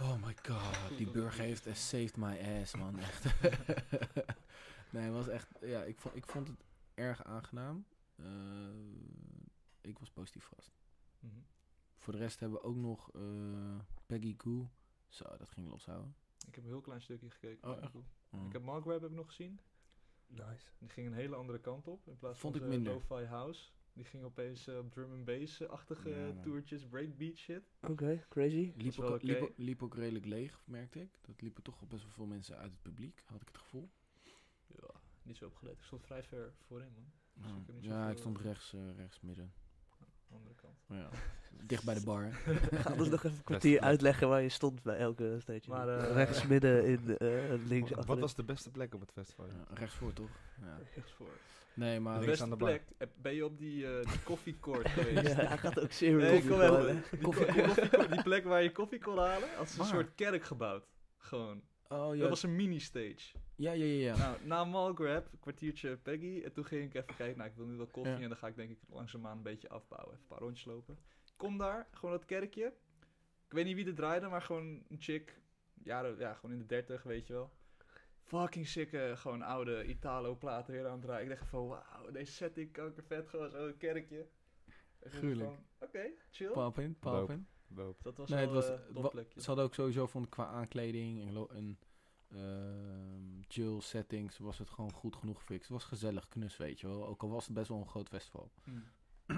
[SPEAKER 3] Oh my god. Die
[SPEAKER 4] dat
[SPEAKER 3] burger
[SPEAKER 4] niet.
[SPEAKER 3] heeft eh, saved my ass man. Echt. [LAUGHS] nee, het was echt... Ja, ik vond, ik vond het erg aangenaam. Eh, ik was positief verrast.
[SPEAKER 4] Mhm.
[SPEAKER 3] Voor de rest hebben we ook nog eh, Peggy Goo. Zo, dat ging loshouden.
[SPEAKER 4] Ik heb een heel klein stukje gekeken.
[SPEAKER 3] Oh,
[SPEAKER 4] maar
[SPEAKER 3] echt?
[SPEAKER 4] cool.
[SPEAKER 3] Oh.
[SPEAKER 4] Ik heb Mark Webb heb ik nog gezien.
[SPEAKER 2] Nice.
[SPEAKER 4] Die ging een hele andere kant op. In plaats
[SPEAKER 3] Vond
[SPEAKER 4] van
[SPEAKER 3] ik
[SPEAKER 4] zijn
[SPEAKER 3] minder.
[SPEAKER 4] lo-fi house. Die ging opeens eh, op drum and bass-achtige
[SPEAKER 3] Ja, man.
[SPEAKER 4] toertjes, breakbeat shit.
[SPEAKER 2] Oké,
[SPEAKER 4] [LAUGHS]
[SPEAKER 2] crazy.
[SPEAKER 3] Liep
[SPEAKER 4] is
[SPEAKER 3] ook,
[SPEAKER 4] wel oké.
[SPEAKER 3] liep, ook- liep ook redelijk leeg, merkte ik. Dat liepen toch wel best wel veel mensen uit het publiek, had ik het gevoel.
[SPEAKER 4] Ja, niet zo opgelet. Ik stond vrij ver voorin, man. Dus
[SPEAKER 3] Ja,
[SPEAKER 4] ik heb niet
[SPEAKER 3] ja,
[SPEAKER 4] zoveel,
[SPEAKER 3] ik stond
[SPEAKER 4] eh,
[SPEAKER 3] rechts, eh, rechts midden.
[SPEAKER 4] Andere kant.
[SPEAKER 3] Maar ja, [LAUGHS] dicht bij de bar.
[SPEAKER 4] [LAUGHS]
[SPEAKER 3] hè.
[SPEAKER 2] Ga ons dus nog even een kwartier
[SPEAKER 1] plek.
[SPEAKER 2] uitleggen waar je stond bij elke stage.
[SPEAKER 4] Maar, eh,
[SPEAKER 2] Rechts, midden, in, eh, links,
[SPEAKER 1] Wat- Wat
[SPEAKER 2] achterin.
[SPEAKER 1] was de beste plek op het festival?
[SPEAKER 3] Ja, rechts voor toch? Ja.
[SPEAKER 4] [LAUGHS] Echt voor.
[SPEAKER 3] Nee, maar
[SPEAKER 4] De
[SPEAKER 1] links
[SPEAKER 4] beste
[SPEAKER 1] aan de bar.
[SPEAKER 4] plek. eh, Ben je op die, eh, die
[SPEAKER 3] [LAUGHS]
[SPEAKER 4] koffiecourt geweest?
[SPEAKER 2] [LAUGHS] Ja, hij gaat ook serious.
[SPEAKER 4] Nee, kom
[SPEAKER 2] worden.
[SPEAKER 4] even. [LAUGHS] Die, ko- koffiecourt, die plek waar je koffie kon halen, had ze een
[SPEAKER 3] Waar?
[SPEAKER 4] soort kerk gebouwd. Gewoon.
[SPEAKER 3] Oh ja,
[SPEAKER 4] Dat was een mini-stage.
[SPEAKER 3] ja, ja, ja. ja.
[SPEAKER 4] Nou, na Malgrab, een kwartiertje Peggy. En toen ging ik even kijken, nou, ik wil nu wel koffie.
[SPEAKER 3] Ja.
[SPEAKER 4] En dan ga ik denk ik langzaamaan een beetje afbouwen. Even een paar rondjes lopen. Kom daar, gewoon dat kerkje. Ik weet niet wie er draaide, maar gewoon een chick. Jaren, ja, gewoon in de dertig, weet je wel. Fucking sikke, gewoon oude Italo-platen weer aan het draaien. Ik dacht van, wauw, deze setting kankervet, gewoon zo'n kerkje. En toen
[SPEAKER 3] Gruwelijk.
[SPEAKER 4] van, Oké, chill.
[SPEAKER 3] Pap in, pap
[SPEAKER 1] Dope.
[SPEAKER 3] in.
[SPEAKER 1] Doop.
[SPEAKER 4] Dat was
[SPEAKER 3] Nee, het
[SPEAKER 4] wel
[SPEAKER 3] was,
[SPEAKER 4] eh,
[SPEAKER 3] het
[SPEAKER 4] een
[SPEAKER 3] wa-
[SPEAKER 4] topplekje.
[SPEAKER 3] Ze hadden ook sowieso van qua aankleding en, lo- en ehm, chill settings was het gewoon goed genoeg gefixt. Het was gezellig, knus, weet je wel. Ook al was het best wel een groot festival.
[SPEAKER 4] Mm.
[SPEAKER 2] Ja,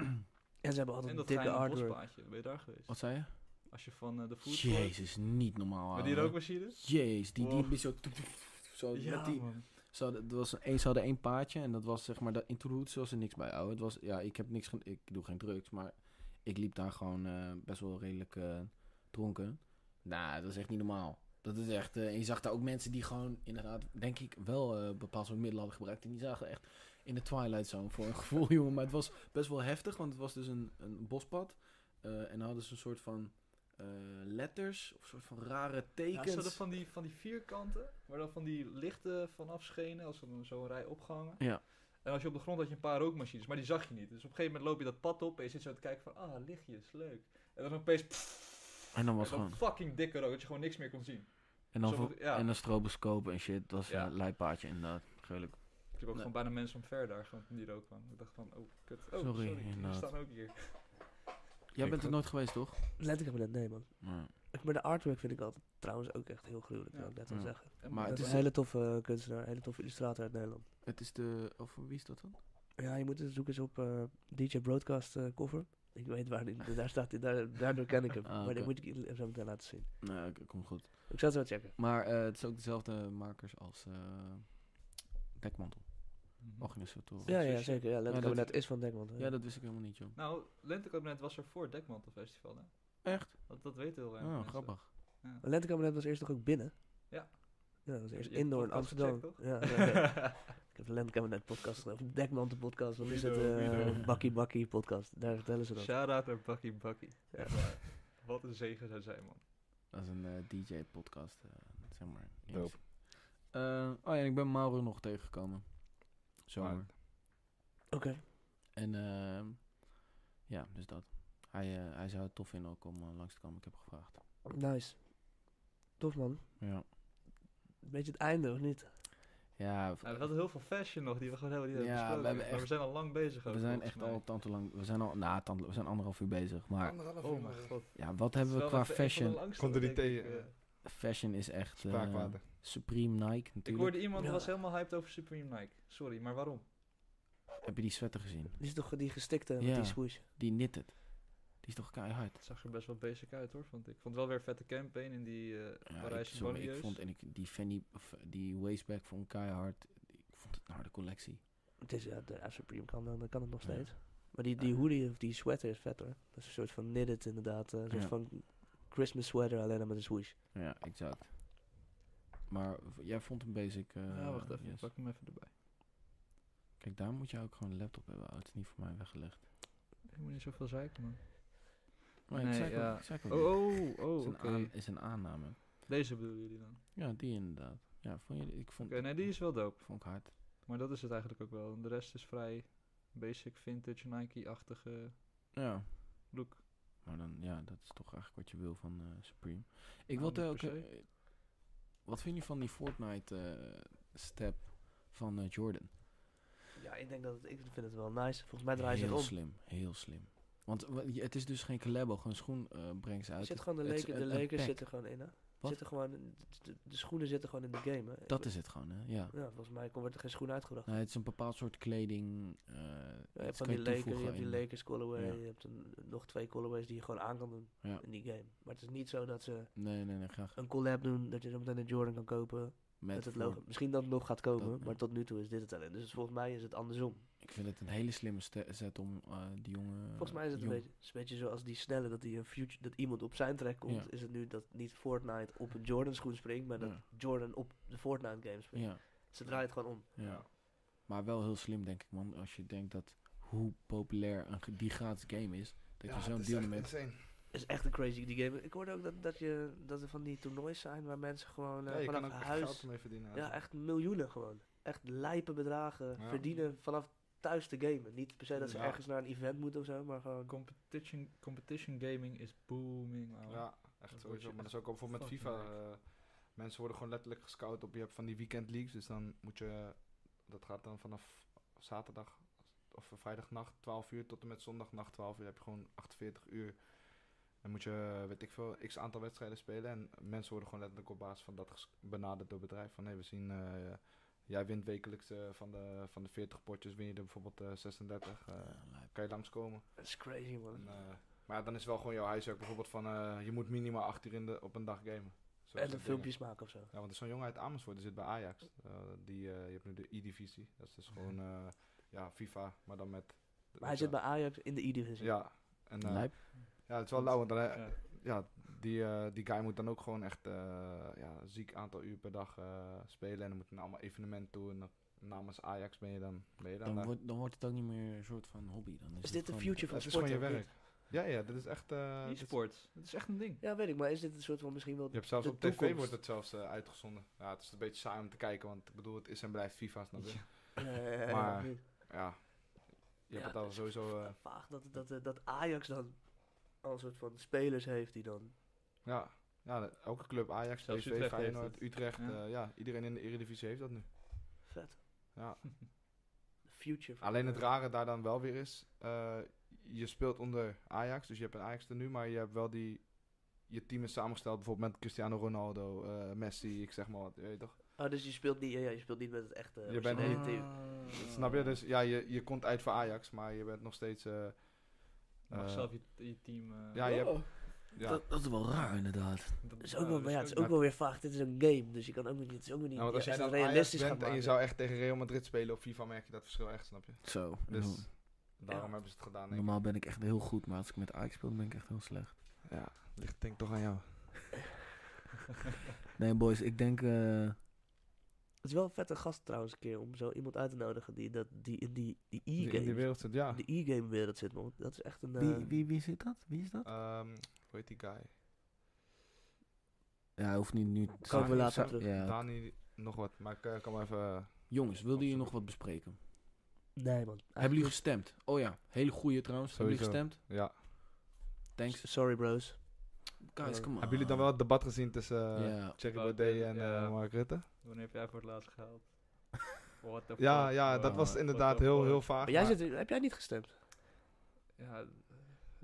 [SPEAKER 2] En ze hebben
[SPEAKER 4] En
[SPEAKER 2] altijd
[SPEAKER 4] dat
[SPEAKER 2] dikke
[SPEAKER 4] geheime
[SPEAKER 2] artwork.
[SPEAKER 4] bospaadje. Ben je daar geweest?
[SPEAKER 3] Wat zei je?
[SPEAKER 4] Als je van eh, de food court-
[SPEAKER 3] Jezus, niet normaal.
[SPEAKER 4] Maar die
[SPEAKER 3] ouwe.
[SPEAKER 4] rookmachine?
[SPEAKER 3] Jeez, die, die
[SPEAKER 4] Wow.
[SPEAKER 3] die zo... zo
[SPEAKER 4] Oh. Ja,
[SPEAKER 3] met die,
[SPEAKER 4] man.
[SPEAKER 3] ze hadden, het was, eens ze hadden één paadje en dat was zeg maar... Dat, in Toerhoed was er niks bij, ouwe. Het was, ja, ik heb niks... ge- Ik doe geen drugs, maar ik liep daar gewoon eh, best wel redelijk eh, dronken. Nou, dat is echt niet normaal. Dat is echt... eh, en je zag daar ook mensen die gewoon inderdaad, denk ik, wel eh, bepaald soort middelen hadden gebruikt. En die zagen echt in de Twilight Zone voor een [LAUGHS] gevoel, jongen. Maar het was best wel heftig, want het was dus een, een bospad. eh, en dan hadden ze een soort van... eh, letters of een soort van rare
[SPEAKER 4] Ja, ze hadden
[SPEAKER 3] tekens.
[SPEAKER 4] van die, van die vierkanten, waar dan van die lichten vanaf schenen, als dan zo'n rij opgehangen.
[SPEAKER 3] Ja.
[SPEAKER 4] En als je op de grond had je een paar rookmachines, maar die zag je niet. Dus op een gegeven moment loop je dat pad op en je zit zo te kijken van, ah, lichtjes, leuk. En dan opeens, pff,
[SPEAKER 3] En dan was
[SPEAKER 4] en
[SPEAKER 3] gewoon...
[SPEAKER 4] fucking dikke rook, dat je gewoon niks meer kon zien.
[SPEAKER 3] En dan,
[SPEAKER 4] Sommige-
[SPEAKER 3] voor-
[SPEAKER 4] ja.
[SPEAKER 3] en dan stroboscopen en shit. Dat is
[SPEAKER 4] Ja.
[SPEAKER 3] een leipaardje inderdaad. Gelukkig.
[SPEAKER 4] Ik heb ook
[SPEAKER 3] Nee.
[SPEAKER 4] gewoon bijna mensen omver daar, gewoon toen die rook kwam. Ik dacht van, oh, kut. Oh,
[SPEAKER 3] Sorry,
[SPEAKER 4] sorry, die
[SPEAKER 3] inderdaad.
[SPEAKER 4] staan ook hier.
[SPEAKER 3] Jij
[SPEAKER 1] Ik
[SPEAKER 3] bent er
[SPEAKER 1] ook.
[SPEAKER 3] nooit geweest, toch?
[SPEAKER 2] Letterlijk heb ik dat, nee man. Maar de artwork vind ik altijd trouwens ook echt heel gruwelijk,
[SPEAKER 4] Ja. Ah,
[SPEAKER 2] wil ik net al
[SPEAKER 3] Ja.
[SPEAKER 2] zeggen.
[SPEAKER 4] En
[SPEAKER 3] Maar
[SPEAKER 2] Maar
[SPEAKER 3] het
[SPEAKER 2] het
[SPEAKER 3] is-
[SPEAKER 2] een hele toffe eh, kunstenaar, een hele toffe illustrator uit Nederland.
[SPEAKER 3] Het is de... Of wie is dat dan?
[SPEAKER 2] Ja, je moet het zoeken eens op eh, DJ Broadcast eh, cover. Ik weet waar die, daar staat hij, daar, daardoor ken ik hem.
[SPEAKER 3] [LAUGHS] Ah,
[SPEAKER 2] Maar
[SPEAKER 3] oké.
[SPEAKER 2] dat moet ik je zo meteen laten zien.
[SPEAKER 3] Nee, oké, komt goed.
[SPEAKER 2] Ik zal het wel checken.
[SPEAKER 3] Maar eh, het is ook dezelfde makers als eh Dekmantel.
[SPEAKER 4] Mhm.
[SPEAKER 3] Organisatoren.
[SPEAKER 2] Ja, ja,
[SPEAKER 4] zusje.
[SPEAKER 2] zeker. Ja,
[SPEAKER 3] dat-
[SPEAKER 2] Letterlijk dat is van eh, Dekman.
[SPEAKER 3] Ja, dat wist ik helemaal niet, joh.
[SPEAKER 4] Nou, Lentekabinet was er voor Dekmantelfestival, hè?
[SPEAKER 3] Echt?
[SPEAKER 4] Dat, dat weten heel weinig
[SPEAKER 3] Oh,
[SPEAKER 4] mensen. [LAUGHS]
[SPEAKER 3] grappig.
[SPEAKER 2] Maar Lentekabinet was eerst toch ook binnen?
[SPEAKER 4] Ja.
[SPEAKER 2] Ja, dat was eerst
[SPEAKER 4] Je hebt
[SPEAKER 2] indoor
[SPEAKER 4] de
[SPEAKER 2] in
[SPEAKER 4] podcast
[SPEAKER 2] Amsterdam.
[SPEAKER 4] gecheckt,
[SPEAKER 2] ja, ja,
[SPEAKER 4] [LAUGHS]
[SPEAKER 2] ja. ik heb de Lentekabinet podcast gedaan, of de Dekman podcast. Dan is het
[SPEAKER 4] Guido,
[SPEAKER 2] eh
[SPEAKER 4] Guido.
[SPEAKER 2] Bakkie Bakkie podcast. Daar vertellen ze dat.
[SPEAKER 4] Shout-out naar Bakkie Bakkie.
[SPEAKER 2] Ja.
[SPEAKER 4] Echt waar. Wat een zegen zou zijn, man.
[SPEAKER 3] Dat is een eh, DJ-podcast, eh, zeg maar.
[SPEAKER 1] Dope.
[SPEAKER 3] Eh, oh ja, en ik ben Mauro nog tegengekomen. Zomer.
[SPEAKER 1] Maar-
[SPEAKER 2] Oké.
[SPEAKER 3] En ehm, ja, dus dat. Hij, eh, hij zou het tof vinden ook om eh, langs te komen. Ik heb gevraagd.
[SPEAKER 2] Nice. Tof man.
[SPEAKER 3] Ja.
[SPEAKER 2] Beetje het einde, of niet?
[SPEAKER 3] Ja,
[SPEAKER 4] Ja, we hadden heel veel fashion nog die we gewoon helemaal niet hebben
[SPEAKER 3] Ja,
[SPEAKER 4] besproken.
[SPEAKER 3] we hebben
[SPEAKER 4] Maar we
[SPEAKER 3] echt-
[SPEAKER 4] zijn al lang bezig. ook,
[SPEAKER 3] we zijn
[SPEAKER 4] volgens
[SPEAKER 3] echt
[SPEAKER 4] mij.
[SPEAKER 3] al tante lang. We zijn al. Nou, tante, we zijn anderhalf uur bezig. Maar
[SPEAKER 1] Anderhalf uur
[SPEAKER 4] Oh mijn
[SPEAKER 1] nog.
[SPEAKER 4] god.
[SPEAKER 3] ja, wat
[SPEAKER 4] Het is
[SPEAKER 3] hebben we
[SPEAKER 4] wel
[SPEAKER 3] qua
[SPEAKER 4] echt een van de
[SPEAKER 3] fashion?
[SPEAKER 4] langste,
[SPEAKER 1] Komt er niet
[SPEAKER 4] denk ik,
[SPEAKER 1] tegen, eh.
[SPEAKER 4] eh.
[SPEAKER 3] Fashion is echt. eh,
[SPEAKER 1] Spraakwater.
[SPEAKER 3] Supreme Nike
[SPEAKER 4] Ik
[SPEAKER 3] natuurlijk.
[SPEAKER 4] hoorde iemand die
[SPEAKER 2] Ja.
[SPEAKER 4] was helemaal hyped over Supreme Nike. Sorry, maar waarom?
[SPEAKER 3] Heb je die sweater gezien?
[SPEAKER 2] Die is toch die gestikte
[SPEAKER 3] Ja.
[SPEAKER 2] met die swoosh?
[SPEAKER 3] Die knitted. Die is toch keihard.
[SPEAKER 4] Het zag er best wel basic uit hoor, vond ik. Ik vond het wel weer een vette campaign in die eh
[SPEAKER 3] Ja, ik,
[SPEAKER 4] Parijse
[SPEAKER 3] sorry, ik
[SPEAKER 4] bonnieus.
[SPEAKER 3] vond en ik, die fanny, of die waistback vond ik keihard. Ik vond het een harde collectie.
[SPEAKER 2] Het is, ja, de ja, Supreme kan, dan dan kan het nog
[SPEAKER 3] Ja.
[SPEAKER 2] steeds. Maar die, die hoodie of die sweater is vet hoor. Dat is een soort van knitted inderdaad. eh, Een soort
[SPEAKER 3] Ja.
[SPEAKER 2] van Christmas sweater alleen dan met een swoosh.
[SPEAKER 3] Ja, exact. Maar v- jij vond een basic. eh,
[SPEAKER 4] ja, wacht even, ik
[SPEAKER 3] yes.
[SPEAKER 4] pak hem even erbij.
[SPEAKER 3] Kijk, daar moet je ook gewoon een laptop hebben. Oh, het is niet voor mij weggelegd.
[SPEAKER 4] Je moet niet zoveel zeiken man.
[SPEAKER 3] Maar ik
[SPEAKER 4] Nee,
[SPEAKER 3] zei
[SPEAKER 4] ja.
[SPEAKER 3] ook, ik zei ook
[SPEAKER 4] Oh, oh, oh,
[SPEAKER 3] is,
[SPEAKER 4] oké.
[SPEAKER 3] een aan- is een aanname.
[SPEAKER 4] Deze bedoelen jullie dan? Oké,
[SPEAKER 3] Ja, die inderdaad. Ja, vond je, ik vond,
[SPEAKER 4] nee, die is wel dope.
[SPEAKER 3] vond ik hard.
[SPEAKER 4] Maar dat is het eigenlijk ook wel. En de rest is vrij basic, vintage, Nike-achtige
[SPEAKER 3] Ja,
[SPEAKER 4] look.
[SPEAKER 3] maar dan, ja, dat is toch eigenlijk wat je wil van eh, Supreme. Ik
[SPEAKER 4] Nou,
[SPEAKER 3] wilde
[SPEAKER 4] niet
[SPEAKER 3] ook...
[SPEAKER 4] per
[SPEAKER 3] eh, wat vind je van die Fortnite-step van eh, Jordan?
[SPEAKER 2] Ja, ik denk dat het, ik vind het wel nice. Volgens mij draai je zich
[SPEAKER 3] Heel
[SPEAKER 2] om.
[SPEAKER 3] slim, heel slim. Want wa- je- het is dus geen collabo, gewoon schoen eh, brengt ze
[SPEAKER 2] Je
[SPEAKER 3] uit.
[SPEAKER 2] zit
[SPEAKER 3] Het-
[SPEAKER 2] gewoon de
[SPEAKER 3] het is
[SPEAKER 2] leken, de
[SPEAKER 3] een- een
[SPEAKER 2] leken
[SPEAKER 3] pack.
[SPEAKER 2] zitten gewoon in hè.
[SPEAKER 3] Wat?
[SPEAKER 2] Zitten gewoon, de- de, de schoenen zitten gewoon in de game hè. Ik
[SPEAKER 3] Dat
[SPEAKER 2] weet-
[SPEAKER 3] is het gewoon, hè? Ja.
[SPEAKER 2] Ja, volgens mij kon- wordt er geen schoen uitgebracht.
[SPEAKER 3] Nou, het is een bepaald soort kleding. eh,
[SPEAKER 2] je
[SPEAKER 3] dat
[SPEAKER 2] hebt van
[SPEAKER 3] kan
[SPEAKER 2] die
[SPEAKER 3] je
[SPEAKER 2] Lakers, je
[SPEAKER 3] toevoegen
[SPEAKER 2] hebt die
[SPEAKER 3] in-
[SPEAKER 2] Lakers colorway,
[SPEAKER 3] Ja.
[SPEAKER 2] je hebt een- nog twee colorways die je gewoon aan kan doen
[SPEAKER 3] Ja.
[SPEAKER 2] in die game. Maar het is niet zo dat ze
[SPEAKER 3] Nee, nee, nee, graag.
[SPEAKER 2] een collab doen, dat je zo meteen een Jordan kan kopen.
[SPEAKER 3] Met,
[SPEAKER 2] Met het
[SPEAKER 3] Fort-
[SPEAKER 2] logo. Misschien dat het nog gaat komen,
[SPEAKER 3] Dat- ja.
[SPEAKER 2] maar tot nu toe is dit het alleen. Dus volgens mij is het andersom.
[SPEAKER 3] Ik vind het een hele slimme ste- zet om eh, die jongen...
[SPEAKER 2] Volgens mij is het een beetje, is een beetje zoals die snelle dat, die een future, dat iemand op zijn track komt.
[SPEAKER 3] Ja.
[SPEAKER 2] Is het nu dat niet Fortnite op een Jordan schoen springt, maar dat
[SPEAKER 3] Ja.
[SPEAKER 2] Jordan op de Fortnite game springt.
[SPEAKER 3] Ja,
[SPEAKER 2] Ze draaien het gewoon om.
[SPEAKER 3] ja. Maar wel heel slim, denk ik, man. Als je denkt dat hoe populair een, ge- die gratis game is... Dat je
[SPEAKER 1] Ja,
[SPEAKER 3] zo'n
[SPEAKER 1] het is
[SPEAKER 3] deal
[SPEAKER 1] echt
[SPEAKER 3] met...
[SPEAKER 1] insane.
[SPEAKER 2] is echt een crazy die game. Ik hoorde ook dat, dat, je, dat er van die toernoois zijn waar mensen gewoon
[SPEAKER 1] Ja,
[SPEAKER 2] eh,
[SPEAKER 1] je kan
[SPEAKER 2] vanaf
[SPEAKER 1] ook echt
[SPEAKER 2] huis...
[SPEAKER 1] geld mee verdienen.
[SPEAKER 2] Ja, echt miljoenen gewoon. Echt lijpe bedragen
[SPEAKER 1] Ja.
[SPEAKER 2] verdienen vanaf thuis te gamen. Niet per se dat ze
[SPEAKER 1] Ja.
[SPEAKER 2] ergens naar een event moeten of zo, maar gewoon...
[SPEAKER 4] Competition, competition gaming is booming. ouwe.
[SPEAKER 1] Ja,
[SPEAKER 4] word
[SPEAKER 1] echt
[SPEAKER 4] je
[SPEAKER 1] sowieso. Maar dat
[SPEAKER 4] echt
[SPEAKER 1] is ook al bijvoorbeeld met
[SPEAKER 4] fucking
[SPEAKER 1] FIFA. eh, mensen worden gewoon letterlijk gescout op. Je hebt van die weekend leagues. Dus dan moet je. Dat gaat dan vanaf zaterdag of vrijdagnacht 12 uur tot en met zondagnacht 12 uur. heb je gewoon 48 uur. Dan moet je, weet ik veel, x aantal wedstrijden spelen. En mensen worden gewoon letterlijk op basis van dat ges- benaderd door het bedrijf. Van hé, we zien eh, Jij wint wekelijks eh, van, de, van de 40 potjes, win je er bijvoorbeeld eh, 36. eh,
[SPEAKER 3] Ja, lijp.
[SPEAKER 1] kan je langskomen.
[SPEAKER 2] Dat is crazy,
[SPEAKER 1] En,
[SPEAKER 2] man.
[SPEAKER 1] eh, maar dan is wel gewoon jouw huiswerk bijvoorbeeld van eh, je moet minimaal 8 uur in de, op een dag gamen. Zo
[SPEAKER 2] En dan
[SPEAKER 1] soort
[SPEAKER 2] filmpjes maken of zo.
[SPEAKER 1] dingen. Ja, want er is zo'n jongen uit Amersfoort, die zit bij Ajax. Eh, die, eh, je hebt nu de E-divisie. Dat is dus gewoon eh, ja, FIFA, maar dan met...
[SPEAKER 2] Mhm. Maar hij zit bij Ajax in de E-divisie.
[SPEAKER 1] Ja. En, eh,
[SPEAKER 3] Lijp.
[SPEAKER 1] ja, het is wel lauw, want dan, eh,
[SPEAKER 4] Ja.
[SPEAKER 1] ja, die, eh, die guy moet dan ook gewoon echt eh, ja, een ziek aantal uur per dag eh, spelen. En dan moet hij naar allemaal evenementen toe. En dan namens Ajax ben je dan, ben je dan,
[SPEAKER 3] Dan
[SPEAKER 1] daar.
[SPEAKER 3] wordt, dan wordt het ook niet meer een soort van hobby. Dan is,
[SPEAKER 2] Is dit de
[SPEAKER 3] gewoon-
[SPEAKER 2] future van
[SPEAKER 1] Het is
[SPEAKER 2] sport?
[SPEAKER 1] gewoon je
[SPEAKER 2] of
[SPEAKER 1] werk.
[SPEAKER 2] niet?
[SPEAKER 1] Ja, ja, dit is echt... eh, dit is-
[SPEAKER 4] E-sports, dat is echt een ding.
[SPEAKER 2] Ja, weet ik, maar is dit een soort van misschien wel...
[SPEAKER 1] je hebt zelfs
[SPEAKER 2] de
[SPEAKER 1] op tv
[SPEAKER 2] toekomst?
[SPEAKER 1] wordt het zelfs eh, uitgezonden. Ja, het is een beetje saai om te kijken, want ik bedoel, het is en blijft FIFA. Snap je? Ja. [LAUGHS]
[SPEAKER 2] Eh,
[SPEAKER 1] Maar-
[SPEAKER 2] niet.
[SPEAKER 1] Je hebt
[SPEAKER 2] Ja,
[SPEAKER 1] het al
[SPEAKER 4] dus-
[SPEAKER 2] dat is
[SPEAKER 1] sowieso... eh,
[SPEAKER 2] Vaag dat, dat, eh, dat Ajax dan al een soort van spelers heeft die dan...
[SPEAKER 1] ja, ja, de- elke club, Ajax,
[SPEAKER 4] Zelfs
[SPEAKER 1] PSV,
[SPEAKER 4] Utrecht heeft
[SPEAKER 1] Feyenoord,
[SPEAKER 4] het.
[SPEAKER 1] Utrecht.
[SPEAKER 4] Ja.
[SPEAKER 1] eh, ja, iedereen in de Eredivisie heeft dat nu.
[SPEAKER 2] Vet.
[SPEAKER 1] Ja.
[SPEAKER 2] De future van... eh,
[SPEAKER 1] Alleen het rare daar dan wel weer is, eh, je speelt onder Ajax, dus je hebt een Ajax er nu, maar je hebt wel die, je team is samengesteld bijvoorbeeld met Cristiano Ronaldo, eh, Messi, ik zeg maar wat, je weet toch?
[SPEAKER 2] Oh, dus je speelt niet, ja, ja, je speelt niet met het echte
[SPEAKER 1] Je bent
[SPEAKER 2] originele
[SPEAKER 1] niet-
[SPEAKER 2] team.
[SPEAKER 1] Ah. Snap je? Dus ja, je, je komt uit voor Ajax, maar je bent nog steeds, eh,
[SPEAKER 4] Je mag
[SPEAKER 1] eh,
[SPEAKER 4] zelf je, je team... eh,
[SPEAKER 1] ja, je hebt, ja.
[SPEAKER 3] Dat, dat is wel raar, inderdaad.
[SPEAKER 2] Het
[SPEAKER 4] eh,
[SPEAKER 2] is ook wel, maar ja, het is
[SPEAKER 1] ook-
[SPEAKER 2] ook wel weer vaag. Dit is een game, dus je kan ook niet, het is ook niet
[SPEAKER 1] Nou, want als
[SPEAKER 2] ja,
[SPEAKER 1] jij
[SPEAKER 2] echt
[SPEAKER 1] dan
[SPEAKER 2] realistisch
[SPEAKER 1] realistisch
[SPEAKER 2] gaan
[SPEAKER 1] bent en
[SPEAKER 2] maken.
[SPEAKER 1] je zou echt tegen Real Madrid spelen op FIFA, merk je dat verschil echt, snap je?
[SPEAKER 3] Zo.
[SPEAKER 1] Dus daarom
[SPEAKER 2] Ja.
[SPEAKER 1] hebben ze het gedaan, denk ik.
[SPEAKER 3] Normaal ben ik echt heel goed, maar als ik met Ajax speel, ben ik echt heel slecht.
[SPEAKER 1] Ja, ligt denk ik toch aan jou.
[SPEAKER 3] Nee, boys, ik denk... eh,
[SPEAKER 2] Het is wel een vette gast trouwens een keer om zo iemand uit te nodigen die, dat, die in die, die
[SPEAKER 1] Die in die
[SPEAKER 2] e-game
[SPEAKER 1] wereld zit, ja.
[SPEAKER 2] de e-game wereld zit, man. Dat is echt een... eh,
[SPEAKER 3] wie, wie, wie zit dat? Wie is dat?
[SPEAKER 1] Ehm, hoe heet die guy?
[SPEAKER 3] Ja, hoeft niet nu... te
[SPEAKER 2] Komen we
[SPEAKER 3] zeggen.
[SPEAKER 2] later
[SPEAKER 3] Zo-
[SPEAKER 2] terug.
[SPEAKER 3] Ja.
[SPEAKER 1] Dani, nog wat, maar ik eh, kan maar even...
[SPEAKER 3] Jongens, wilden jullie
[SPEAKER 1] Absoluut.
[SPEAKER 3] nog wat bespreken?
[SPEAKER 2] Nee, man.
[SPEAKER 3] Hebben jullie gestemd? Oh ja, hele goeie trouwens. Hebben
[SPEAKER 1] Sowieso.
[SPEAKER 3] jullie gestemd?
[SPEAKER 1] Ja.
[SPEAKER 2] Ah.
[SPEAKER 3] Thanks.
[SPEAKER 2] Sorry, bros.
[SPEAKER 3] Guys,
[SPEAKER 2] Eh,
[SPEAKER 3] come on.
[SPEAKER 1] Hebben jullie dan wel het debat gezien tussen eh
[SPEAKER 3] Ja.
[SPEAKER 1] Thierry
[SPEAKER 4] Oh,
[SPEAKER 1] Baudet
[SPEAKER 4] de-
[SPEAKER 1] en
[SPEAKER 4] ja.
[SPEAKER 1] eh, Mark Rutte?
[SPEAKER 4] [LAUGHS] Wanneer heb jij voor het laatst gehaald?
[SPEAKER 1] [LAUGHS]
[SPEAKER 4] What the
[SPEAKER 1] Ja,
[SPEAKER 4] fuck,
[SPEAKER 1] ja,
[SPEAKER 4] man.
[SPEAKER 1] dat was
[SPEAKER 4] What
[SPEAKER 1] inderdaad
[SPEAKER 4] the
[SPEAKER 1] heel,
[SPEAKER 4] fuck.
[SPEAKER 1] heel vaag.
[SPEAKER 2] Maar jij
[SPEAKER 1] maar-
[SPEAKER 2] zit, heb jij niet gestemd?
[SPEAKER 4] Ja, eh,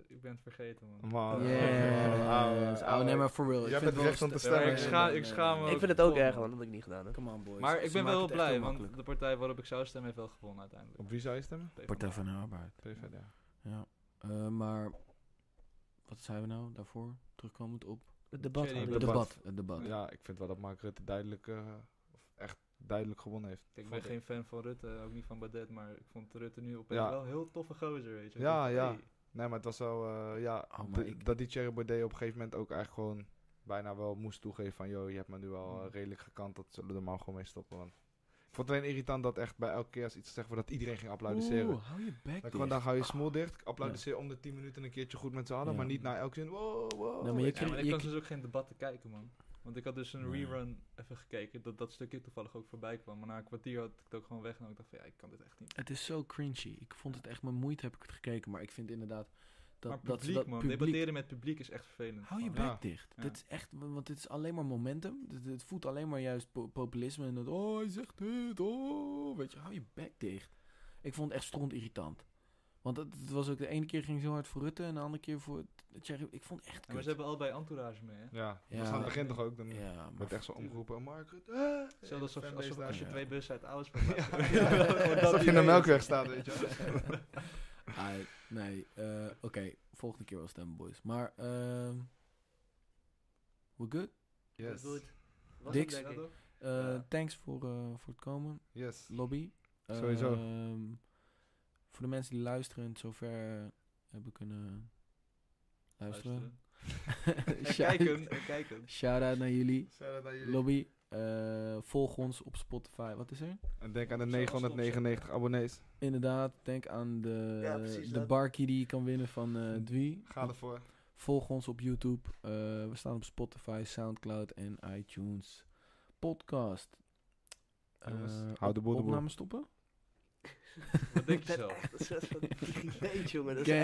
[SPEAKER 4] ik ben het vergeten, man.
[SPEAKER 1] Man,
[SPEAKER 3] Yeah.
[SPEAKER 1] ouwe,
[SPEAKER 3] Yes. Oh, nee,
[SPEAKER 1] ouwe.
[SPEAKER 3] maar for real.
[SPEAKER 1] Jij hebt
[SPEAKER 3] ik vind
[SPEAKER 1] het
[SPEAKER 3] wel
[SPEAKER 1] recht om
[SPEAKER 3] st-
[SPEAKER 1] te stemmen.
[SPEAKER 3] Ja,
[SPEAKER 1] Ik
[SPEAKER 3] nee,
[SPEAKER 1] scha-
[SPEAKER 3] nee,
[SPEAKER 4] ik
[SPEAKER 3] nee,
[SPEAKER 4] schaam me
[SPEAKER 3] nee.
[SPEAKER 4] ook.
[SPEAKER 2] ik vind het ook
[SPEAKER 4] kom.
[SPEAKER 2] erg, man. Dat heb ik niet gedaan. Hè.
[SPEAKER 3] Come on, boys.
[SPEAKER 4] Maar
[SPEAKER 3] Ze
[SPEAKER 4] ik ben wel
[SPEAKER 3] maken
[SPEAKER 4] heel
[SPEAKER 3] het echt
[SPEAKER 4] blij,
[SPEAKER 3] heel
[SPEAKER 4] want
[SPEAKER 3] makkelijk.
[SPEAKER 4] de partij waarop ik zou stemmen heeft wel gewonnen uiteindelijk.
[SPEAKER 1] Op wie zou je stemmen?
[SPEAKER 3] Partij van de Arbeid.
[SPEAKER 1] PvdA.
[SPEAKER 3] Ja. Eh, maar... Wat zeiden we nou daarvoor? Terugkwam het op?
[SPEAKER 2] Het debat.
[SPEAKER 4] Thierry
[SPEAKER 2] hadden
[SPEAKER 3] Het
[SPEAKER 2] jullie.
[SPEAKER 3] debat. Het debat.
[SPEAKER 1] Ja, ik vind wel dat Mark Rutte duidelijk, eh, of echt duidelijk gewonnen heeft.
[SPEAKER 4] Ik ben
[SPEAKER 1] Vond
[SPEAKER 4] geen fan van Rutte, ook niet van Badet, maar ik vond Rutte nu opeens
[SPEAKER 1] Ja.
[SPEAKER 4] wel een heel toffe gozer, weet je. Ik
[SPEAKER 1] Ja,
[SPEAKER 4] dacht,
[SPEAKER 1] ja.
[SPEAKER 4] hey,
[SPEAKER 1] Nee, maar het was wel, eh, ja,
[SPEAKER 3] Oh, maar
[SPEAKER 1] de-
[SPEAKER 3] ik-
[SPEAKER 1] dat die Thierry Baudet op een gegeven moment ook eigenlijk gewoon bijna wel moest toegeven van, joh, je hebt me nu al
[SPEAKER 3] Mm.
[SPEAKER 1] eh, redelijk gekant, dat zullen we er maar gewoon mee stoppen. Want ik vond het alleen irritant dat echt bij elke keer als iets gezegd wordt, dat iedereen ging applaudisseren.
[SPEAKER 3] Oeh, hou je bek
[SPEAKER 1] Dan
[SPEAKER 3] dicht.
[SPEAKER 1] gewoon, dan hou je smoel dicht, applaudisseer om de 10 minuten een keertje goed met z'n allen,
[SPEAKER 3] Ja.
[SPEAKER 1] maar niet na elke zin, wow, wow.
[SPEAKER 3] Nee, maar je
[SPEAKER 1] weet
[SPEAKER 4] Ja,
[SPEAKER 3] kreeg-
[SPEAKER 1] wel.
[SPEAKER 4] maar ik
[SPEAKER 3] je
[SPEAKER 4] kan
[SPEAKER 3] k-
[SPEAKER 4] dus ook geen debatten kijken, man. Want ik had dus een
[SPEAKER 3] Nee.
[SPEAKER 4] rerun even gekeken, dat dat stukje toevallig ook voorbij kwam. Maar na een kwartier had ik het ook gewoon weg en ik dacht van, ja, ik kan dit echt niet.
[SPEAKER 3] Het is zo cringy. Ik vond het echt met moeite heb ik het gekeken, maar ik vind inderdaad dat
[SPEAKER 4] maar
[SPEAKER 3] dat
[SPEAKER 4] publiek,
[SPEAKER 3] ze dat
[SPEAKER 4] man.
[SPEAKER 3] publiek-
[SPEAKER 4] Debatteren met publiek is echt vervelend.
[SPEAKER 3] Hou je
[SPEAKER 4] gewoon.
[SPEAKER 3] bek
[SPEAKER 1] Ja.
[SPEAKER 3] dicht.
[SPEAKER 4] Ja.
[SPEAKER 3] Dit is echt, want dit is alleen maar momentum. Het, het voedt alleen maar juist po- populisme en dat oh hij zegt dit, oh weet je, hou je bek dicht. Ik vond het echt stront irritant. Want het, het was ook de ene keer ging zo hard voor Rutte en de andere keer voor Thierry. Ik vond het echt.
[SPEAKER 4] Ja, maar
[SPEAKER 3] Kut.
[SPEAKER 4] ze hebben allebei entourage mee, hè.
[SPEAKER 1] Ja, dat
[SPEAKER 3] Ja.
[SPEAKER 1] was aan het begin toch ook, dan
[SPEAKER 3] ja, maar
[SPEAKER 1] werd echt zo omgeroepen, "Oh, Mark Rutte, eh,
[SPEAKER 4] Zelfs alsof,
[SPEAKER 1] fan
[SPEAKER 4] alsof
[SPEAKER 1] deze
[SPEAKER 4] als je
[SPEAKER 3] dagen.
[SPEAKER 4] twee
[SPEAKER 3] Ja.
[SPEAKER 4] bussen uit Ouders
[SPEAKER 1] [LAUGHS]
[SPEAKER 4] [LAUGHS]
[SPEAKER 1] Alsof je in de melkweg staat, weet je wel.
[SPEAKER 3] [LAUGHS] Ai, nee, eh, oké. Volgende keer wel stemmen, boys. Maar, ehm we good?
[SPEAKER 1] Yes,
[SPEAKER 2] Was
[SPEAKER 3] Dix.
[SPEAKER 2] het, denk ik.
[SPEAKER 3] Eh,
[SPEAKER 2] Ja.
[SPEAKER 3] Thanks voor, eh, voor het komen,
[SPEAKER 1] yes.
[SPEAKER 3] lobby.
[SPEAKER 1] Sowieso.
[SPEAKER 3] Ehm, voor de mensen die luisteren en het zover eh, hebben kunnen luisteren. [LAUGHS] Shout-
[SPEAKER 4] Kijken, en kijken.
[SPEAKER 3] Shout-out naar jullie,
[SPEAKER 1] Shout-out aan jullie.
[SPEAKER 3] lobby. Eh, volg ons op Spotify. Wat is er?
[SPEAKER 1] En denk aan de 999 abonnees.
[SPEAKER 3] Inderdaad, denk aan de,
[SPEAKER 2] Ja, precies
[SPEAKER 3] de
[SPEAKER 2] dat. Mm.
[SPEAKER 3] barkey die je kan winnen van eh Dwi.
[SPEAKER 1] Ga ervoor.
[SPEAKER 3] Volg ons op YouTube. Eh, we staan op Spotify, Soundcloud en iTunes podcast.
[SPEAKER 1] Jongens,
[SPEAKER 3] Eh,
[SPEAKER 1] hou de boel de boel. [LAUGHS]
[SPEAKER 3] Opname stoppen?
[SPEAKER 4] Wat denk je
[SPEAKER 2] Ik ben [LAUGHS]
[SPEAKER 4] zelf?
[SPEAKER 2] echt een soort van idioot, jongen. Dat is
[SPEAKER 3] Gang.